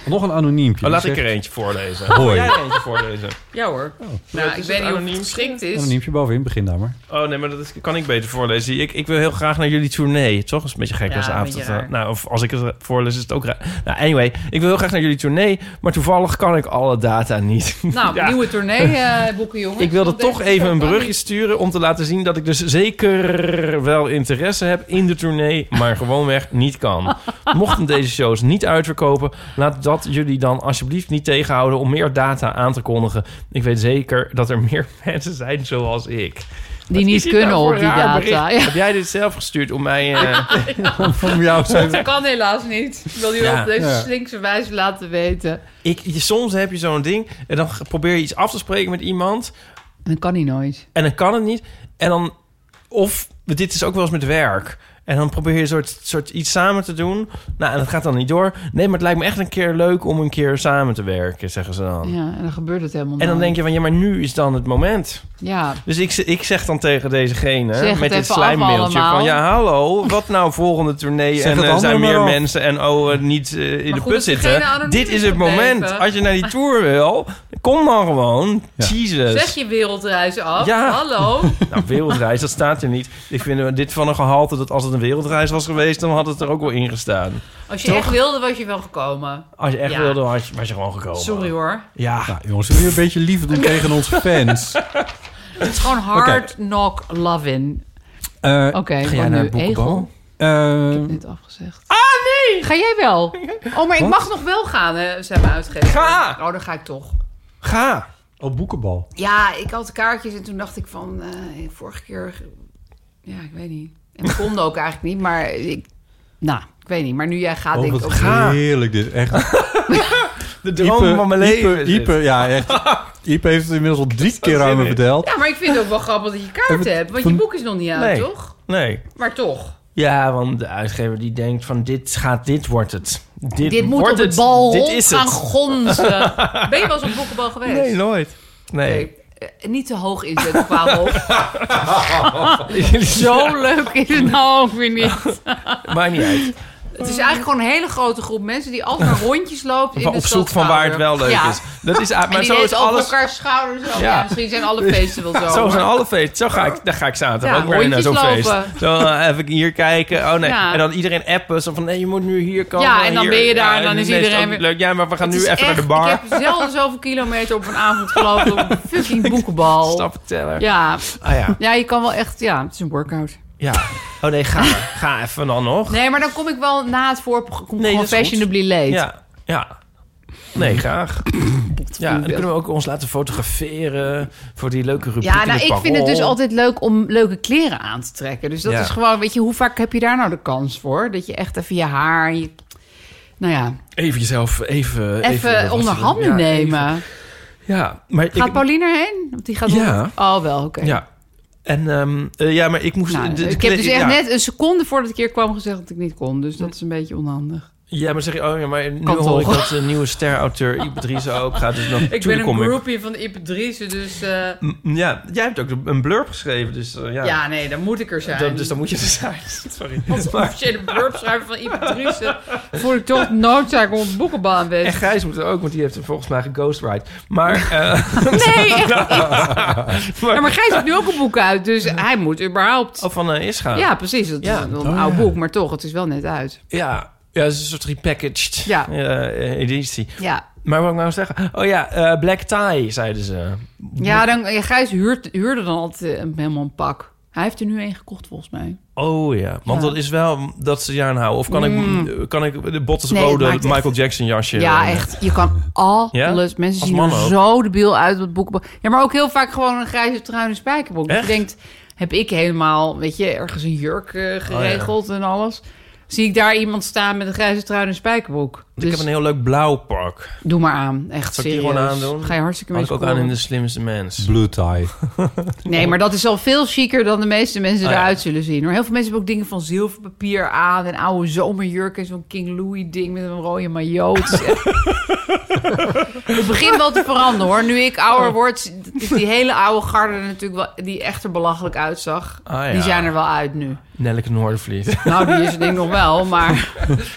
nog een anoniempje.
Oh, laat
Die
ik er
zegt-
eentje voorlezen.
Hoi.
Wil jij er eentje voorlezen?
Ja hoor.
Ja,
nou, ik
is
weet
het
niet of het
anoniem?
geschikt is.
Anoniempje bovenin, begin daar maar.
Oh nee, maar dat is- kan ik beter voorlezen. Ik, ik wil heel graag naar jullie tournee. Toch? Dat is een beetje gek
Ja,
als de
een
avond.
beetje
dat,
raar.
eh, nou, of als ik het voorlees is het ook raar. Nou, anyway. Ik wil heel graag naar jullie tournee. Maar toevallig kan ik alle data niet.
Nou,
Ja.
nieuwe tournee eh, boeken, jongens.
Ik wilde
Want
toch
deze
even een
kan
brugje
niet.
sturen om te laten zien dat ik dus zeker wel interesse heb in de tournee, maar gewoonweg niet kan. Mochten deze shows niet uitverkopen, laat dat jullie dan alsjeblieft niet tegenhouden om meer data aan te kondigen. Ik weet zeker dat er meer mensen zijn zoals ik.
die niet kunnen
nou
op die data. Ja.
Heb jij dit zelf gestuurd om mij... eh,
Om jou te-
Dat kan helaas niet. Ik wil je
Ja.
op deze
Ja.
slinkse wijze laten weten.
ik, je- soms heb je zo'n ding en dan probeer je iets af te spreken met iemand...
En dat kan hij nooit.
En dan kan het niet. En dan, of dit is ook wel eens met werk. En dan probeer je een soort, soort iets samen te doen. Nou, en dat gaat dan niet door. Nee, maar het lijkt me echt een keer leuk om een keer samen te werken, zeggen ze dan.
Ja, en dan gebeurt het helemaal
Oh. En dan
nooit.
denk je van, ja, maar nu is dan het moment.
Ja,
Dus ik, z- ik zeg dan tegen degene
Zeg het
met dit
even af
slijmmailtje
allemaal.
van... Ja, hallo, wat nou volgende tournee?
Zeg
en
het
eh, zijn
andere
meer
maar af.
mensen en oh, eh, niet eh, in
Maar
de
goed
put
dat degene
zitten.
anoniem
Dit
is
is het
gebleven.
moment. Als je naar die tour wil, kom dan gewoon.
Ja.
Jesus.
zeg je wereldreis af.
Dus- Ja.
Hallo.
Nou, wereldreis, dat staat er niet. Ik vind dit van een gehalte dat als het een wereldreis was geweest... dan had het er ook wel in gestaan.
Als je
Toch? Oh,
echt wilde, was je wel gekomen.
Als je echt
Ja.
wilde, was je, was je gewoon gekomen.
Sorry hoor.
Ja.
Nou, jongens, wil je een beetje lief doen tegen onze fans?
Het is gewoon hard knock loving.
Eh,
Oké,
Ga jij
want
naar
nu
het boekenbal?
Egel. Ik
eh,
heb Net afgezegd. Ah nee! Ga jij wel? Oh, maar ik mag nog wel gaan, hè, zei mijn uitgever.
Ga!
Oh, dan ga ik toch.
Ga.
op oh, boekenbal.
Ja, ik had kaartjes en toen dacht ik van... eh, vorige keer... Ja, ik weet niet. En we konden ook eigenlijk niet, maar... Ik, nou, ik weet niet. Maar nu jij gaat,
oh,
denk ik
wat
ook...
Ga.
heerlijk dit. Echt
De droom
Ipe-
van mijn
Ipe-
leven. is dit.
Ipe, ja, echt. Ipe heeft het inmiddels al drie keer
zin
aan me
in.
verteld.
Ja, maar ik vind het ook wel grappig dat je kaart
Even-
hebt. Want
van-
je boek is nog niet uit,
Nee.
toch?
Nee.
Maar toch.
Ja, want de uitgever die denkt van dit gaat, dit wordt het. Dit,
Dit moet
wordt
op het bal
Dit is
gaan
het.
gonzen. Ben je wel eens op boekenbal geweest?
Nee, nooit. Nee.
Nee, eh, niet te hoog inzetten qua hoofd. Zo leuk is het nou ook weer niet.
Maakt niet uit.
Het is eigenlijk gewoon een hele grote groep mensen die altijd maar rondjes loopt in de
op zoek van waar het wel leuk
Ja.
is. Dat is, maar
en die
zo is
deed over
alles...
elkaar schouders. Zo. Ja.
Ja.
misschien zijn alle feesten wel zo.
Zo
maar-
zijn alle feesten. Zo ga ik, daar ga ik zaterdag
Ja,
ook weer naar zo'n
rondjes
feest.
lopen.
Zo eh, even hier kijken. Oh nee.
Ja.
En dan iedereen appen. Zo van nee, je moet nu hier komen.
Ja, en dan
hier.
ben je daar en dan
nee,
is
het
iedereen
ook
weer-
Leuk. Ja, maar we gaan
Het
nu
is
even naar de
echt-
bar.
Ik heb zelden zoveel kilometer op een avond gelopen op een fucking boekenbal.
Stappen teller.
Ja.
Ah ja.
ja, je kan wel echt... Ja, het is een workout.
ja. Oh nee, ga, ga even dan nog.
Nee, maar dan kom ik wel na het voorprogramma kom ik
Nee,
gewoon
dat is goed.
fashionably late.
Ja. ja. Nee, graag. Ja, en dan kunnen we ook ons laten fotograferen voor die leuke rubriek.
Ja,
in
nou,
het
ik vind het
Parool.
dus altijd leuk om leuke kleren aan te trekken. Dus dat
"Oh." Ja.
is gewoon, weet je, hoe vaak heb je daar nou de kans voor? Dat je echt even je haar, en je, nou ja,
Even jezelf even...
even, onder handen
Ja,
nemen.
even. Ja, maar ik...
Gaat Pauline erheen? Want die gaat
Ja.
onder- Oh, wel, oké.
Ja. En ehm, eh, ja, maar ik moest...
Nou,
de- de
ik heb dus
kle-
echt
ja.
net een seconde voordat ik hier kwam gezegd dat ik niet kon. Dus dat is een beetje onhandig.
Ja, maar zeg je, oh ja, maar nu
Kan
hoor ik
toch?
dat de nieuwe sterauteur Ipe Driessen ook gaat. Dus dan, tuurlijk kom ik.
van Ipatrice, dus
Mm, Ja, jij hebt ook een blurb geschreven, dus eh, ja.
nee, dan moet ik er zijn.
Dat- dus dan moet je er zijn. Sorry. Maar,
officiële burpschrijver van Ipatrice voel ik toch noodzaak om op boekenbal
en
aanwezig
Gijs moet er ook, want die heeft er volgens mij geghostwrite. Maar, eh,
Nee, echt Ja,
maar,
maar Gijs heeft nu ook een boek uit, dus hij moet überhaupt...
of van eh, Ischa.
Ja, precies. Het
Ja.
is een
Oh, ja.
oud boek, maar toch, het is wel net uit.
Ja. Ja, het is een soort repackaged
Ja.
eh, editie.
Ja,
Maar wat ik nou zeggen? Oh ja, eh, Black Tie, zeiden ze.
ja dan, ja, Gijs huurt, huurde dan altijd eh, helemaal een pak. Hij heeft er nu één gekocht, volgens mij.
Oh ja, want
Ja.
dat is wel dat ze je aanhouden. Of kan, ik, kan ik de Bottas
Mm. Nee, het
rode
maakt echt-
Michael Jackson jasje...
Ja,
eh,
echt. Je kan alles...
Ja?
Mensen
Als
zien
man
er
ook.
zo debiel uit op boekenbal. Ja, maar ook heel vaak gewoon een grijze trui en spijkerbroek. Dus je
Echt? Oh,
denkt, heb ik helemaal, weet je, ergens een jurk eh, geregeld en alles... Zie ik daar iemand staan met een grijze trui en een spijkerbroek.
Ik
Dus
heb een heel leuk blauw pak.
doe maar aan. Echt
Zal ik die
serieus.
gewoon aandoen?
Ga je hartstikke
Had
mee
ik ook
scoren.
aan in de slimste mens.
Blue tie.
Nee, maar dat is al veel chiquer dan de meeste mensen
Ah, ja.
eruit zullen zien. Hoor. Heel veel mensen hebben ook dingen van zilverpapier aan... en oude zomerjurken, zo'n King Louis-ding met een rode maillot. Het is echt- Het begint wel te veranderen, hoor. Nu ik ouder word, is die hele oude garde natuurlijk wel... die echt er belachelijk uitzag.
Ah, ja.
Die zijn er wel uit nu.
Nelleke Noordervliet.
Nou, die is het ding nog wel, maar...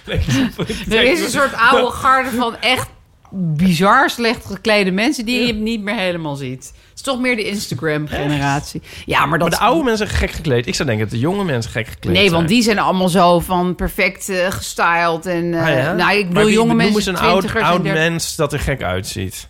er is een soort oude garde van echt bizar slecht geklede mensen... die je niet meer helemaal ziet. Het is toch meer de Instagram-generatie. Ja, maar dat...
Maar de oude mensen zijn gek gekleed. Ik zou denken dat de jonge mensen gek gekleed
Nee,
zijn.
want die zijn allemaal zo van perfect eh, gestyled. En, eh,
Ah, ja?
Nou, ik
Maar
bedoel
wie-
jonge
noem
mensen,
eens een oud,
twintigers en
oud
dertigers.
mens dat er gek uitziet.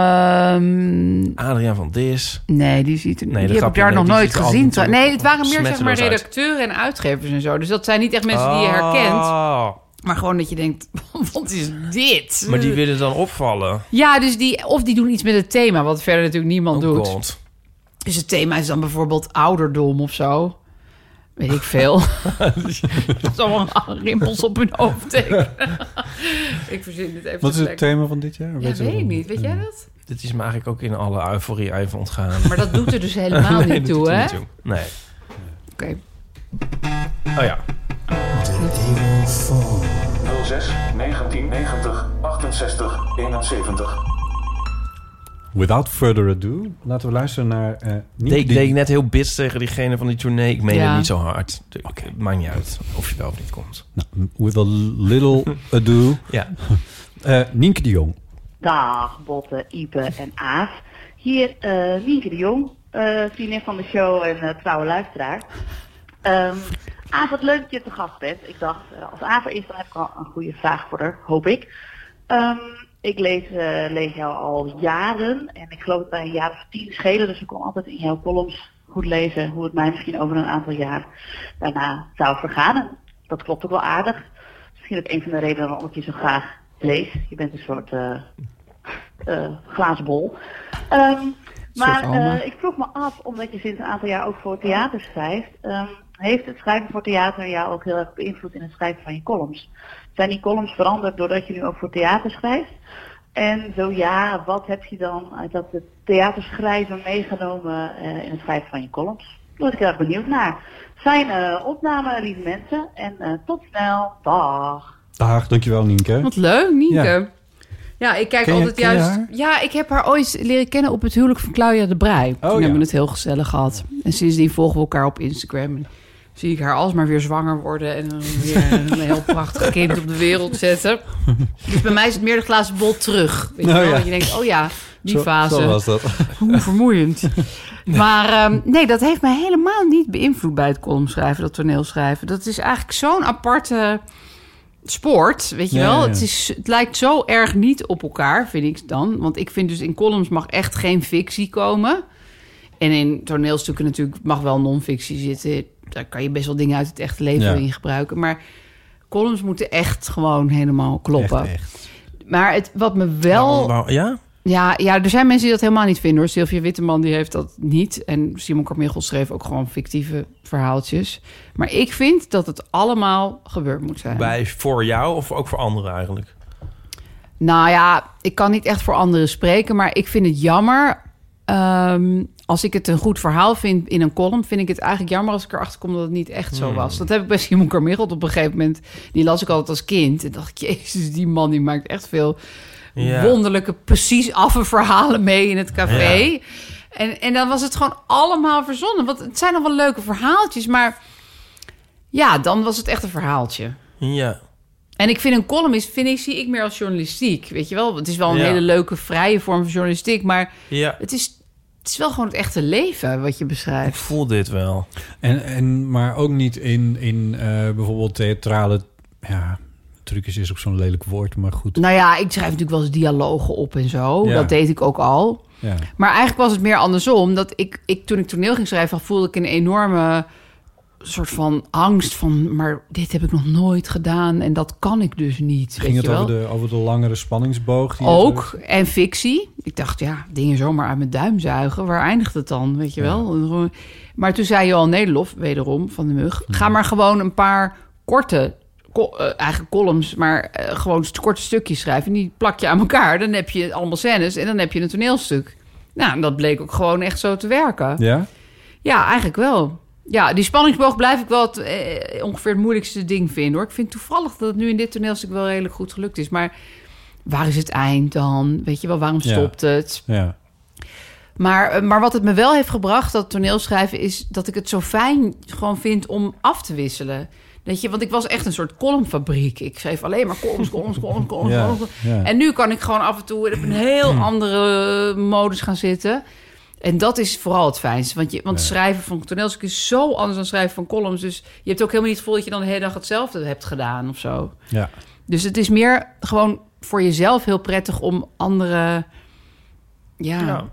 Ehm,
Adriaan van Dis.
nee, die ziet er
Nee, dat
die heb ik
grapje,
daar
nee,
nog
die
nooit
ziet er
gezien.
altijd
trouw- nee, het waren meer zeg maar
smetteloos uit.
redacteuren en uitgevers en zo. Dus dat zijn niet echt mensen die je herkent.
Oh.
Maar gewoon dat je denkt, wat is dit?
Maar die willen dan opvallen.
Oh, Ja, dus die, of die doen iets met het thema, wat verder natuurlijk niemand
Oh
doet.
god.
Dus het thema is dan bijvoorbeeld ouderdom of zo. Weet ik veel. Dat is allemaal rimpels op hun hoofd. tekenen. ik verzin dit even.
Wat is het
lekker.
thema van dit jaar?
Ja,
Weet je
weet ik
dat?
niet.
Mm.
Weet jij dat?
Dit is me eigenlijk ook in alle euforie even ontgaan.
Maar dat doet er dus helemaal niet
Nee, dat doet
toe,
er
hè?
niet toe. Nee.
Oké.
Oh ja.
06 1990 68 71.
Without further ado, laten we luisteren naar... eh niet
Deed ik
die-
deed ik net heel bits tegen diegene van die tournee. Ik meen
Ja.
het niet zo hard. Oké, maakt niet uit of je wel of niet komt.
Nou, with a little ado.
Ja.
Eh Nienke de Jong.
Dag Botte, Ipe en Aaf. Hier eh Nienke de Jong, eh, vriendin van de show en eh, trouwe luisteraar. Ehm Aaf, wat leuk dat je te gast bent. Ik dacht, eh, als Aaf er is, dan heb ik al een goede vraag voor haar, hoop ik. Ehm, ik lees, eh, lees jou al jaren en ik geloof dat wij een jaar of tien schelen, dus ik kon altijd in jouw columns goed lezen hoe het mij misschien over een aantal jaar daarna zou vergaan. Dat klopt ook wel aardig. Misschien ook een van de redenen waarom ik je zo graag lees. Je bent een soort eh, eh glazen bol. Ehm, maar
Alma.
eh, ik vroeg me af, omdat je sinds een aantal jaar ook voor theater schrijft, ehm, heeft het schrijven voor theater jou ook heel erg beïnvloed in het schrijven van je columns? Zijn die columns veranderd doordat je nu ook voor theater schrijft? En zo ja, wat heb je dan uit dat het theaterschrijven meegenomen eh, in het schrijven van je columns? Daar was ik heel erg benieuwd naar. Zijn eh, opname, lieve mensen. En eh, tot snel. Dag.
Dag, dankjewel Nienke.
Wat leuk, Nienke.
Ja.
Ja, ik kijk
Ken je-
altijd
ken je
juist...
haar?
Ja, ik heb haar ooit leren kennen op het huwelijk van Claudia de Brij. Toen
Oh, ja.
hebben we het heel gezellig gehad. En sindsdien volgen we elkaar op Instagram. En zie ik haar alsmaar weer zwanger worden... en dan weer een heel prachtig kind op de wereld zetten. Dus bij mij is het meer de glazen bol terug. Weet je
Nou
wel?
ja.
Dat je denkt, oh ja, die
Zo-
fase.
Zo was dat.
Hoe vermoeiend. Maar ehm, nee, dat heeft mij helemaal niet beïnvloed bij het columnschrijven, dat toneelschrijven. Dat is eigenlijk zo'n aparte sport, weet je
Ja,
wel.
ja, ja.
Het, is, het lijkt zo erg niet op elkaar, vind ik dan. Want ik vind dus in columns mag echt geen fictie komen. En in toneelstukken natuurlijk mag wel non-fictie zitten. Daar kan je best wel dingen uit het echte leven
Ja.
in gebruiken. Maar columns moeten echt gewoon helemaal kloppen.
Echt, echt.
Maar het, wat me wel...
Waarom- waarom- ja?
Ja, ja, er zijn mensen die dat helemaal niet vinden hoor. Sylvia Witteman die heeft dat niet. En Simon Carmichael schreef ook gewoon fictieve verhaaltjes. Maar ik vind dat het allemaal gebeurd moet zijn.
Bij, voor jou of ook voor anderen eigenlijk?
Nou ja, ik kan niet echt voor anderen spreken, maar ik vind het jammer. ehm, als ik het een goed verhaal vind in een column, vind ik het eigenlijk jammer als ik erachter kom dat het niet echt zo was. Dat heb ik bij Simon Carmichael op een gegeven moment. Die las ik altijd als kind. En dacht ik, jezus, die man die maakt echt veel
Ja.
wonderlijke, precies affe verhalen mee in het café. En, en dan was het gewoon allemaal verzonnen. Want het zijn dan wel leuke verhaaltjes, maar ja, dan was het echt een verhaaltje.
Ja.
En ik vind een column is, vind ik, zie ik meer als journalistiek. Weet je wel, het is wel een
Ja.
hele leuke, vrije vorm van journalistiek. Maar
Ja.
het is, het is wel gewoon het echte leven wat je
Ik
beschrijft.
voel dit wel.
En, en, maar ook niet in, in eh, bijvoorbeeld theatrale... Ja, trucjes is ook zo'n lelijk woord, maar goed.
Nou ja, ik schrijf natuurlijk wel eens dialogen op en zo.
Ja.
Dat deed ik ook al.
Ja.
Maar eigenlijk was het meer andersom. Dat ik, ik toen ik toneel ging schrijven, voelde ik een enorme soort van angst van... maar dit heb ik nog nooit gedaan en dat kan ik dus niet.
Ging
weet
het
je wel?
over de, over de langere spanningsboog? die je
Ook, en fictie. Ik dacht, ja, dingen zomaar uit mijn duim zuigen. Waar eindigt het dan, weet je wel? Maar toen zei Johan Nederlof, wederom, van de mug... ga maar gewoon een paar korte, ko- eh, eigen columns... maar eh, gewoon st- korte stukjes schrijven. En die plak je aan elkaar. Dan heb je allemaal scènes en dan heb je een toneelstuk. Nou, en dat bleek ook gewoon echt zo te werken.
Ja?
Ja, eigenlijk wel. Ja, die spanningsboog blijf ik wel het, eh, ongeveer het moeilijkste ding vinden hoor. Ik vind toevallig dat het nu in dit toneelstuk wel redelijk goed gelukt is. Maar waar is het eind dan? Weet je wel, waarom
Ja.
stopt het?
Ja.
Maar, eh, maar wat het me wel heeft gebracht, dat toneelschrijven, is dat ik het zo fijn gewoon vind om af te wisselen. Weet je, want ik was echt een soort columnfabriek. Ik schreef alleen maar columns, columns, columns, columns.
Ja,
columns.
ja.
En nu kan ik gewoon af en toe op een heel andere modus gaan zitten. En dat is vooral het fijnste. Want, je, want schrijven van toneelstuk is zo anders dan schrijven van columns. Dus je hebt ook helemaal niet het gevoel dat je dan de hele dag hetzelfde hebt gedaan of zo.
ja.
Dus het is meer gewoon voor jezelf heel prettig om andere ja,
Ja.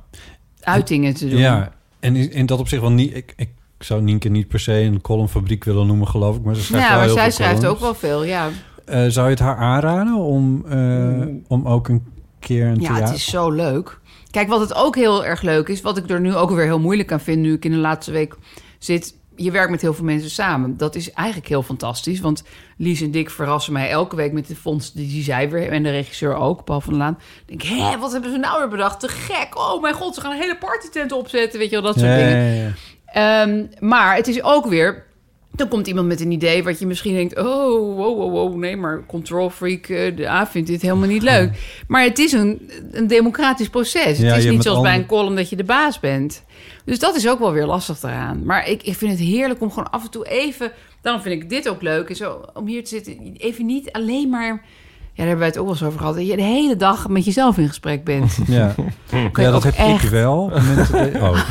uitingen te doen.
Ja, en in- in dat opzicht wel niet... Ik, ik zou Nienke niet per se een columnfabriek willen noemen, geloof ik. Maar ze schrijft
Ja,
wel
maar
heel
zij
veel
schrijft
columns.
ook wel veel, ja.
Eh, zou je het haar aanraden om, eh, om ook een keer een
Ja,
theater...
het is zo leuk. Kijk, wat het ook heel erg leuk is, wat ik er nu ook weer heel moeilijk aan vind, nu ik in de laatste week zit. Je werkt met heel veel mensen samen. Dat is eigenlijk heel fantastisch. Want Lies en Dick verrassen mij elke week met de fondsen die zij weer En de regisseur ook, Paul van der Laan. Ik denk, hé, wat hebben ze nou weer bedacht? Te gek. Oh mijn god, ze gaan een hele partytent opzetten. Weet je wel, dat soort
Ja,
dingen.
ja, ja.
Ehm, maar het is ook weer. Dan komt iemand met een idee wat je misschien denkt: oh, wow, wow, wow, nee, maar control freak, eh, de A vindt dit helemaal niet leuk. Maar het is een, een democratisch proces.
Ja,
het
je
is
hebt
niet
met
zoals bij
andere-
een column dat je de baas bent. Dus dat is ook wel weer lastig daaraan. Maar ik, ik vind het heerlijk om gewoon af en toe even. Daarom vind ik dit ook leuk. En zo, om hier te zitten, even niet alleen maar. Ja, daar hebben wij het ook wel eens over gehad. Dat je de hele dag met jezelf in gesprek bent.
Ja.
Kan je
Ja, dat
ook
heb ik
echt-
wel. Mensen- Oh.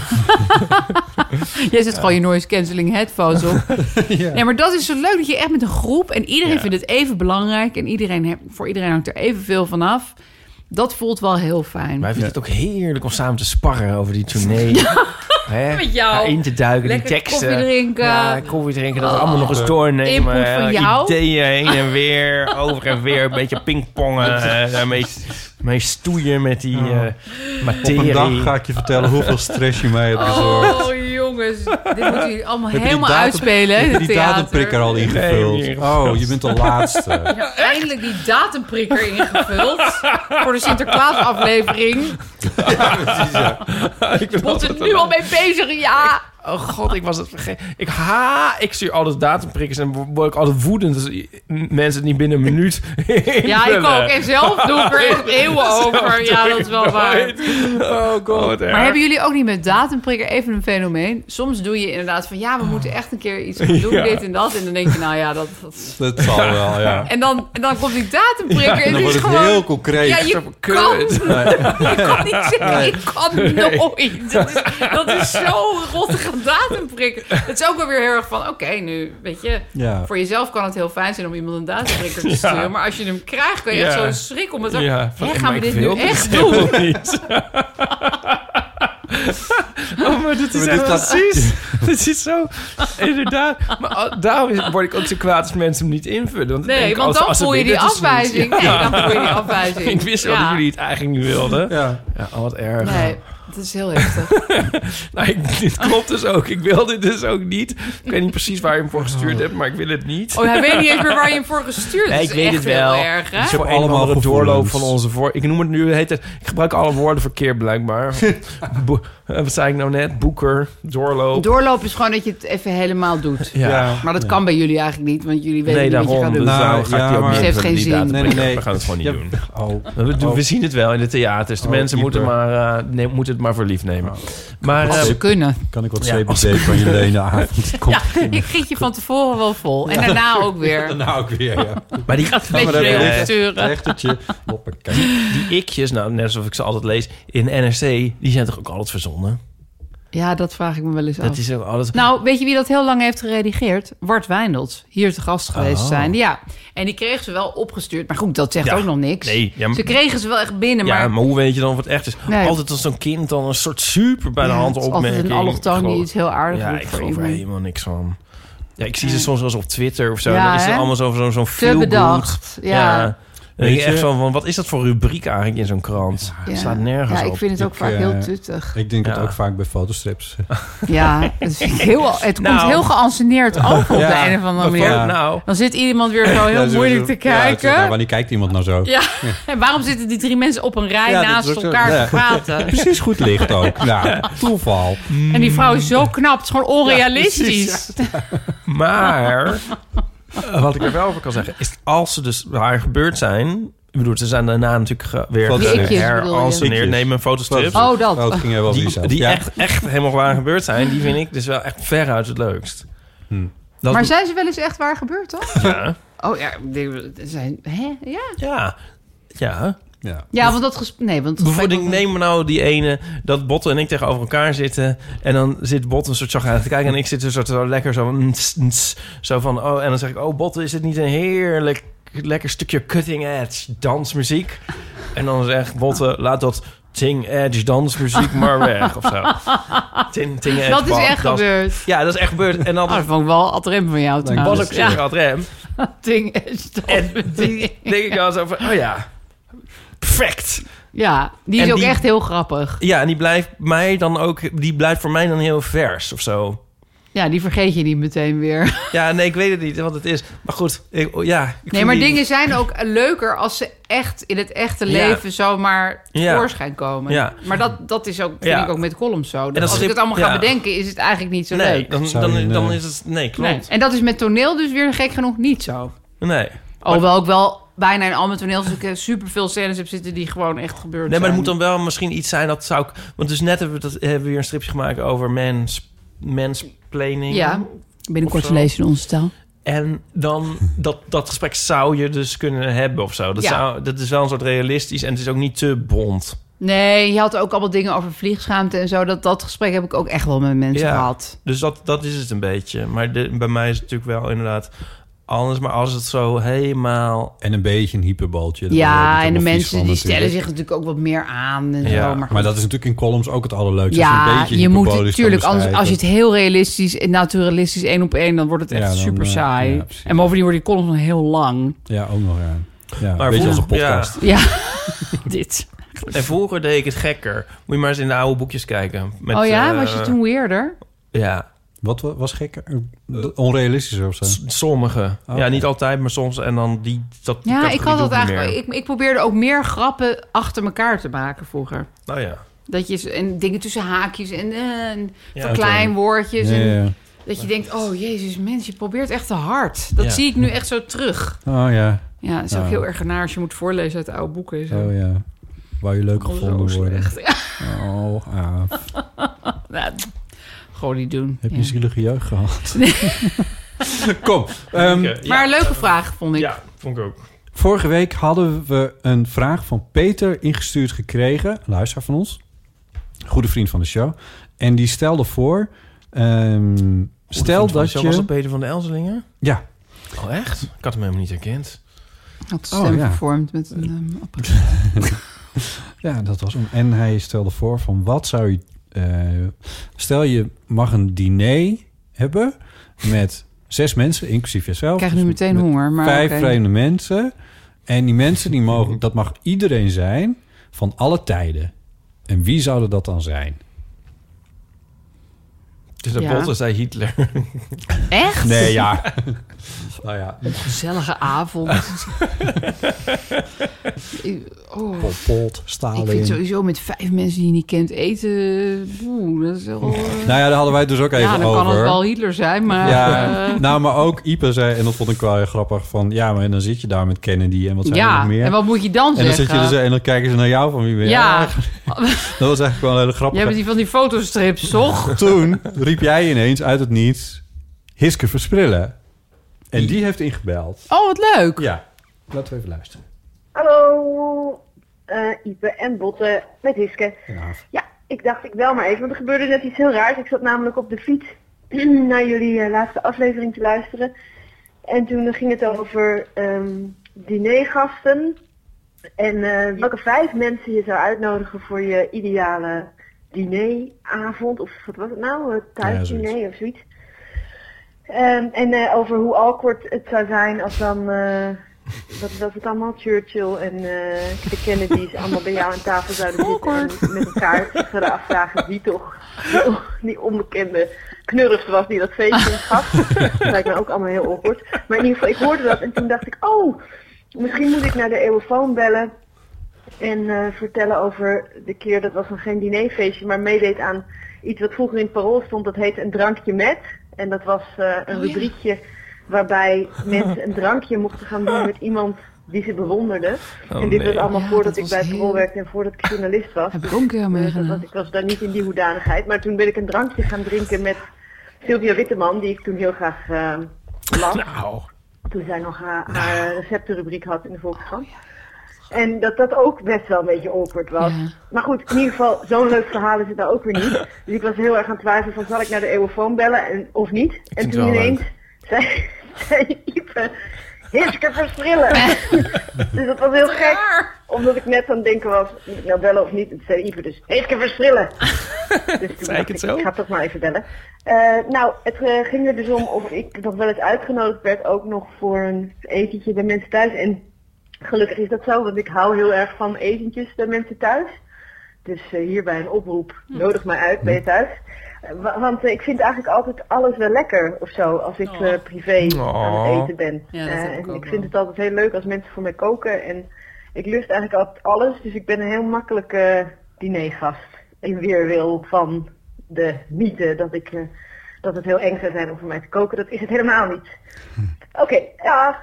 Jij zet gewoon je noise cancelling headphones op.
Ja.
Ja, maar dat is zo leuk dat je echt met een groep en iedereen
Ja.
vindt het even belangrijk en iedereen heb- voor iedereen hangt er evenveel van af. Dat voelt wel heel fijn.
Wij vinden het ook heerlijk om samen te sparren over die tournee. Hè?
Met jou.
Daarin te duiken,
Lekker
die teksten.
koffie drinken.
Ja, koffie drinken, dat
Oh.
allemaal nog eens doornemen.
Input van
eh,
jou.
Ideeën heen en weer, over en weer. Een beetje pingpongen, eh, daarmee mee stoeien met die eh,
Op
materie.
een dag ga ik je vertellen hoeveel stress je mij hebt bezorgd.
Oh jongens, dit moeten jullie allemaal
Heb je die
helemaal
datum-
uitspelen. hè,
Heb je die
dit theater.
datumprikker al ingevuld?
Nee, niet ingevuld.
oh, je bent de laatste.
Ja, eindelijk die datumprikker ingevuld voor de Sinterklaas aflevering.
ik ben
Bot
altijd
er nu al mee bezig, ja.
Oh god, ik was het vergeten. Ik ha, ik stuur altijd datumprikkers en word ik altijd woedend. als mensen het niet binnen een minuut
Ja, ik
invullen.
ook. En zelf doe ik er echt eeuwen over. Ja, dat is wel waar.
Oh god.
Maar hebben jullie ook niet met datumprikker even een fenomeen? Soms doe je inderdaad van ja, we moeten echt een keer iets gaan doen,
Ah. Ja.
dit en dat. En dan denk je, nou ja, dat. dat-
Dat zal wel, ja.
En, dan, en dan komt die datumprikker. en het
Dan wordt
is
het
gewoon.
heel concreet.
ja, je
Zo
kan,
kut.
je kan niet zeggen, ik kan nooit. Dat is, dat is zo'n rottige datumprikker. Het is ook wel weer heel erg van, oké, nu, weet je.
Ja.
Voor jezelf kan het heel fijn zijn om iemand een datumprikker te sturen. Maar als je hem krijgt, kan je echt
Ja.
zo'n schrik om het...
Ja, van,
Hè,
maar
gaan we
ik
dit
wil
nu
dit
echt doen?
niet. oh, maar dit is
Maar dit
echt
gaat-
precies. dit is zo. Inderdaad. Maar al- daarom is- word ik ook zo kwaad als mensen hem niet invullen. Want ik
Nee,
denk,
want
als-
dan
als ze
voel je die
willen, het is niet.
afwijzing.
Ja.
Nee, dan voel je die afwijzing.
Ik wist wel
Ja.
dat jullie het eigenlijk niet wilden.
Ja.
Ja, oh, wat erg.
Nee, het is heel heftig.
Nou, ik- dit klopt dus ook. Ik wil dit dus ook niet. Ik weet niet precies waar je hem voor gestuurd hebt, maar ik wil het niet.
Oh, hij weet niet eens meer waar je hem voor gestuurd hebt.
Nee, ik weet het wel.
Heel erg, hè?
Het is
Ik
voor een
heb
of
allemaal
andere
gevoelens.
doorloop van onze voor. Ik noem het nu, heet het, ik gebruik alle woorden verkeerd blijkbaar. Bo- eh, wat zei ik nou net? Boeker, doorloop.
Doorloop is gewoon dat je het even helemaal doet.
ja.
Maar dat kan bij jullie eigenlijk niet, want jullie weten
Nee,
niet wat je
daarom.
gaat
Dus
doen.
Nou,
daarom ga ik
ja,
die ook
maar-
niet
Het heeft
invullen,
geen
die
zin.
datum.
Nee, nee, nee.
We gaan het gewoon niet
Ja.
doen.
Oh.
We, doen-
Oh.
we zien het wel in de theaters. De
Oh,
mensen moeten,
dieper.
maar, eh, nee, moeten het maar voor lief nemen. Maar
Als
eh,
ze kunnen.
Kan ik wat
Ja,
CBD
als-
van je lenen avond?
Ja, ik giet je van tevoren wel vol. En daarna ook weer.
Nou, ook weer, ja.
Maar die,
Met
maar
je
even
eh,
recht.
sturen.
Rechtertje. Hoppakee.
die ikjes, nou, net alsof ik ze altijd lees, in NRC, die zijn toch ook altijd verzonnen?
Ja, dat vraag ik me wel eens af.
Dat is ook altijd...
Nou, weet je wie dat heel lang heeft geredigeerd? Wart Wijndels. Hier te gast geweest
Oh.
zijn. Ja. En die kregen ze wel opgestuurd. Maar goed, dat zegt
Ja.
ook nog niks.
Nee, ja, maar-
Ze kregen ze wel echt binnen.
ja,
maar
maar hoe weet je dan of het echt is?
Nee.
Altijd als zo'n kind dan een soort super bij de
Ja,
hand
het is altijd
opmerking.
een allochtoon
Ik
die
geloof-
iets heel aardigs
Ja,
doet
ik
voor
geloof er
iemand.
helemaal niks van. Ja, ik zie ze
Nee.
soms wel eens op Twitter of zo.
Ja,
dan is het
hè?
allemaal zo- zo'n zo'n
Te
feel
bedacht. Ja.
Dan denk
Weet
je
je-
echt van, van, wat is dat voor rubriek eigenlijk in zo'n krant?
Ja.
Het slaat nergens
Ja, ik
op.
vind het ook
Ik,
vaak
eh,
heel tuttig.
Ik denk dat
Ja.
ook vaak bij fotostrips.
Ja, het, vind ik heel, het
Nou.
komt heel geanceneerd over op
Ja,
de een of andere
Wat
manier.
voor- Nou,
Dan zit iemand weer zo
Ja,
heel
zo-
moeilijk
zo-
te
ja,
kijken.
zo- nou, wanneer kijkt iemand nou zo?
Ja, en waarom zitten die drie mensen op een rij
Ja, dat
naast
is ook zo.
elkaar
Ja.
te praten?
Precies goed licht ook. Ja, toeval.
En die vrouw is zo knap, het is gewoon onrealistisch.
maar eh, wat ik er wel over kan zeggen, is als ze dus waar gebeurd zijn... Ik bedoel, ze zijn daarna natuurlijk ge- weer
Die ikjes bedoel
geranceneerd.
je?
Neem een fotostrip.
Oh, dat.
Oh, het ging er wel
die,
vanzelf.
die
Ja.
echt, echt helemaal waar gebeurd zijn, die vind ik dus wel echt veruit het leukst.
Hmm.
Dat
Maar
doe-
zijn ze wel eens echt waar gebeurd, toch?
ja,
Oh ja, er zijn. Hè? Ja.
ja, ja.
Ja.
ja, want dat gesprek. Nee, want het gesprek
Bijvoorbeeld, ik
was-
neem nou die ene dat Botten en ik tegenover elkaar zitten. En dan zit Botten een soort chagrijnig te kijken. En ik zit een soort zo lekker zo, mm, tss, mm, tss, zo van. Oh, en dan zeg ik: Oh, Botten, is dit niet een heerlijk lekker stukje cutting edge dansmuziek? En dan zegt Botten: Laat dat ting edge dansmuziek maar weg. Of zo. Ting, ting edge
Dat
ba-
is echt
dans-
gebeurd.
Ja, dat is echt gebeurd. En dan
Oh, dat vond ik wel adrem van jou
was
trouwens.
ik zeer aan het rem.
ding is dat.
En die denk ik al zo van, oh ja, perfect.
Ja, die is
En
ook
die-
echt heel grappig.
Ja, en die blijft, mij dan ook, die blijft voor mij dan heel vers of zo.
Ja, die vergeet je niet meteen weer.
Ja, nee, ik weet het niet wat het is. Maar goed, ik, oh, ja. ik
Nee,
vind
maar
die-
dingen zijn ook leuker als ze echt in het echte
Ja.
leven zomaar
Ja.
voorschijn komen.
Ja.
Maar dat, dat is ook, vind
Ja.
ik ook met columns zo. Dat
dat
als
schip-
ik het allemaal ga
ja.
bedenken, is het eigenlijk niet zo
Nee,
leuk.
dan,
Zou je- eh,
dan, dan
nee.
is het... Nee,
Nee.
klopt.
En dat is met toneel dus weer gek genoeg niet zo.
Nee.
Alhoewel ik wel bijna in al mijn toneelstukken super veel eh, scènes heb zitten die gewoon echt gebeurd
Nee, maar
zijn.
het moet dan wel misschien iets zijn dat zou ik... Want dus net hebben we, dat, hebben we weer een stripje gemaakt over mens, mansplaining.
Ja, binnenkort
Of
te
zo.
lezen in onze taal.
En dan dat, dat gesprek zou je dus kunnen hebben of zo. Dat,
Ja.
zou, dat is wel een soort realistisch en het is ook niet te bond.
Nee, je had ook allemaal dingen over vliegschaamte en zo. Dat, dat gesprek heb ik ook echt wel met mensen
Ja.
gehad.
Dus dat, dat is het een beetje. Maar de- bij mij is het natuurlijk wel inderdaad anders. Maar als het zo helemaal...
En een beetje een hyperbaltje. Daar word je
ja,
ook
en de
helemaal vies
mensen
van
die
natuurlijk.
stellen zich natuurlijk ook wat meer aan en
Ja,
zo. Maar,
Maar dat is natuurlijk in columns ook het allerleukste. als je, een
ja,
beetje
je moet het
hyperbolisch kan
natuurlijk anders. Als
beschrijven.
je het heel realistisch en naturalistisch één op één, dan wordt het
Ja,
echt
dan,
super
eh,
saai.
ja, precies.
en bovendien wordt die column nog heel lang.
Ja, ook nog, ja. ja
Maar
maar beetje als een
vroeger-
podcast.
Ja, dit.
En vroeger deed ik het gekker. Moet je maar eens in de oude boekjes kijken. Met,
oh ja,
eh,
was je toen weerder?
Ja,
Wat wa- was gekker? Onrealistischer of zo?
s- sommige.
Oh,
Ja,
oké.
niet altijd, maar soms. En dan die... Dat, die
Ja, ik
categorie
had
doe
dat
niet
eigenlijk.
meer.
Ik, ik probeerde ook meer grappen achter elkaar te maken vroeger.
Nou ja.
Dat je z- en dingen tussen haakjes en, eh, en
Ja,
verkleinwoordjes.
Ja,
en
ja.
Dat je denkt, oh jezus, mens, je probeert echt te hard. Dat
Ja.
zie ik nu echt zo terug.
Oh ja,
Ja, dat is ook
Ja.
heel erg naar als je moet voorlezen uit oude boeken. en Zo.
oh ja. Wou je leuk
Oh, zo
gevonden worden.
slecht. Ja,
Oh, ah,
nou, gewoon niet doen.
heb je
Ja.
zielige jeugd gehad? Kom, ehm,
Maar een leuke vraag, vond ik.
Ja, vond ik ook.
vorige week hadden we een vraag van Peter ingestuurd gekregen. een Luisteraar van ons. een Goede vriend van de show. En die stelde voor... ehm, stel dat je...
Was dat Peter van de Elzelingen?
Ja,
Oh, echt? Ik had hem helemaal niet herkend.
Had de
Oh,
stem
ja.
vervormd met een ehm, apparaat.
Ja, dat was hem. En hij stelde voor van wat zou je... eh, stel je mag een diner hebben met zes mensen, inclusief jezelf.
Ik krijg nu
Dus
meteen
met
honger. Maar
Vijf
oké.
vreemde mensen. En die mensen die mogen... Dat mag iedereen zijn van alle tijden. En wie zouden dat dan zijn?
Dus de
Ja.
botte zei Hitler.
Echt?
Nee, ja. nou ja,
Gezellige avond. oh.
Pol Pot,
Ik vind
Stalin.
sowieso met vijf mensen die je niet kent eten... Boe, dat is wel... eh,
Nou ja, daar hadden wij het dus ook even
ja, dan
over.
kan het wel Hitler zijn, maar...
Ja,
eh,
nou, maar ook Ipe zei, en dat vond ik wel heel grappig, van ja, maar dan zit je daar met Kennedy en wat zijn er nog
ja.
meer?
en wat moet je dan
En dan
zeggen?
zit je dus en dan kijken ze naar jou van wie ben je?
Ja.
Ah, Dat was eigenlijk wel een hele grappige.
Jij bent die van die fotostrips, toch?
Toen riep jij ineens uit het niets Hiske Versprillen. En die heeft ingebeld.
Oh, wat leuk.
Ja, laten we even luisteren.
Hallo, eh, Ipe en Botte met Hiske.
Ja.
Ja, ik dacht ik wel maar even, want er gebeurde net iets heel raars. Ik zat namelijk op de fiets naar jullie eh, laatste aflevering te luisteren. En toen ging het over ehm dinergasten. En eh, welke vijf mensen je zou uitnodigen voor je ideale dineravond. Of wat was het nou? Eh, Thuisdiner
Ja,
of zoiets. Ehm, en eh, over hoe awkward het zou zijn als dan... eh, dat, dat het allemaal Churchill en eh, de Kennedys allemaal bij jou aan tafel zouden zitten en met elkaar zich zouden afvragen wie toch die on- Oh, die onbekende knurf was die dat feestje gaf. Dat lijkt me ook allemaal heel awkward. Maar in ieder geval, ik hoorde dat en toen dacht ik, oh, misschien moet ik naar de eeuwenfoon bellen en eh, vertellen over de keer, dat was nog geen dinerfeestje, maar meedeed aan iets wat vroeger in het parool stond, dat heet een drankje met. En dat was eh,
Oh,
een rubriekje waarbij mensen een drankje mochten gaan doen met iemand die ze bewonderden.
Oh,
en dit
nee.
was allemaal
Ja,
voordat
dat was
ik bij het parool
heel-
werkte en voordat ik journalist was.
Heb ik ook een keer
Eh, dat was,
meegedaan.
ik was daar niet in die hoedanigheid, maar toen ben ik een drankje gaan drinken met Sylvia Witteman, die ik toen heel graag eh, las
Nou.
toen zij nog haar, haar receptenrubriek had in de Volkskrant. En dat dat ook best wel een beetje awkward was.
Ja.
Maar goed, in ieder geval, zo'n leuk verhaal is het daar ook weer niet. Dus ik was heel erg aan het twijfelen van, zal ik naar de eeuwenfoon bellen en, of niet? en
vind
toen
het wel
ineens zei, zei Ipe, Hiske versprillen. dus dat was heel gek, omdat ik net aan het denken was, moet ik nou bellen of niet? En toen zei Ipe dus, Hiske versprillen. Dus toen
Zei ik
dacht
het
ik,
zo?
ik ga toch maar even bellen. Eh, nou, het eh, ging er dus om of ik nog wel eens uitgenodigd werd, ook nog voor een etentje bij mensen thuis. En Gelukkig is dat zo, want ik hou heel erg van eventjes bij mensen thuis. Dus eh, hierbij een oproep,
Hm.
nodig mij uit bij je thuis. Eh, wa- want eh, ik vind eigenlijk altijd alles wel lekker of zo, als ik
Oh.
eh, privé aan
Oh.
het eten ben.
Ja, dat
Eh,
heb ik
en
ook
ik
wel.
vind het altijd heel leuk als mensen voor mij koken. En ik lust eigenlijk altijd alles, dus ik ben een heel makkelijke dinergast. In weerwil van de mythe dat, ik, eh, dat het heel eng zou zijn om voor mij te koken. Dat is het helemaal niet. Oké, ja.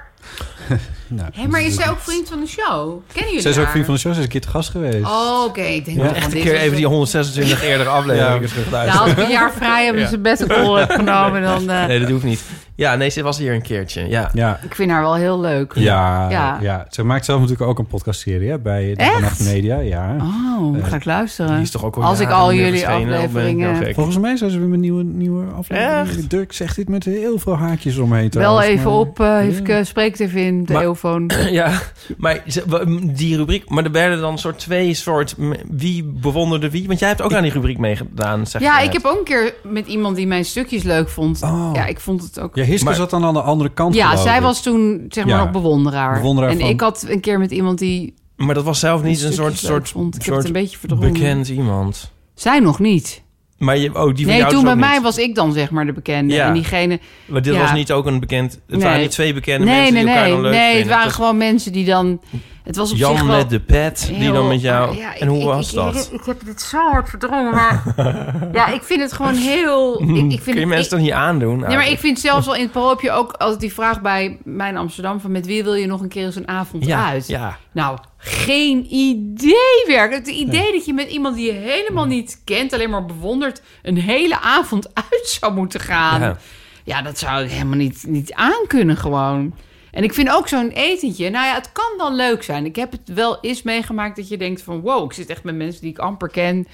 Nou,
Hé, maar is zij ook vriend van de show? Kennen jullie
Ze is ook
haar?
vriend van de show. Ze is een keer te gast geweest.
Oh, oké. Ik denk
Ja.
dat
Echt
Echt
dit
een keer
was
even die 126 eerder afleveringen
Ja.
Nou,
terugluisteren.
als ik een jaar vrij heb,
Ja.
is het best een rol heb genomen. Dan, eh,
Nee, dat hoeft niet. Ja, nee, ze was hier een keertje. Ja.
Ja.
Ik vind haar wel heel leuk.
Ja, ja.
Ja.
Ze maakt zelf natuurlijk ook een podcastserie hè, bij de
Echt?
Vannacht Media. Ja.
Oh,
Eh,
ga ik luisteren.
Die is toch ook al
Als ik
jaren
al
niet meer
jullie
verschenen, dan ben ik heel
afleveringen...
gek.
Volgens mij zijn ze weer met nieuwe, nieuwe aflevering. Dirk zegt dit met heel veel haakjes omheen.
Wel
trouwens,
even
maar-
op, eh even, eh, spreek het even in, de
Maar-
telefoon.
Ja, maar ze- w- die rubriek... Maar er werden dan soort twee soort... m- Wie bewonderde wie? Want jij hebt ook aan die rubriek meegedaan, zeg
Ja,
je
ik
net.
heb ook een keer met iemand die mijn stukjes leuk vond.
Oh.
Ja, ik vond het ook...
Ja, Hiske
Maar-
zat dan aan de andere kant.
Ja,
geloof
zij
ik.
was toen zeg maar
Ja.
nog bewonderaar.
Bewonderaar
en
van-
ik had een keer met iemand die
Maar dat was zelf niet een soort,
stukjes leuk
soort,
vond. Ik heb het
soort
een beetje verdrongen.
bekend iemand.
Zij nog niet.
Maar je, oh, die van
Nee,
jou
toen
dus
bij
ook
mij
niet.
was ik dan zeg maar de bekende.
Ja.
En diegene...
Maar dit
ja.
was niet ook een bekend... Het waren
Nee.
niet twee bekende
nee,
mensen
nee,
die elkaar
nee.
dan leuk
Nee, het
vinden.
waren
was
gewoon mensen die dan... Het was op zich
Jan
wel...
met de pet, die
heel-
dan met jou...
ah, ja,
en hoe
ik-
was
ik-
dat?
Ik, ik heb dit zo hard verdrongen, maar... ja, ik vind het gewoon heel... Ik, ik vind
Kun je
het-
mensen
ik-
dan hier aandoen? Ah,
Nee, maar
eigenlijk?
ik vind zelfs wel in het paroopje ook altijd die vraag bij mijn Amsterdam... van met wie wil je nog een keer eens een avond
ja,
uit?
Ja,
Nou, geen idee werk. Het idee dat je met iemand die je helemaal niet kent... alleen maar bewondert, een hele avond uit zou moeten gaan.
Ja.
Ja, dat zou ik helemaal niet, niet aankunnen gewoon. En ik vind ook zo'n etentje... Nou ja, het kan wel leuk zijn. Ik heb het wel eens meegemaakt dat je denkt van... wow, ik zit echt met mensen die ik amper ken...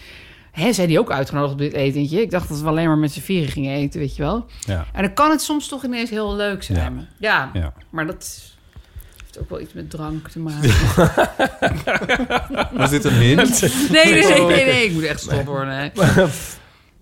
Hè, zijn die ook uitgenodigd op dit etentje? Ik dacht dat we alleen maar met z'n vieren gingen eten, weet je wel.
Ja.
En dan kan het soms toch ineens heel leuk zijn. Ja,
Ja.
maar dat heeft ook wel iets met drank te maken.
Was dit een hint?
Nee, nee, nee, nee, nee, ik moet echt stoppen hoor. Nee,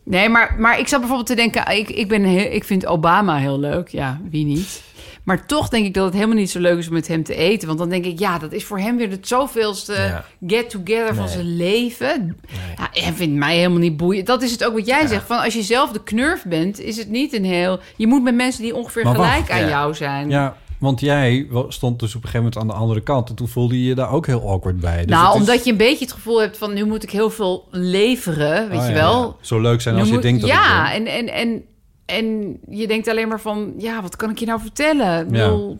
nee maar, maar ik zat bijvoorbeeld te denken, ik, ik, ben heel, ik vind Obama heel leuk. Ja, wie niet? Maar toch denk ik dat het helemaal niet zo leuk is om met hem te eten. Want dan denk ik, ja, dat is voor hem weer het zoveelste
Ja.
get-together van
Nee.
zijn leven. Ja, hij vindt mij helemaal niet boeiend. Dat is het ook wat jij zegt. Van als je zelf de knurf bent, is het niet een heel... Je moet met mensen die ongeveer
Maar wacht,
gelijk aan
ja.
jou zijn.
Ja, want jij wa- stond dus op een gegeven moment aan de andere kant. En toen voelde je je daar ook heel awkward bij. Dus
nou,
het is-
omdat je een beetje het gevoel hebt van... nu moet ik heel veel leveren, weet
Oh,
je
ja,
wel.
ja. Zo leuk zijn als
Nu
je
moet-
denkt dat
ja,
het
en, en, en, en je denkt alleen maar van... ja, wat kan ik je nou vertellen? Ik
Ja.
bedoel,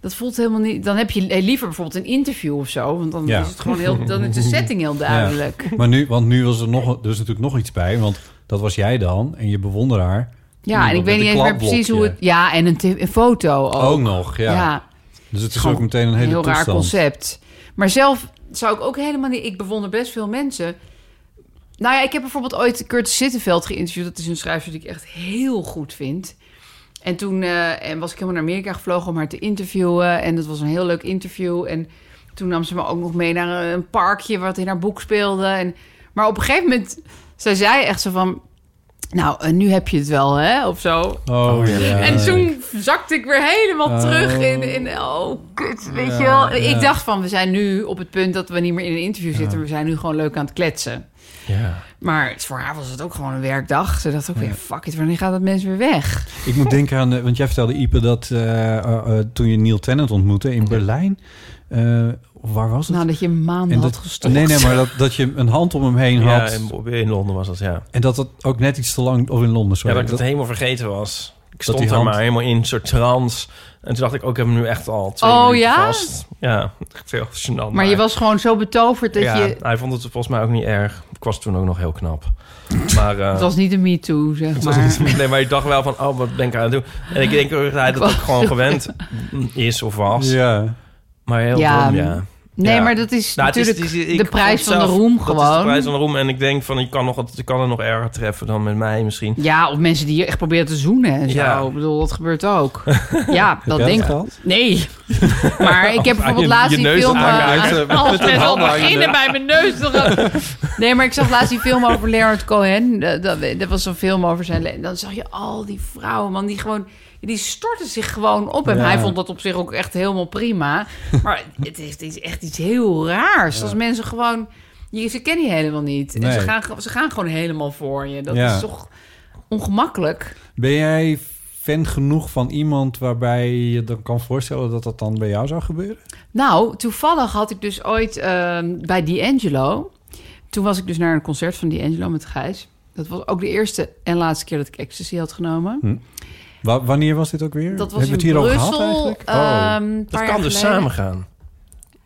dat voelt helemaal niet... dan heb je eh, liever bijvoorbeeld een interview of zo... want dan
Ja.
is het gewoon heel... dan is de setting heel duidelijk.
wil. Maar nu, want nu was er, nog, er is natuurlijk nog iets bij. Want dat was jij dan en je bewonderaar.
Ja,
Met
en ik weet
een
niet eens meer precies hoe het... Ja, en een, te- een foto ook.
Ook, nog, ja. Dus het is
Gewoon
ook meteen een hele
heel raar
toestand.
concept. Maar zelf zou ik ook helemaal niet... Ik bewonder best veel mensen. Nou ja, ik heb bijvoorbeeld ooit Curtis Sittenveld geïnterviewd. Dat is een schrijver die ik echt heel goed vind. En toen eh, en was ik helemaal naar Amerika gevlogen om haar te interviewen. En dat was een heel leuk interview. En toen nam ze me ook nog mee naar een parkje wat in haar boek speelde. En, maar op een gegeven moment, zij zei echt zo van... Nou, eh, nu heb je het wel, hè? Of zo.
Oh, ja.
En toen zakte ik weer helemaal
Oh.
terug in, in... Oh, kut, weet
Ja,
je wel.
ja.
Ik dacht van, we zijn nu op het punt dat we niet meer in een interview zitten. We zijn nu gewoon leuk aan het kletsen.
ja.
Maar het- voor haar was het ook gewoon een werkdag. Ze dacht ook weer, fuck it, wanneer gaat dat mensen weer weg?
Ik moet denken aan, eh, want jij vertelde Ipe dat eh, eh, eh, toen je Neil Tennant ontmoette in Berlijn. eh, waar was het?
Nou, dat je maanden
en
had
dat,
gestopt.
nee, nee, maar dat, dat je een hand om hem heen
ja
had.
in, in Londen was dat, ja.
En dat dat ook net iets te lang, of in Londen,
Ja,
sorry.
dat ik het helemaal vergeten was. Ik
Dat
stond
die
er
hand-
maar helemaal in, een soort trance. En toen dacht ik, ook ik heb hem nu echt al twee
Oh,
minuten
ja?
vast. Ja, echt heel gênant.
Maar je was gewoon zo betoverd dat
ja,
je...
hij vond het volgens mij ook niet erg. Ik was toen ook nog heel knap. Maar, eh,
Het was niet een me-too, zeg
het was
maar.
niet- nee, maar ik dacht wel van, oh, wat ben ik aan het doen? En ik denk ook dat hij dat ook gewoon gewend is of was.
Ja.
Maar heel
Ja,
dom, ja.
Nee,
Ja.
maar dat is
Nou, het is-
natuurlijk
het is- ik
de prijs
vond
van de
zelf-
roem
Dat is de
gewoon.
prijs van de roem. En ik denk van, je kan, nog, wat- je kan er nog erger treffen dan met mij misschien.
Ja, of mensen die je echt proberen te zoenen en zo.
Ja.
Ik bedoel, dat gebeurt ook. Ja, dat denk ik.
dat?
Nee. Maar ik heb bijvoorbeeld
je-
laatst
je
die
neus
film...
aangehaald,
eh,
eh, met
Alles
een
met al
hand
beginnen bij mijn neus. toch al. Nee, maar ik zag laatst die film over Leonard Cohen. Dat, dat, dat was zo'n film over zijn... le- Dan zag je al die vrouwen, man, die gewoon... die stortten zich gewoon op hem.
Ja.
Hij vond dat op zich ook echt helemaal prima. Maar het heeft iets- echt iets heel raars. Als mensen gewoon... Je, ze kennen je helemaal niet. En ze
Nee.
gaan, ge- ze gaan gewoon helemaal voor je. Dat
Ja.
is toch ongemakkelijk.
Ben jij fan genoeg van iemand waarbij je dan kan voorstellen dat dat dan bij jou zou gebeuren?
Nou, toevallig had ik dus ooit ehm bij D'Angelo... Toen was ik dus naar een concert van D'Angelo met Gijs. Dat was ook de eerste en laatste keer dat ik ecstasy had genomen.
Wa- wanneer was dit ook weer?
Dat was
Hmm. Hebben we
in
het hier over
Brussel.
gehad eigenlijk? Oh.
ehm, een
Dat
paar
kan
jaar
dus
geleden.
samen gaan.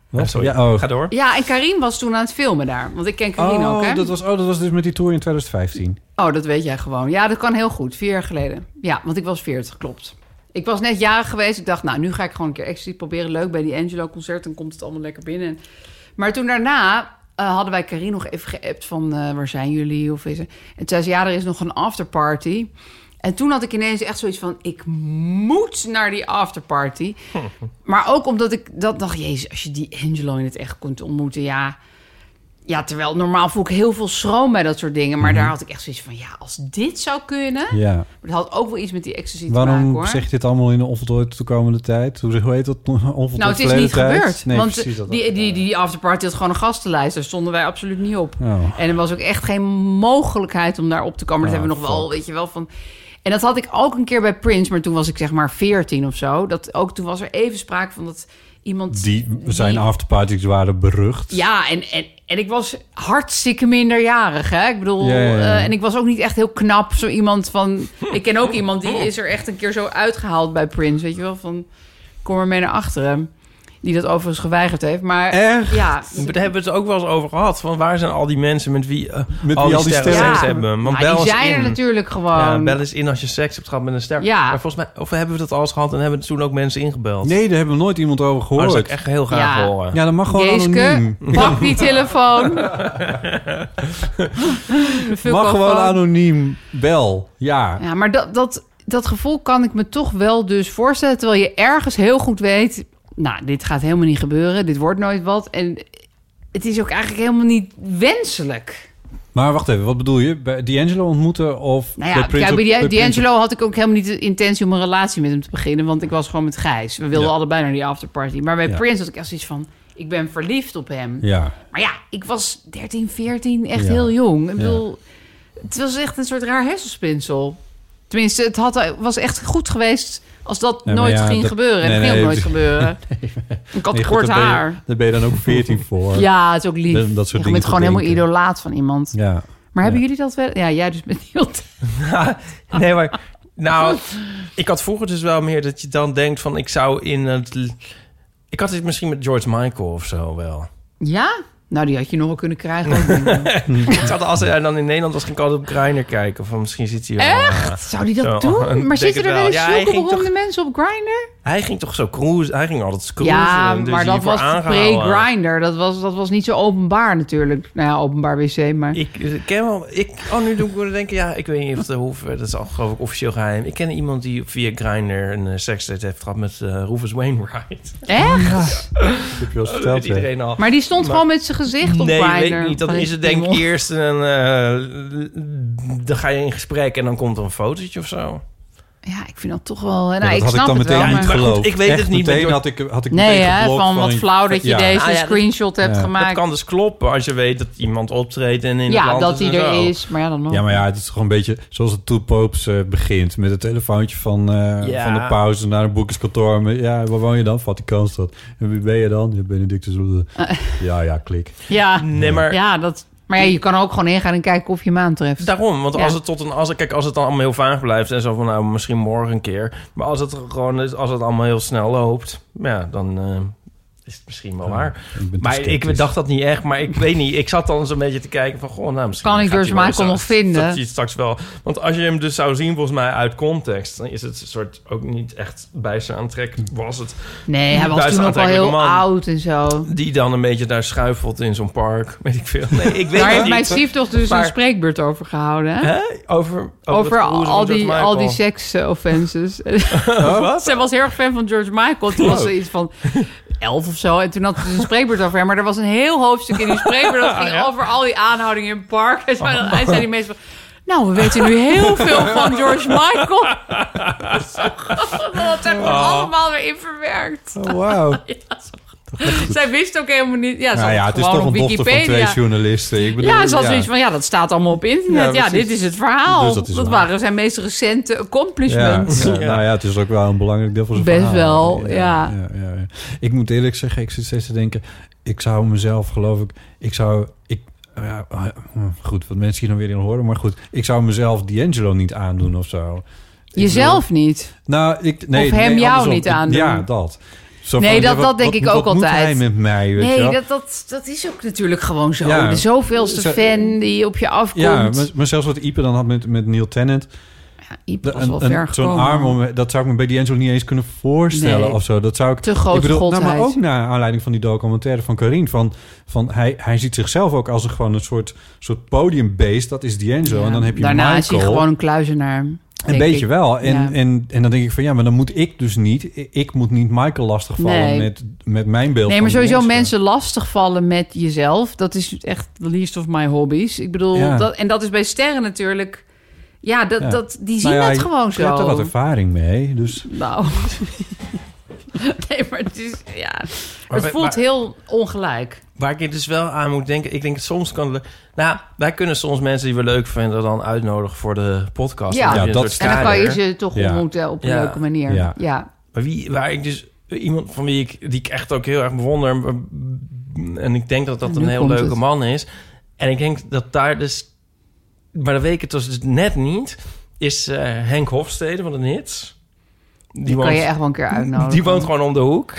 Wat?
Ja, sorry.
Ja, oh.
Ga door.
Ja, en Karim was toen aan het filmen daar. Want ik ken Karim
oh,
ook, hè?
dat was, oh, dat was dus met die tour in 2015.
Oh, dat weet jij gewoon. Ja, dat kan heel goed. Vier jaar geleden. Ja, want ik was 40, klopt. Ik was net jarig geweest. Ik dacht, nou, nu ga ik gewoon een keer extra proberen. Leuk bij die Angelo-concert. Dan komt het allemaal lekker binnen. Maar toen daarna eh, hadden wij Karin nog even geappt van... eh, waar zijn jullie? Of is er... En toen zei ze, ja, er is nog een afterparty. En toen had ik ineens echt zoiets van... ik moet naar die afterparty. maar ook omdat ik dat dacht... jezus, als je die Angelo in het echt kunt ontmoeten, ja... Ja, terwijl normaal voel ik heel veel schroom bij dat soort dingen. Maar daar had ik echt zoiets van... ja, als dit zou kunnen...
Mhm. Ja.
Maar dat had ook wel iets met die ecstasy te maken,
Waarom
hoor.
zeg je dit allemaal in de onvoltooid toekomende tijd? Hoe, hoe heet dat? Onvoltooid
nou, het is
verleden
niet
tijd?
gebeurd.
Nee,
want
precies. Dat,
die, die, die afterparty had gewoon een gastenlijst. Daar stonden wij absoluut niet op.
Oh.
En er was ook echt geen mogelijkheid om daar op te komen. Dat
Ah,
hebben we nog wel,
fuck.
weet je wel, van... En dat had ik ook een keer bij Prince, maar toen was ik zeg maar 14 of zo. Dat ook toen was er even sprake van dat iemand...
die zijn afterparties waren berucht.
Ja, en, en, en ik was hartstikke minderjarig. Hè? Ik bedoel,
Ja, ja, ja.
eh, en ik was ook niet echt heel knap. Zo iemand van. Ik ken ook iemand die is er echt een keer zo uitgehaald bij Prince. Weet je wel, van. Kom er mee naar achteren. Die dat overigens geweigerd heeft. Maar
Echt?
ja.
Maar Daar hebben we het dus ook wel eens over gehad. Van waar zijn al die mensen met wie, eh,
wie
al die
al die
sterren
sterren
seks
zijn.
hebben? Want
maar die
bel eens
zijn er
in.
natuurlijk gewoon.
Ja, bel eens in als je seks hebt gehad met een ster.
Ja.
Maar volgens mij, of hebben we dat al eens gehad en hebben er toen ook mensen ingebeld?
Nee, daar hebben we nooit iemand over
Maar Oh, dat
gehoord.
zou ik echt heel graag
Ja.
horen.
Ja, dat mag gewoon
Geeske,
anoniem.
pak die telefoon. De
Mag gewoon
fuckofoon.
anoniem. Bel. Ja.
Ja, maar dat, dat, dat gevoel kan ik me toch wel dus voorstellen. Terwijl je ergens heel goed weet... nou, dit gaat helemaal niet gebeuren. Dit wordt nooit wat. En het is ook eigenlijk helemaal niet wenselijk.
Maar wacht even, wat bedoel je? Bij D'Angelo ontmoeten of...
Nou ja,
bij Prince
kijk,
of-
bij die-
bij Prince
D'Angelo had ik ook helemaal niet de intentie... om een relatie met hem te beginnen. Want ik was gewoon met Gijs. We wilden
Ja.
allebei naar die afterparty. Maar bij
Ja.
Prince had ik echt zoiets van... ik ben verliefd op hem.
of- Ja.
Maar ja, ik was 13, 14, echt
Ja.
heel jong. Ik bedoel, het was echt een soort raar hersenspinsel. Tenminste, het had, was echt goed geweest als dat
Ja, maar
nooit
ja,
ging
dat-
gebeuren. En
nee,
dat ging ook nooit
nee, dat-
gebeuren. Ik had
Nee, goed,
kort
daar ben je-
haar.
Daar ben je dan ook 14 voor.
Ja, het is ook lief.
Dat- dat soort
je
dingen
bent
te
gewoon helemaal
denken.
idolaat van iemand.
Ja.
Maar hebben
Ja.
jullie dat wel? Ja, jij dus bent heel...
nee, maar... Nou, ik had vroeger dus wel meer dat je dan denkt van... ik zou in het... l- Ik had dit misschien met George Michael of zo wel.
Ja? Nou, die had je nog wel kunnen krijgen. ook, denk ik.
ik zat als hij dan in Nederland was, ging ik altijd op Grindr kijken. Van misschien zit hij wel... eh,
Echt? Zou die dat
Zo,
doen? Maar
denk
zitten
het
er wel
wel.
eens
Ja, hij
zulke
ging
beroemde mensen op Grindr?
Hij ging toch zo cruisen? Hij ging altijd cruisen.
Ja,
dus
maar dat
hiervoor
was
aangehouden.
pre-Grindr. Dat was, dat was niet zo openbaar natuurlijk. Nou ja, openbaar wc, maar...
Ik eh, ken wel... Ik, oh, nu doe ik wel denken... Ja, ik weet niet of het hoeft. Dat is al geloof ik officieel geheim. Ik ken iemand die via Grindr een eh, seksdate heeft gehad met eh Rufus Wainwright.
Echt?
Dat heb je al
Dat weet
verteld, hè?
iedereen al.
Maar die stond
Maar-
gewoon met zijn gezicht op
nee,
Grindr.
weet ik niet. Dan
Van
is
die
het denk ik
piemel.
eerst een... eh, dan ga je in gesprek en dan komt er een fotootje of zo.
Ja, ik vind dat toch wel... Nou,
Ja, dat
ik
had
snap
ik dan
het
meteen
wel,
niet
maar-
Maar goed,
geloofd.
ik weet
Echt
het niet,
Meteen
maar-
had ik, had ik
Nee,
meteen
hè,
geblokt
van wat
ik-
flauw dat je
ja.
deze
Ah, ja, dat-
screenshot hebt
Ja.
Dat
gemaakt.
kan dus kloppen als je weet dat iemand optreedt en in het
ja,
land
dat
is
hij
en zo.
er is. Maar ja, dan nog.
Ja, maar ja, het is gewoon een beetje zoals het Toepoops eh begint. Met het telefoontje van, eh,
Ja.
van de pauze naar een boekerskantoor. Met, ja, waar woon je dan? Vaticaanstad. En wie ben je dan? Ja, Benedictus. Ja, ja, klik.
Ja,
Nee, maar
ja, dat... Maar ja, je kan ook gewoon ingaan en kijken of je hem aantreft.
Dus Daarom, want
Ja.
als het tot een als het- kijk, als het dan allemaal heel vaag blijft en zo van nou misschien morgen een keer, maar als het gewoon is, als het allemaal heel snel loopt, ja, dan eh, is het misschien wel waar.
Ik ben te
Maar ik
sceptisch.
dacht dat niet echt, maar ik weet niet. Ik zat dan zo'n beetje te kijken van goh, nou misschien
Kan ik
gaat
George
hij wel
Michael
eens-
nog vinden?
Dat hij straks wel, want als je hem dus zou zien volgens mij uit context, dan is het een soort ook niet echt bij zijn aantrek was het
Nee, hij was
Duitse
toen ook al heel
aantrekkelijke man.
oud en zo.
die dan een beetje daar schuifelt in zo'n park, weet ik veel. Nee, ik weet
Daar
het
heeft
niet.
mijn stiefdochter dus een
Maar-
spreekbeurt over gehouden. Hè?
Hè? Over,
Oh,
het
Over
cruisen van
al
George
die, al die
Michael.
seks-offenses.
Wat?
Zij was heel erg fan van George Michael. Toen
Oh.
was ze iets van elf of zo. En toen had ze een spreekbeurt over hem. Maar er
Oh.
was een heel hoofdstuk in die spreekbeurt. Dat ging over al die aanhoudingen in het park. Hij zei, hij zei die mensen van... Nou, we weten nu heel veel van George Michael. Dat zijn we allemaal weer in verwerkt.
Oh, wauw.
Zij wist ook helemaal niet. Ja, ze
Nou
had
ja,
het
het is
gewoon
toch een
op
dochter van twee
Wikipedia.
journalisten. Ik bedoel,
Ja, ze had zoiets van, ja, dat staat allemaal op internet.
Ja,
Ja,
precies.
dit is het verhaal.
Dus dat
dat
is waar.
waren zijn meest recente
Ja,
accomplishments.
ja, nou ja, het is ook wel een belangrijk deel van zijn
Best
verhaal.
wel, ja.
Ja, ja, ja. Ik moet eerlijk zeggen, ik zit steeds te denken... ik zou mezelf, geloof ik... ik zou... Ik, ja, eh, goed, wat mensen hier dan weer in horen, maar goed. Ik zou mezelf D'Angelo niet aandoen of zo.
Jezelf niet.
Nou, ik, nee,
Of hem
nee,
jou
andersom.
niet aandoen.
Ja, dat. Zo
Nee,
van,
dat-
wat-
dat denk
wat-
ik ook
wat moet
altijd.
hij met mij, weet je wel?
Nee, dat, dat, dat is ook natuurlijk gewoon zo.
Ja.
De zoveelste
Zo-
fan die op je afkomt.
Ja, maar, maar zelfs wat Ipe dan had met, met Neil Tennant.
Iep was wel
Een-
ver
een- Zo'n
gekomen.
arm, om, dat zou ik me bij D'Angelo niet eens kunnen voorstellen
Nee.
of zo. Dat zou ik,
Te grote
ik nou, Maar
godheid.
ook naar aanleiding van die documentaire van Carine. Van, van hij, hij ziet zichzelf ook als een, gewoon een soort, soort podiumbeest. Dat is D'Angelo.
Ja.
En dan heb je
Daarna
Michael.
is hij gewoon een kluizenaar.
Een
denk
beetje
ik.
wel. En,
Ja.
en, en dan denk ik van ja, maar dan moet ik dus niet. ik- Ik moet niet Michael lastigvallen
Nee.
met, met mijn beeld.
Nee,
van
maar sowieso
D'Angelo.
mensen lastigvallen met jezelf. Dat is echt the least of my hobbies. Ik bedoel,
Ja.
dat, en dat is bij sterren natuurlijk... Ja, dat,
Ja.
Dat, die zien
Nou ja,
het
je-
gewoon
Je hebt er
zo.
wat ervaring mee. Dus
Nou. nee, maar het is... Ja.
Maar-
Het voelt
maar-
heel ongelijk.
Waar ik dus wel aan moet denken, ik denk dat soms kan. het le- Nou, wij kunnen soms mensen die we leuk vinden dan uitnodigen voor de podcast.
Ja.
Dan heb je
Ja,
een
dat
soort
is-
En dan kan je dus-
kader.
ze toch
Ja.
ontmoeten op een
Ja.
leuke manier.
Ja.
Ja.
Maar wie, waar ik dus iemand van wie ik die ik echt ook heel erg bewonder m- en ik denk dat dat
En
een
nu
heel
komt
leuke
het.
man is. En ik denk dat daar dus, maar dat weet ik het dus net niet. Is eh, Henk Hofstede van de Nits. Die,
Die kan
woont-
je echt wel een keer uitnodigen.
Die woont gewoon om de hoek.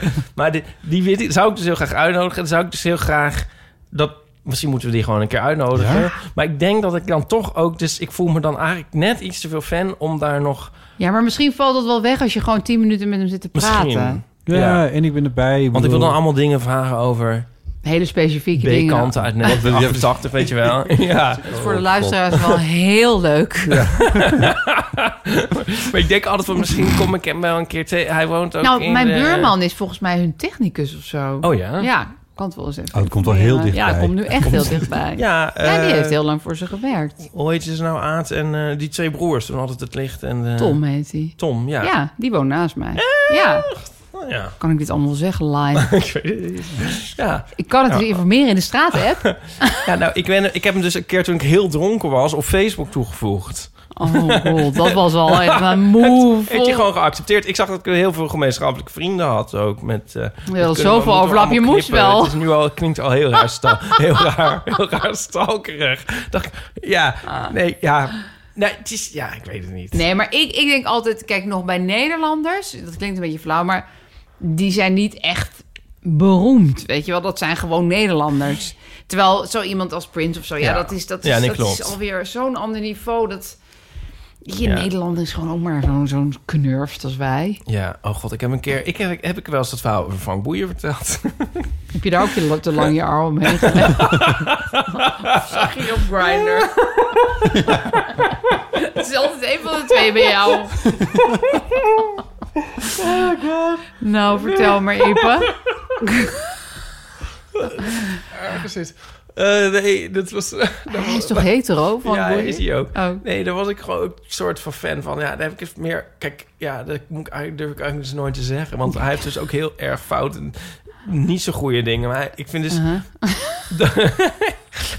maar die, die weet ik- zou ik dus heel graag uitnodigen. En zou ik dus heel graag dat. Misschien moeten we die gewoon een keer uitnodigen. Maar ik denk dat ik dan toch ook. Dus ik voel me dan eigenlijk net iets te veel fan om daar nog.
Ja, maar misschien valt dat wel weg als je gewoon tien minuten met hem zit te praten.
Misschien.
ja,
Ja.
en ik ben erbij.
Want ik wil dan
bedoel-
allemaal dingen vragen over
Hele specifieke dingen.
B-kanten uit 1980, weet je wel. ja.
Dat is voor de luisteraars wel heel leuk.
Maar ik denk altijd van misschien kom ik hem wel een keer tegen. Hij woont ook
nou,
in
mijn
de-
buurman is volgens mij hun technicus of zo.
Oh ja?
Ja, ik kan het wel eens even.
Oh, het komt wel
informeren.
heel dichtbij.
Ja, het komt nu echt heel dichtbij. Ja,
Ja,
die
eh,
heeft heel lang voor ze gewerkt.
Hoe heet ze nou? Aad en eh, die twee broers toen altijd het licht. En, eh,
Tom heet hij.
Tom, ja. Eh.
Ja. die woont naast mij. Ja,
Oh, ja.
kan ik dit allemaal zeggen live?
Ik weet het niet. ja.
Ik kan het dus informeren in de straat-app.
Ja, nou, ik, ben, ik heb hem dus een keer toen ik heel dronken was op Facebook toegevoegd.
Oh god, dat was al echt een move.
Heeft hij gewoon geaccepteerd. Ik zag dat ik heel veel gemeenschappelijke vrienden had ook. Met, eh, dat kunnen we-
zoveel
moeten we
overlap,
allemaal
je moest
knippen.
wel.
Het is nu al, het klinkt al heel raar, stal, heel raar, heel raar stalkerig. Dacht ik, ja, nee, ja. Nee, het is, ja, ik weet het niet.
Ah. Nee, maar ik, ik denk altijd, kijk nog bij Nederlanders, dat klinkt een beetje flauw, maar die zijn niet echt beroemd. Weet je wel, dat zijn gewoon Nederlanders. Terwijl zo iemand als Prince of zo, ja,
Ja.
dat is, dat is,
Ja, nee,
dat is
klopt.
alweer zo'n ander niveau. Dat je
Ja.
Nederlander is gewoon ook maar zo'n zo'n knurft als wij.
Ja, oh god, ik heb een keer... Ik heb, heb ik wel eens dat verhaal over Frank Boeien verteld?
Heb je daar ook je, te lang je arm omheen gelegd? Zag je op Grindr? Het is altijd één van de twee bij jou. Oh god.
Oh
Nou, vertel maar Ipe.
Precies. Eh, nee, dat was...
Hij is toch hetero? Van
ja,
Boeien?
is hij ook.
Oh.
Nee, daar was ik gewoon een soort van fan van. Ja, daar heb ik het meer... Kijk, ja, dat moet ik eigenlijk, durf ik eigenlijk dus nooit te zeggen. Want hij heeft dus ook heel erg fout en niet zo goede dingen. Maar hij- ik vind dus...
Uh-huh.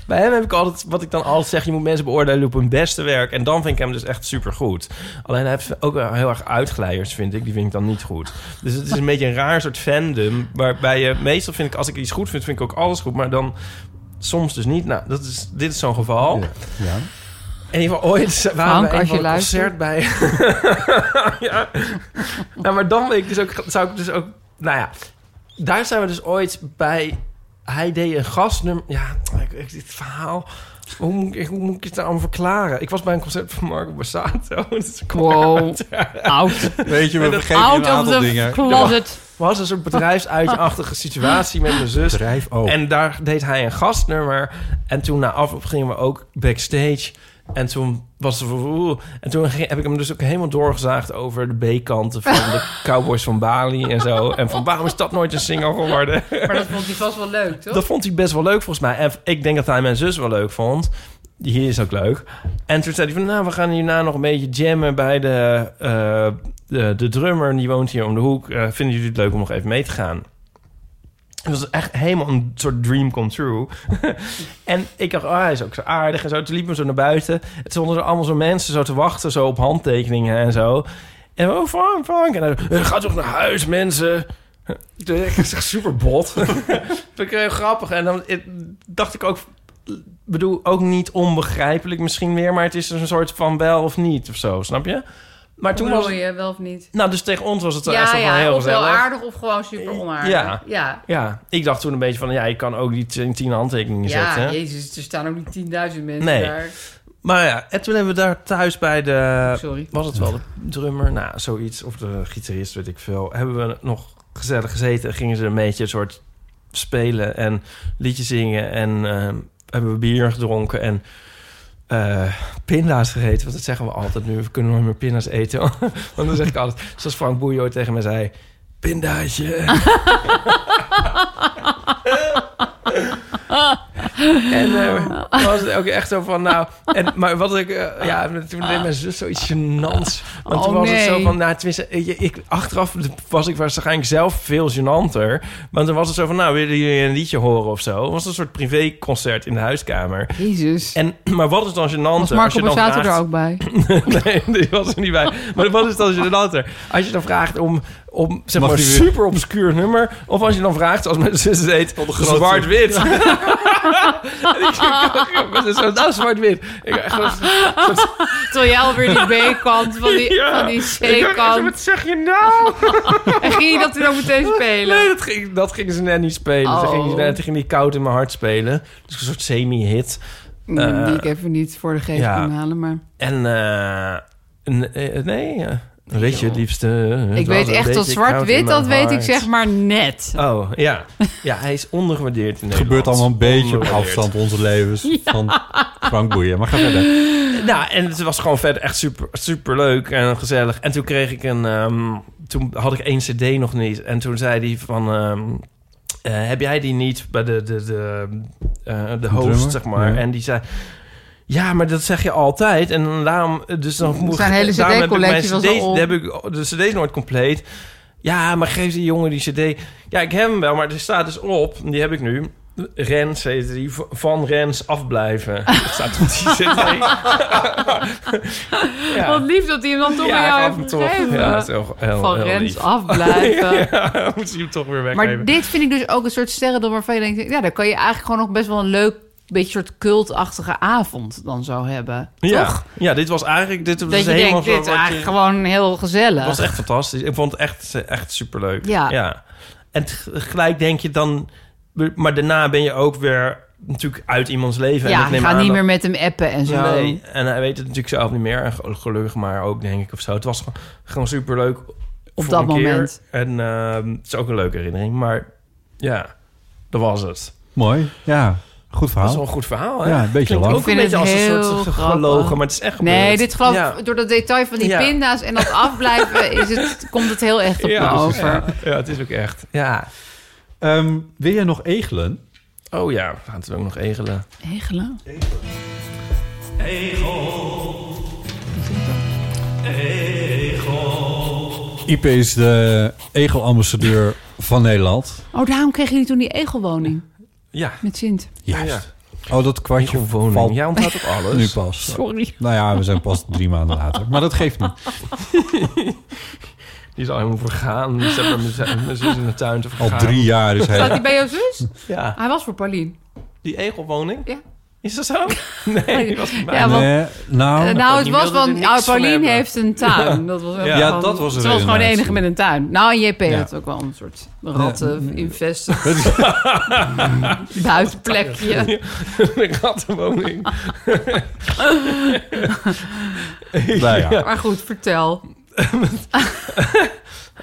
Bij hem heb ik altijd... Wat ik dan altijd zeg, je moet mensen beoordelen op hun beste werk. En dan vind ik hem dus echt supergoed. Alleen hij heeft ook wel heel erg uitglijers, vind ik. Die vind ik dan niet goed. Dus het is een beetje een raar soort fandom. Waarbij je... Meestal vind ik, als ik iets goed vind, vind ik ook alles goed. Maar dan... Soms dus niet. Nou, dat is, dit is zo'n geval.
Ja.
In ieder geval ooit waren
Frank,
we een
als
van
je
een concert bij. ja. Nou, maar dan weet ik dus ook, zou ik dus ook. Nou ja, daar zijn we dus ooit bij. Hij deed een gastnummer. Ja, ik, ik- dit verhaal. Hoe moet, ik, hoe moet ik het nou allemaal verklaren? Ik was bij een concert van Marco Borsato. Dus ik kwam
Wow.
uit, ja.
Out.
Weet je, we vergeten een
Out of
aantal
the
dingen.
closet.
was een soort bedrijfsuitje-achtige situatie met mijn zus.
Bedrijf ook.
En daar deed hij een gastnummer. En toen na afloop gingen we ook backstage. En toen was het... oeh. En toen ging- heb ik hem dus ook helemaal doorgezaagd over de B-kanten van de Cowboys van Bali en zo. En van waarom is dat nooit een single geworden?
Maar dat vond hij vast wel leuk, toch?
Dat vond hij best wel leuk volgens mij. En ik denk dat hij mijn zus wel leuk vond. hier is ook leuk. En toen zei hij van, nou, we gaan hierna nog een beetje jammen bij de, eh, de, de drummer. Die woont hier om de hoek. Eh, vinden jullie het leuk om nog even mee te gaan? Het was echt helemaal een soort dream come true. en ik dacht, ah, hij is ook zo aardig en zo. Toen liepen we zo naar buiten. Het stonden er allemaal zo mensen zo te wachten, zo op handtekeningen en zo. En we, oh, Frank, Frank. En hij zei, ga toch naar huis, mensen. Dus Ik is echt super bot. Dat vond ik heel grappig. En dan eh, dacht ik ook, bedoel, ook niet onbegrijpelijk misschien meer, maar het is dus een soort van wel of niet of zo, snap je? Maar toen was het,
je wel of niet?
nou, dus tegen ons was het echt
Ja,
wel
ja,
heel
of wel
gezellig.
aardig of gewoon super onaardig.
Ja.
ja.
Ja, ik dacht toen een beetje van, ja, ik kan ook die tien, tien handtekeningen
Ja,
zetten.
jezus, er staan ook niet 10.000 mensen
Nee.
daar.
Maar ja, en toen hebben we daar thuis bij de...
Sorry.
Was het wel de drummer? Nou, zoiets. Of de gitarist, weet ik veel. Hebben we nog gezellig gezeten. en Gingen ze een beetje een soort spelen en liedjes zingen. En ehm, hebben we bier gedronken en eh, pinda's gegeten. Want dat zeggen we altijd nu. We kunnen nooit meer pinda's eten. Want dan zeg ik altijd, zoals Frank Bouillot ooit tegen mij zei... Pindaatje. En eh, dan was het ook echt zo van, nou... En, maar wat ik... eh, ja, toen deed mijn zus zoiets gênants. Want
Oh,
toen was het zo
nee.
van, nou, tenminste... Ik, ik- achteraf was ik waarschijnlijk zelf veel gênanter. Want dan was het zo van, nou, willen jullie een liedje horen of zo? Het was een soort privéconcert in de huiskamer.
Jezus.
En, maar wat is dan gênanter?
was
als je
Marco
dan
Borsato
vraagt-
er ook bij?
nee, die was er niet bij. Maar wat is dan gênanter? Als je dan vraagt om, om zeg
Mag
maar, een
die weer?
super obscuur nummer... of als je dan vraagt, zoals mijn zus het heet, zwart-wit. En ik zeg, "Wat is dat? nou, zwart-wit. Ik echt zo-
Terwijl jij alweer die B-kant van die,
Ja.
van die
ik dacht echt zo,
C-kant.
Wat zeg je nou?
En ging je dat toen ook meteen spelen?
Nee, dat ging, dat ging ze net niet spelen. Ze
Oh.
ging, net- ging die koud in mijn hart spelen. Dus een soort semi-hit.
Mm, die
Eh,
ik even niet voor de geest
ja.
kon halen, maar...
En eh, n- eh, nee, eh, weet je, liefste. het
Ik
was
weet
een
echt dat
beetje koud in
zwart-wit,
mijn
dat weet ik
hart.
zeg maar net.
Oh, ja. Ja, hij is ondergewaardeerd in
Het gebeurt
Nederland.
allemaal een beetje op
Ondergewaardeerd.
afstand onze levens van Frank Boeien. Maar ga verder.
Nou, en het was gewoon verder echt super, super leuk en gezellig. En toen kreeg ik een... ehm, toen had ik één cd nog niet. En toen zei hij van... ehm, eh, heb jij die niet bij de, de, de, eh, de host,
drummer?
zeg maar?
Ja.
En die zei... Ja, maar dat zeg je altijd. En daarom... Dus dan moet
Zijn hele
daarom heb ik mijn
CD-collectie was al
cd's
op.
heb ik de cd's nooit compleet. Ja, maar geef die jongen die cd. Ja, ik heb hem wel, maar er staat dus op. Die heb ik nu. Rens heet die. v- Van Rens afblijven. Dat staat op die cd.
Wat lief dat hij hem dan toch
Ja,
aan
hij
jou
gaf hem
heeft
toch.
gegeven.
Ja, dat is heel, heel,
van
heel
Rens
lief.
afblijven.
ja, moet hij hem toch weer
Maar
weggeven.
dit vind ik dus ook een soort sterrendom waarvan je denkt... ja, daar kan je eigenlijk gewoon nog best wel een leuk... beetje soort cultachtige avond dan zo hebben.
ja.
Toch?
ja, dit was eigenlijk... Dit was
Dat je
helemaal
denkt, dit
zo
is
wat
eigenlijk
je-
gewoon heel gezellig.
was echt fantastisch. Ik vond het echt, echt superleuk.
Ja.
En tegelijk denk je dan... Maar daarna ben je ook weer natuurlijk uit iemands leven. en
ja,
ik neem
ga
aan
niet
dat-
meer met hem appen en zo.
Nee, en hij weet het natuurlijk zelf niet meer. En ge- gelukkig maar ook, denk ik, of zo. Het was gewoon- gewoon superleuk. Op
dat moment.
En ehm, het is ook een leuke herinnering. Maar ja, dat was het.
Mooi. Ja,
Dat
goed
is wel
verhaal.
een goed verhaal, hè?
Ja, een beetje
Klinkt
lang.
ook een
Ik vind
beetje als
het
een
heel
soort ge-
grappig.
gelogen, maar het is echt gebeurd.
Nee, dit geloof
Ja.
door dat detail van die
Ja.
pinda's en dat afblijven is het, komt het heel echt op
Ja,
me
dus-
over.
Ja, ja, het is ook echt. Ja.
Ehm, wil jij nog egelen?
Oh ja, we gaan het ook nog egelen.
Hegelen?
Ipe is de egelambassadeur van Nederland.
Oh, daarom kregen jullie toen die egelwoning
Ja,
met Sint.
Juist. dus- Oh, dat kwartje
egelwoning.
valt
Jij onthoudt ook alles.
nu pas.
Sorry.
Nou ja, we zijn pas drie maanden later. Maar dat geeft niet.
Die is al helemaal vergaan. Die staat bij mijn- mijn zus in de tuin te
Al
vergaan.
drie jaar is
Staat
hij...
die bij jouw zus?
Ja.
Hij was voor Pauline.
Die egelwoning?
Ja.
Is dat zo? Nee, die was bij mij.
Ja, want-
Nee,
Eh,
nou,
Pauline
nou, het was
wilde er
van...
niks
Oh,
van
Pauline
hebben.
heeft een tuin. Dat was
Ja,
ja, dat was
het
er
was gewoon de
inderdaad.
enige met een tuin. Nou, en JP
Ja.
had ook wel een soort ratten, investen,
Ja.
buitenplekje.
een rattenwoning.
Nou ja.
Maar goed, vertel.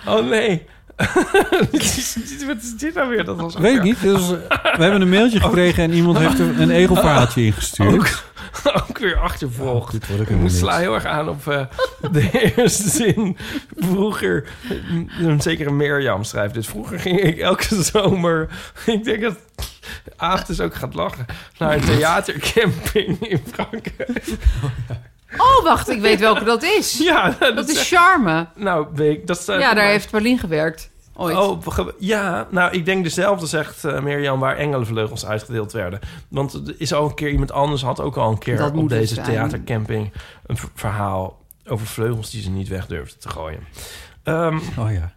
Oh nee. Wat is dit nou weer? Dat was
Weet ik niet. Dus, eh, we hebben een mailtje gekregen en iemand heeft er een egelverhaaltje ingestuurd.
ook weer achtervolgd.
Dit word ik
Ik
helemaal niet.
sla heel erg aan op eh, de eerste zin. Vroeger, mm, m- m- zeker Mirjam schrijft dit. Vroeger ging ik elke zomer. Ik denk dat Aaf dus ook gaat lachen. Naar een theatercamping in Frankrijk.
Oh, wacht, ik weet welke dat is.
Ja,
Dat is Charme.
Nou, weet ik, dat staat
Ja,
voor
daar
mij.
heeft Paulien gewerkt. Ooit.
Oh, ge- ja. Nou, ik denk dezelfde, zegt eh, Mirjam, waar engelenvleugels uitgedeeld werden. Want er is al een keer iemand anders had ook al een keer
Dat
op
moet het
deze
zijn.
theatercamping een v- verhaal over vleugels die ze niet weg durfden te gooien. Ehm,
Oh ja.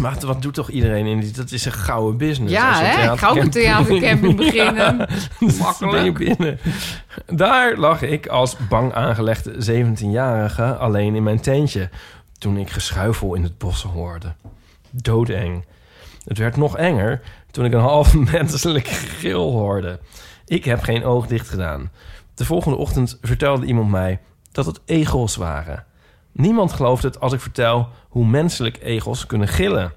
maar wat doet toch iedereen in die? Dat is een gouden business.
ja,
als een
hè? Ik ga ook een theatercamping beginnen.
ben je
Makkelijk.
binnen. Daar lag ik als bang aangelegde 17-jarige alleen in mijn tentje... toen ik geschuifel in het bos hoorde. Doodeng. Het werd nog enger toen ik een half menselijk gil hoorde. Ik heb geen oog dicht gedaan. De volgende ochtend vertelde iemand mij dat het egels waren. Niemand gelooft het als ik vertel hoe menselijk egels kunnen gillen.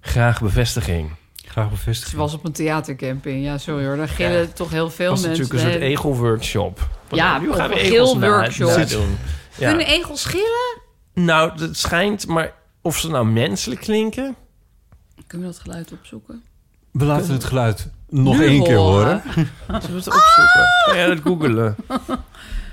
Graag bevestiging.
Graag
Ze
bevestigd.
was op een theatercamping. Ja, sorry hoor. Daar gillen toch heel veel
was
mensen.
natuurlijk een soort
Nee.
egel-workshop.
Ja,
nu gaan we
of een
egels na-
geel-workshop.
na doen.
Kunnen e-
Ja.
egels gillen?
Nou, het schijnt, maar of ze nou menselijk klinken...
Kunnen we dat geluid opzoeken?
We laten het geluid nog
Nu
één keer
horen.
horen.
Zullen we het opzoeken?
Ah!
Kan jij dat googelen?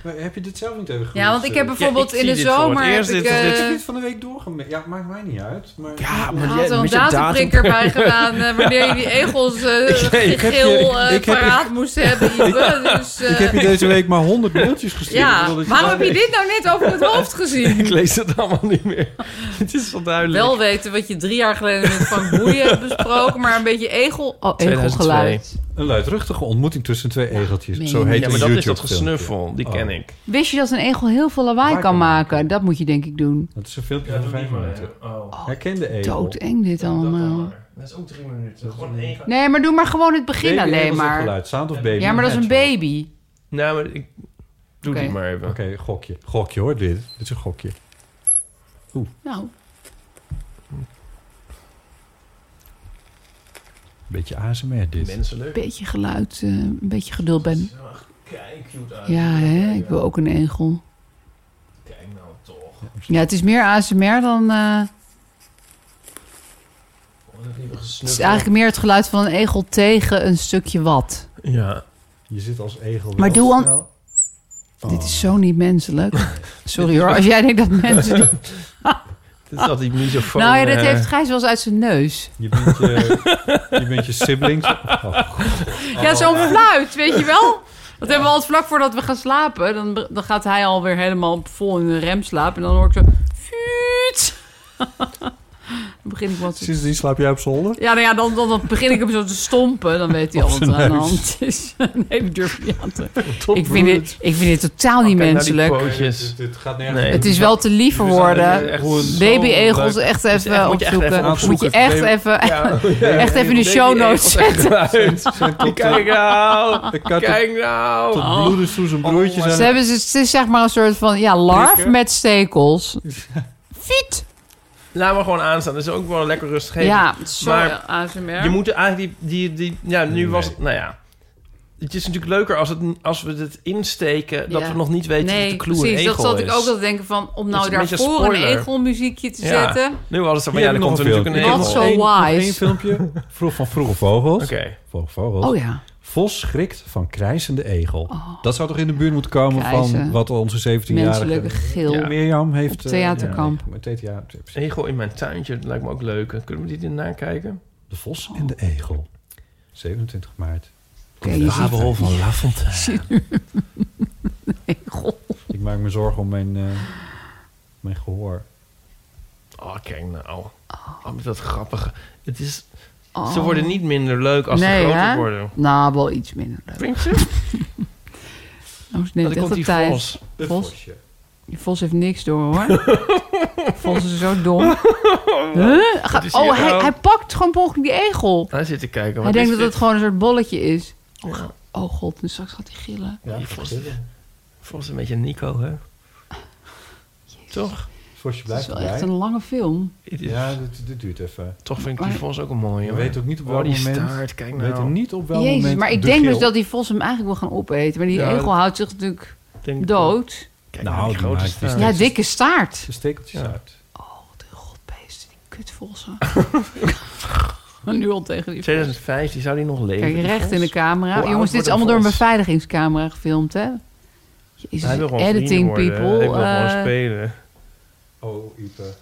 heb je dit zelf niet even
Ja, want ik heb bijvoorbeeld
eh, zie
in de
dit voor het
zomer...
eerst.
heb ik,
Dit is- dit
eh,
is
van de week doorgemaakt. Ja, maakt mij niet uit. Maar
Ja,
Er
maar
had
jij
wel een
met je datum...
datumprikker bij gedaan... eh, wanneer je die egels eh
ik heb
geel
je-
eh,
ik heb je-
paraat moest hebben. Ipe. Dus, eh,
ik heb je deze week maar 100 mailtjes gestuurd.
ja,
omdat ik-
waarom heb je dit nou net over het hoofd gezien?
Ik lees het allemaal niet meer. Het is wel duidelijk.
Wel weten wat je drie jaar geleden met Frank Boeien hebt besproken... maar een beetje egel... Oh,
2002.
egelgeluid.
Een luidruchtige ontmoeting tussen twee egeltjes.
meen
Zo
je
heet
ja, maar
een
dat is dat
YouTube-filmpje.
gesnuffel. Die
Oh.
ken ik.
Wist je dat een egel heel veel lawaai
Lawaai
kan
kan maken.
maken? Dat moet je denk ik doen.
Dat is een filmpje van vijf minuten.
Oh,
Herken de egel.
Doodeng dit allemaal.
Dat is ook drie minuten. Gewoon één...
Nee, maar doe maar gewoon het begin
Baby
alleen
egels op
maar.
Geluid, sound of baby.
Ja, maar dat is een baby.
Nou, maar ik... Doe
Oké.
die maar even.
Oké, gokje. Gokje hoor, dit. Dit is een gokje.
Nou,
Beetje ASMR dit.
een
Menselijk.
beetje geluid, eh, een beetje geduld ben.
Kijk, cute uit.
Ja, hè, ik wil ook een egel.
Kijk nou toch.
Ja, het is meer ASMR dan... eh, het is eigenlijk meer het geluid van een egel tegen een stukje wat.
Ja.
Je zit als egel. wel
Maar doe dan-
snel. Oh.
Dit is zo niet menselijk. Sorry hoor, als jij denkt dat mensen... die-
Dit is dat die microfoon.
Nou ja, dit
eh,
heeft Gijs wel eens uit zijn neus.
Je bent je, je, bent je siblings. Oh,
Ja, zo'n fluit, weet je wel? Dat hebben we altijd vlak voordat we gaan slapen. Dan, dan gaat hij alweer helemaal vol in de rem slapen. En dan hoor ik zo... Fuut! dan begin ik wat... te-
sindsdien slaap jij op zolder?
Ja, nou ja, dan, dan, dan begin ik hem zo te stompen. Dan weet hij al wat
zijn
er aan de
neus.
hand is. nee, dat durf ik niet aan te...
Top
Ik vind
Root.
dit, ik vind dit totaal niet
Kijk naar die
menselijk.
pootjes.
Dit gaat
nergens Nee.
Het is wel te liever worden.
eh, Echt zo
Baby-egels
leuk.
echt
Moet je echt-
even
moet je echt even
opzoeken. Moet je
opzoeken.
echt even...
Ja.
Echt even in de show notes zetten.
zetten. Kijk nou.
Ik had
Kijk nou.
tot bloeden toe zijn broertjes
Ze
aan.
hebben ze, het is zeg maar een soort van ja, larf
Prikken.
met stekels. Fiet!
Laat maar gewoon aanstaan. Dat is ook wel lekker rustig.
Oh. Ja, sorry,
Maar
ASMR.
Je moet eigenlijk die... die, die ja, nu was het... Nou ja. Het is natuurlijk leuker als, het, als we het insteken... dat
Ja.
we nog niet weten dat
nee,
de clue een
precies.
egel
Dat zat
is.
ik ook al te denken van om nou
is een beetje
daarvoor een,
spoiler.
egelmuziekje te
Ja.
zetten.
Nu hadden ze van...
Hier
Ja,
heb
er
ik
komt er
nog een
natuurlijk een
filmpje.
egel.
Not
Oké.
so
Eén- nog
wise.
één filmpje vroeg van Vroege Vogels. Vroege Vogels.
Oh ja. Oh.
Vos schrikt van krijzende egel. Dat zou toch in de buurt moeten komen
Krijzen.
van wat onze 17-jarige...
Menselijke gil.
Ja.
Mirjam heeft...
Op
eh,
theaterkamp.
ja, met TTA tips.
Egel in mijn tuintje. Dat lijkt me ook leuk. Kunnen we die ernaar kijken?
de vos en de egel. 27 maart.
Oh. Oké, je ziet-
Abel van Lafontaine.
Ik maak me zorgen om mijn, eh, mijn gehoor.
Oh, kijk nou. Oh, met dat grappige. Het is,
Oh.
Ze worden niet minder leuk als
Nee,
ze groter
hè?
worden.
Nou, wel iets minder leuk.
Vind je? Ja,
Oh, ze neemt
dan komt
echt
die
op tijd.
vos.
Het
Vos?
vosje.
Die vos heeft niks door hoor. vos is zo dom. Huh? Ga-
is hier
oh, hij,
nou?
hij pakt gewoon per ongeluk die egel.
Hij zit te kijken.
Hij
wat
denkt
is
dat het
dit?
gewoon een soort bolletje is.
Ja.
Oh god, nu straks gaat hij gillen.
Die vos, vos is een beetje Nico, hè? Toch?
Het vosje
Het is
blijft
wel
erbij.
echt een lange film.
Het is-
Ja, dit, dit duurt even.
Toch vind ik die
Maar-
vos ook een mooie.
Je
hoor.
weet ook niet op
Oh,
welk
die
moment...
staart. Kijk
We
nou.
weten niet op welk
Jezus,
moment
maar ik
de
denk
geel-
dus dat die vos hem eigenlijk wil gaan opeten. Maar die
Ja,
egel
dat-
houdt zich natuurlijk
Ik denk-
dood.
Kijk
Nou,
nou, die
die
grote
maakt die
staart.
Ja,
Ja,
dit-
dikke staart.
De stekeltjes
Ja.
uit.
Oh, de godbeesten, die kutvossen. nu al tegen die
2015 zou die nog leven.
Kijk,
die
recht
Fons?
in de camera.
Hoe oud
Jongens, dit
wordt
is
een
allemaal door een
Fons?
beveiligingscamera gefilmd, hè? Jezus,
Hij wil gewoon vrienden
editing
worden.
people.
Ik wil gewoon
eh,
spelen.
Oh, Ipe.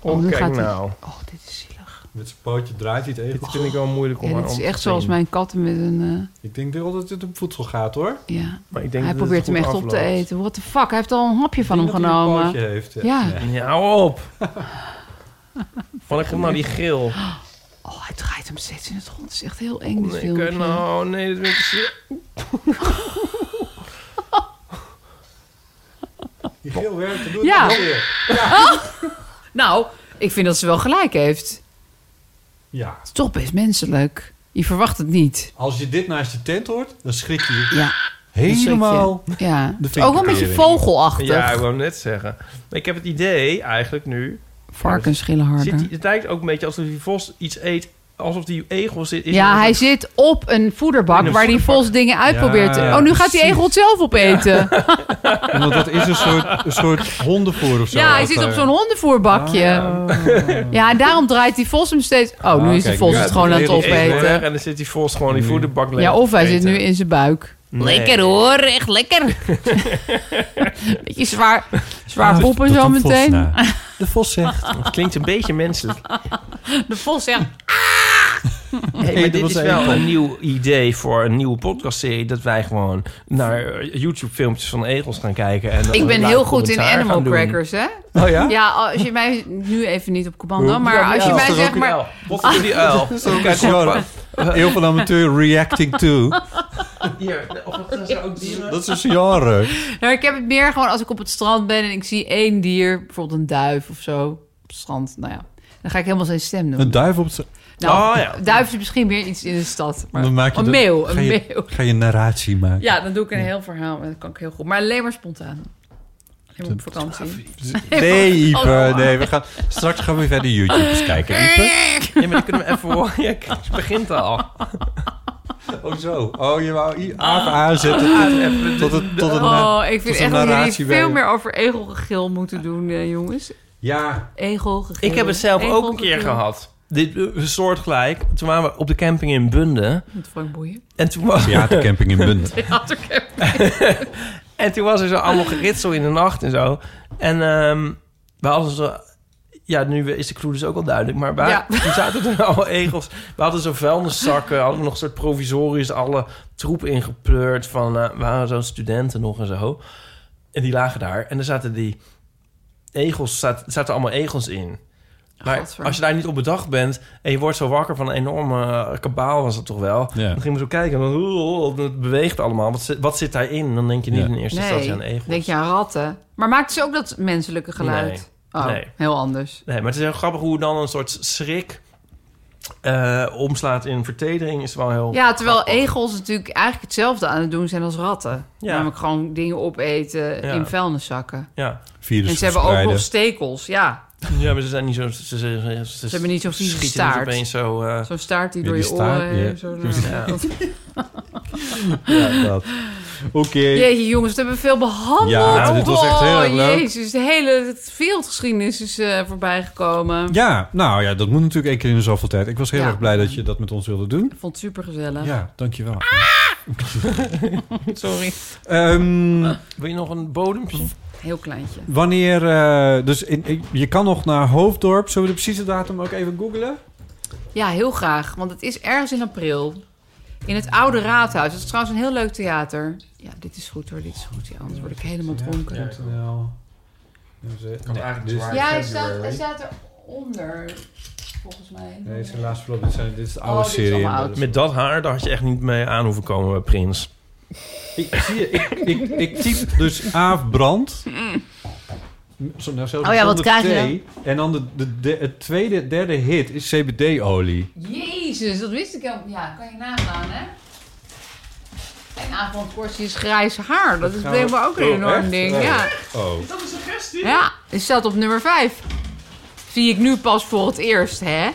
Oh,
nu
kijk
gaat hij-
nou.
oh, dit is zielig.
Met zijn pootje draait hij het
Dit
even.
vind ik wel moeilijk om
Ja,
aan
dit is
om te
echt zoals
zien.
mijn katten met een... eh,
Ik denk wel dat dit om voedsel gaat, hoor. Ik
ja.
Maar ik denk
Hij
dat het
probeert hem
goed
echt op te
afloopt.
eten. What the fuck? Hij heeft al een hapje van hem
denk dat hij Een
genomen.
pootje heeft.
Ja.
Nee.
Ja, hou op. Van ik kom nou die geel.
Oh, hij draait hem steeds in het rond. Het is echt heel eng, dit
Nee, ik,
filmpje.
eh, nou, nee, dat wil ik niet.
Die geel werkt, doe het
Ja.
nog weer.
Nou, ik vind dat ze wel gelijk heeft. Het
Ja.
is toch best menselijk. Je verwacht het niet.
Als je dit naast je tent hoort, dan schrik je
Ja,
helemaal.
dat zit je. Ja.
De
Het is ook wel een beetje vogelachtig.
Ja, ik wou net zeggen. Ik heb het idee eigenlijk nu.
Varkens schillen harder.
Zit die, het lijkt ook een beetje alsof die vos iets eet. Alsof die egel zit. is
ja,
in-
hij zit op een voederbak
In een
waar die
voederbak.
vos dingen uit
Ja,
probeert. te-
ja,
Oh, nu gaat die
precies.
egel het zelf opeten. Ja,
Want dat is een soort, een soort hondenvoer of zo.
hij
Of,
zit
eh,
op zo'n hondenvoerbakje.
ah.
Ja, en daarom draait die vos hem steeds... Oh, nu
Ah,
is de
kijk,
vos
nu-
het gewoon aan het
Die
Die egel weg
opeten.
En dan zit die vos gewoon die voederbak leeg.
Ja, of hij
te
zit nu
eten.
in zijn buik.
Nee.
Lekker hoor, echt lekker. Beetje zwaar, zwaar
Ah,
poepen
tot
zo
een vos Oh,
meteen.
na. De vos zegt.
Het klinkt een beetje menselijk.
De vos zegt...
Hey,
Hey,
maar
dat
dit
was
is
een
wel
egel.
een nieuw idee voor een nieuwe podcastserie. Dat wij gewoon naar eh, YouTube-filmpjes van egels gaan kijken. En dat
Ik
we
ben
daar
heel goed in
commentaar
animal
gaan doen.
crackers, hè?
Oh ja?
Ja, als je mij... Nu even niet op commando,
Ja,
maar als je
uil.
mij
Dat is
zegt...
ook een
maar
uil. Wat is die uil? Kijk,
Sorry. eh, Heel van amateur reacting to.
Hier, of dat zijn ook dieren.
Dat is een genre.
Nou, ik heb het meer gewoon als ik op het strand ben en ik zie één dier, bijvoorbeeld een duif of zo, op het strand. Nou ja, dan ga ik helemaal zijn stem doen.
Een duif op zijn.
nou,
Oh, ja.
duif is misschien meer iets in de stad. Maar
Dan maak je
een
de-
meeuw,
ga
een
je,
meeuw.
Ga je een narratie maken.
Ja, dan doe ik een heel verhaal en dat kan ik heel goed. Maar alleen maar spontaan. Alleen maar op vakantie.
Dus- Nee, Ipe.
Oh.
Nee, we gaan, straks gaan we verder YouTube eens kijken, Ipe.
Ja, maar dan kunnen we even horen. Ja, kijk, het begint al.
Oh zo. Oh, je wou I- A aanzetten.
Even
Tot het, tot het na-
Ah, Oh, ik vind
een
echt dat jullie
narratie bij
veel
je.
meer over egelgegil moeten doen, eh, jongens.
Ja.
Egelgegil.
Ik heb het zelf ook een keer
Egelgegil.
gehad. Dit eh, soortgelijk. Toen waren we op de camping in Bunde.
Dat vond ik boeiend.
En toen was,
Theatercamping in Bund.
en toen was er zo allemaal geritsel in de nacht en zo. En ehm we hadden zo... Ja, nu is de clue dus ook al duidelijk. Maar wij,
Ja.
toen zaten er nou al egels. We hadden zo vuilniszakken. Hadden we nog een soort provisorisch alle troep ingepleurd. Van, eh, we waren zo'n studenten nog en zo. En die lagen daar. En er zaten die egels... Zaten, zaten allemaal egels in. Maar
Gadver.
als je daar niet op bedacht bent... en je wordt zo wakker van een enorme eh, kabaal was het toch wel...
Ja.
dan gingen we zo kijken. en dan, oh, het beweegt allemaal. Wat zit, wat zit daarin? En dan denk je niet
Ja.
in eerste instantie aan egels.
denk je aan ratten. Maar maakt ze ook dat menselijke geluid?
Nee.
Oh,
Nee.
heel anders.
Nee, maar het is heel grappig hoe dan een soort schrik eh, omslaat in vertedering. Is wel heel...
Ja, terwijl
Oh, grappig.
egels natuurlijk eigenlijk hetzelfde aan het doen zijn als ratten.
Ja.
Namelijk gewoon dingen opeten
Ja.
in vuilniszakken.
Ja.
Virus
en ze hebben ook nog
dus verspreiden.
stekels, ja.
ja, maar ze zijn niet zo... Ze, ze, ze, ze
hebben niet zo'n vieze
schieten
staart.
Niet opeens zo... eh,
Zo'n staart die
Ja,
door
die
je
staart,
oren... heen,
ja.
Zo,
ja.
Ja, dat. Oké.
Jeetje jongens, dat hebben we veel behandeld.
Ja, dit was echt heel erg
Oh,
leuk.
Jezus, de hele het wereldgeschiedenis is eh voorbijgekomen.
Ja, nou ja, dat moet natuurlijk één keer in de zoveel tijd. Ik was heel
Ja.
erg blij dat je dat met ons wilde doen.
Ik vond het supergezellig.
Ja, dankjewel.
Ah! Sorry.
Ehm,
Wil je nog een bodempje?
Heel kleintje.
wanneer, eh, dus in, ik- je kan nog naar Hoofddorp. Zullen we de precieze datum ook even googlen?
Ja, heel graag. Want het is ergens in april. In het Oude Raadhuis. Dat is trouwens een heel leuk theater. Ja, dit is goed hoor. Dit is goed. Ja, anders word ik helemaal dronken. Ja,
.nl.
eigenlijk
dus-
zwaar.
hij, staat, hij staat eronder. Volgens mij.
Nee, het is helaas verlopen. Dit, zijn- dit is de
Oh,
oude
dit is
serie.
allemaal oud.
Met dat haar, daar had je echt niet mee aan hoeven komen bij Prins.
Ik zie je, ik, ik, ik typ dus Aaf Brand. Zo, nou, zelfs
Oh ja, wat
zonder
krijg je
thee. En dan de, de, de- het tweede, derde hit is CBD-olie.
Jezus, dat wist ik helemaal niet. Ja, kan je nagaan, hè? En Avond Korsie is grijs haar. Dat is
gaan
blijkbaar
we-
ook een
Oh,
enorm
echt?
ding.
Oh.
Ja.
Oh.
ja, het staat op nummer 5. Zie ik nu pas voor het eerst, hè?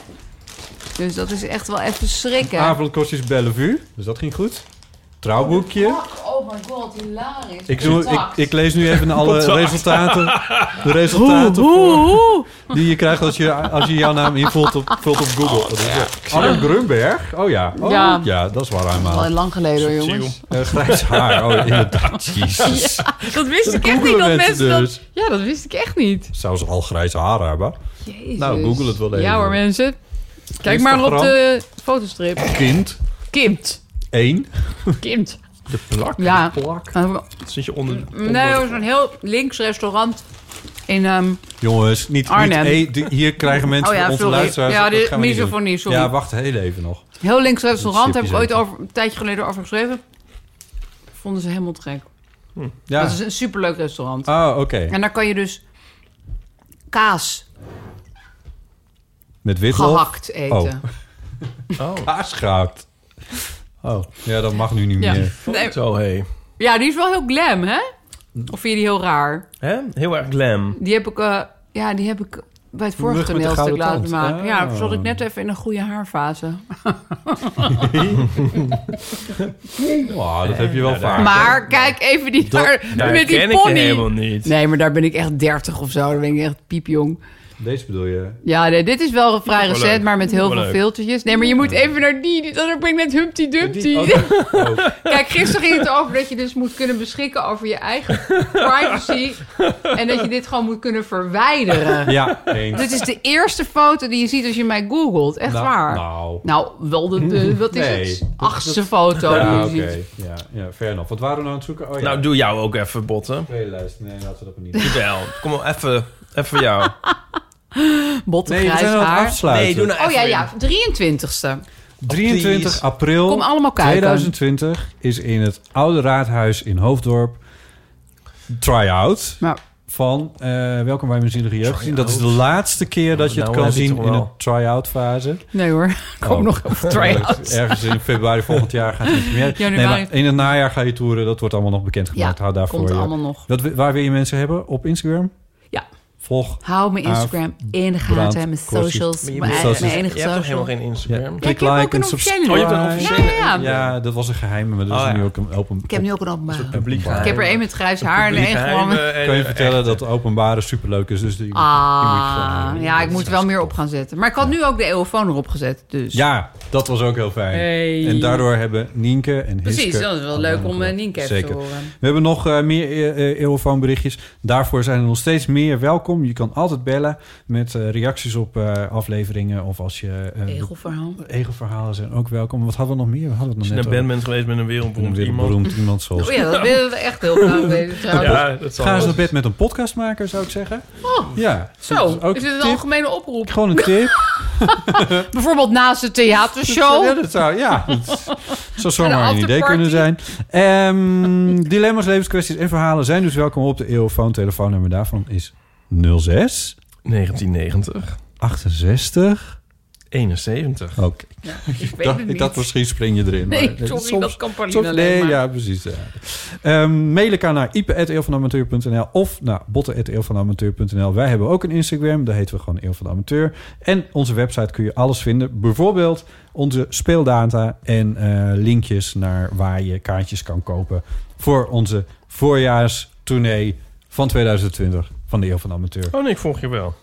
Dus dat is echt wel even schrikken.
dus Avondkostjes Bellevue. Dus dat ging goed. Trouwboekje.
Fuck, oh Oh my god, hilarisch.
Ik, doe- ik,
Contact.
ik lees nu even alle
Contact.
resultaten. De resultaten voor- die je krijgt als je, als je jouw naam invult op, vult op Google. Dat is het. Arjen Grunberg? Oh ja. Oh, ja.
Ja.
dat is waar hij
Oh, Al heel
maakt.
lang geleden, hoor, jongens.
grijs haar. Oh, inderdaad. Jezus.
Dat wist ik echt niet
Googelen
dat
mensen
mensen dat...
dus.
Ja, dat wist ik echt niet.
Zou ze al grijs haar hebben?
Jezus.
Nou, google het wel even.
Ja hoor, mensen. Kijk maar op de fotostrip.
Kind.
Kimt.
Eén.
Kimt.
De plak?
Ja.
Plak. Zit je onder... onder
Nee, dat is een heel links restaurant in... ehm,
Jongens, niet, niet
Arnhem.
e- de- hier krijgen mensen
Oh ja,
van onze
sorry.
luisteraars.
Ja,
dat
de
gaan we niet doen.
misofonie, sorry.
Ja, wacht heel even nog.
heel links restaurant
Dat
heb
is
ik ooit
even.
over, een tijdje geleden over geschreven. Vonden ze helemaal te gek.
Ja.
Dat is een superleuk restaurant.
Oh, oké.
En daar kan je dus kaas
Met witlof.
gehakt eten.
Oh.
Oh,
Kaas gehakt. Oh, ja, dat mag nu niet
Ja.
meer.
Nee,
zo hé.
ja, die is wel heel glam, hè? Of vind je die heel raar?
Hè? Heel erg glam.
Die heb ik, eh, ja, die heb ik bij het vorige
Mug met de
toneelstuk
gouden
laten
tand.
maken. Ja,
Oh.
zat ik net even in een goede haarfase.
Oh, dat heb je wel vaak.
maar kijk even die haar
Ah, Daar
met die
ken ik je helemaal
pony.
niet.
Nee, maar daar ben ik echt 30 of zo. Dan ben ik echt piepjong.
Deze bedoel je?
Ja, nee, dit is wel vrij
Wel
recent,
leuk.
maar met heel
Wel
veel
leuk.
filtertjes. Nee, maar je moet even naar die. die dat ben ik net Humpty Dumpty.
Die- oh, dat- oh.
Kijk, gisteren ging het over dat je dus moet kunnen beschikken over je eigen privacy. En dat je dit gewoon moet kunnen verwijderen.
Ja, eens.
Dit is de eerste foto die je ziet als je mij googelt. Echt
Nou,
waar.
nou.
Nou, wel de, de- wat is
Nee.
het? Achtste foto
Ja,
Nou, die je
oké.
ziet.
Ja, ja, fair enough. Wat waren we nou aan het zoeken? Oh, ja.
Nou, doe jou ook even, botten.
Playlist. Nee, laten we dat maar niet doen.
Wel, kom op, even, even jou.
Nee, we
Bottegrijs
zijn aan het
haar.
afsluiten.
Nee, doe nou
Oh ja,
even
ja, 23ste.
23
Please.
april
Kom allemaal kijken.
2020 is in het Oude Raadhuis in Hoofddorp try-out
Nou,
van eh, Welkom bij Mijn Zielige Jeugd. Dat is de laatste keer dat je het
nou
kan
heb je
zien
toch
in
wel.
de try-out fase.
nee hoor, kom
Oh.
nog even try-out.
Ergens in februari volgend jaar gaat het première.
Januari.
Nee, maar in het najaar ga je toeren. Dat wordt allemaal nog bekendgemaakt.
Ja,
Hou daarvoor
komt
je-
allemaal nog.
Wat, wi- waar wil je mensen hebben? Op Instagram?
Ja.
Volg.
Hou mijn Instagram in de
Ah, Brand,
gaten en mijn
Kosjes.
socials.
Maar
Mijn,
je
moet
mijn
zelfs-
enige
Je hebt toch helemaal
social.
geen Instagram?
Ja,
Ja,
klik
ik heb ook
like en
een
subscribe.
officiële.
Oh, je hebt een officiële.
Ja, ja.
Ja, dat was een geheim, maar dat is
Oh, ja.
nu ook een open...
Ik heb nu ook een openbare.
Publiek
Ik
Ik heb er één met grijs haar en
Publiek
één gewoon met...
geheimen en-
kan je vertellen dat de openbare superleuk is. Dus die, die moet je gewoon
Ah,
houden.
ja, ik moet er wel meer op gaan zetten. Maar ik had nu ook de eeuwfoon erop gezet, dus...
Ja, dat was ook heel fijn.
Hey.
En daardoor hebben Nienke en Hiske...
Precies, dat is wel leuk om eh, Nienke even
Zeker.
te horen.
We hebben nog eh, meer eh, eh, Eurofoonberichtjes. Daarvoor zijn er nog steeds meer welkom. Je kan altijd bellen met eh, reacties op eh, afleveringen. Of als je... eh,
Egelverhaal.
Egelverhalen zijn ook welkom. Wat hadden we nog meer? We hadden het nog
Als je
net
naar band bent geweest met een
over.
wereldberoemd
Weer een
iemand.
beroemd iemand zoals...
Oh ja, dat willen we echt heel graag weten trouwens.
Ja, dat zal
Ga eens
wel.
naar bed met een podcastmaker, zou ik zeggen. ja. dat
Oh, Zo,
ook
is dit een
tip.
algemene oproep?
Gewoon een tip.
Bijvoorbeeld naast de
Ja,
theatershow.
dat zou, ja, dat zou zomaar een
afterparty.
idee kunnen zijn. Ehm, dilemma's, levenskwesties en verhalen zijn dus welkom op de Eeuwfoon. Telefoonnummer daarvan is 06
1990,
68.
71.
Oké,
Ik weet
dacht-
het
ik
niet.
dacht misschien spring je erin. maar-
Nee, sorry,
soms-
dat kan Pauline
soms-
alleen
Nee,
maar.
ja, precies. Ja. Ehm, mail ik aan naar ipe.eelvanamateur.nl of naar botten.eelvanamateur.nl. Wij hebben ook een Instagram, daar heten we gewoon Eel van de Amateur. En onze website kun je alles vinden. Bijvoorbeeld onze speeldata en eh, linkjes naar waar je kaartjes kan kopen... voor onze voorjaarstournee van 2020 van de Eel van de Amateur.
Oh nee, ik volg je wel.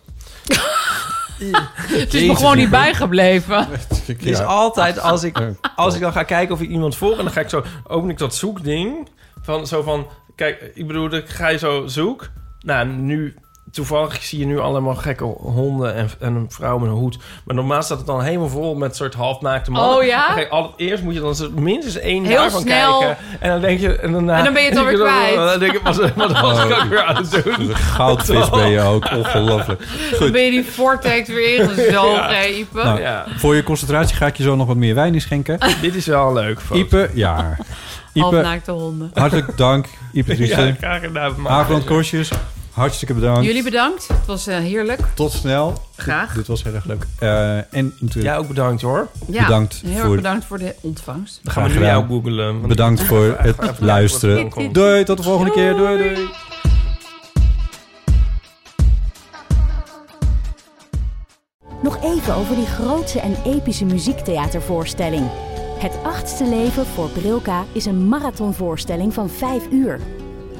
Het is me gewoon niet bijgebleven.
Het is altijd als ik, als ik dan ga kijken of ik iemand volg... en dan ga ik zo, open ik dat zoekding. Van, zo van, kijk, ik bedoel, ik ga je zo zoek. Nou, nu, toevallig zie je nu allemaal gekke honden... en, en een vrouw met een hoed. Maar normaal staat het dan helemaal vol met soort halfnaakte mannen.
Oh, ja?
Dan ga je allereerst moet je dan zo minstens één
Heel
daarvan
snel.
kijken. En dan denk je... En, daarna,
En dan ben je het alweer kwijt.
Dan denk ik, wat, wat was ik ook weer aan het doen?
Goudvis ben je ook, ongelooflijk.
Dan ben je die vortex weer ingezogen, hè, Ipe.
Nou,
Ja,
Voor je concentratie ga ik je zo nog wat meer wijn inschenken.
Oh.
dit is wel leuk. foto.
Ipe, ja. Ipe,
Halfnaakte honden.
hartelijk dank. Ipe
Ja,
Driessen.
graag gedaan. maar-
Aafland Korsjes, hartstikke bedankt.
Jullie bedankt. Het was eh, heerlijk.
Tot snel.
Graag.
Dit was heel erg leuk. Eh, en natuurlijk
Jij ook bedankt hoor.
Ja,
Bedankt
Heel erg
voor-
bedankt voor de ontvangst.
Dan gaan we
Graag
nu jou
gedaan.
googelen. want-
bedankt voor het luisteren. Doei, tot de volgende keer. Doei, doei.
Nog even over die grootse en epische muziektheatervoorstelling. Het achtste leven voor Brilka is een marathonvoorstelling van 5 uur.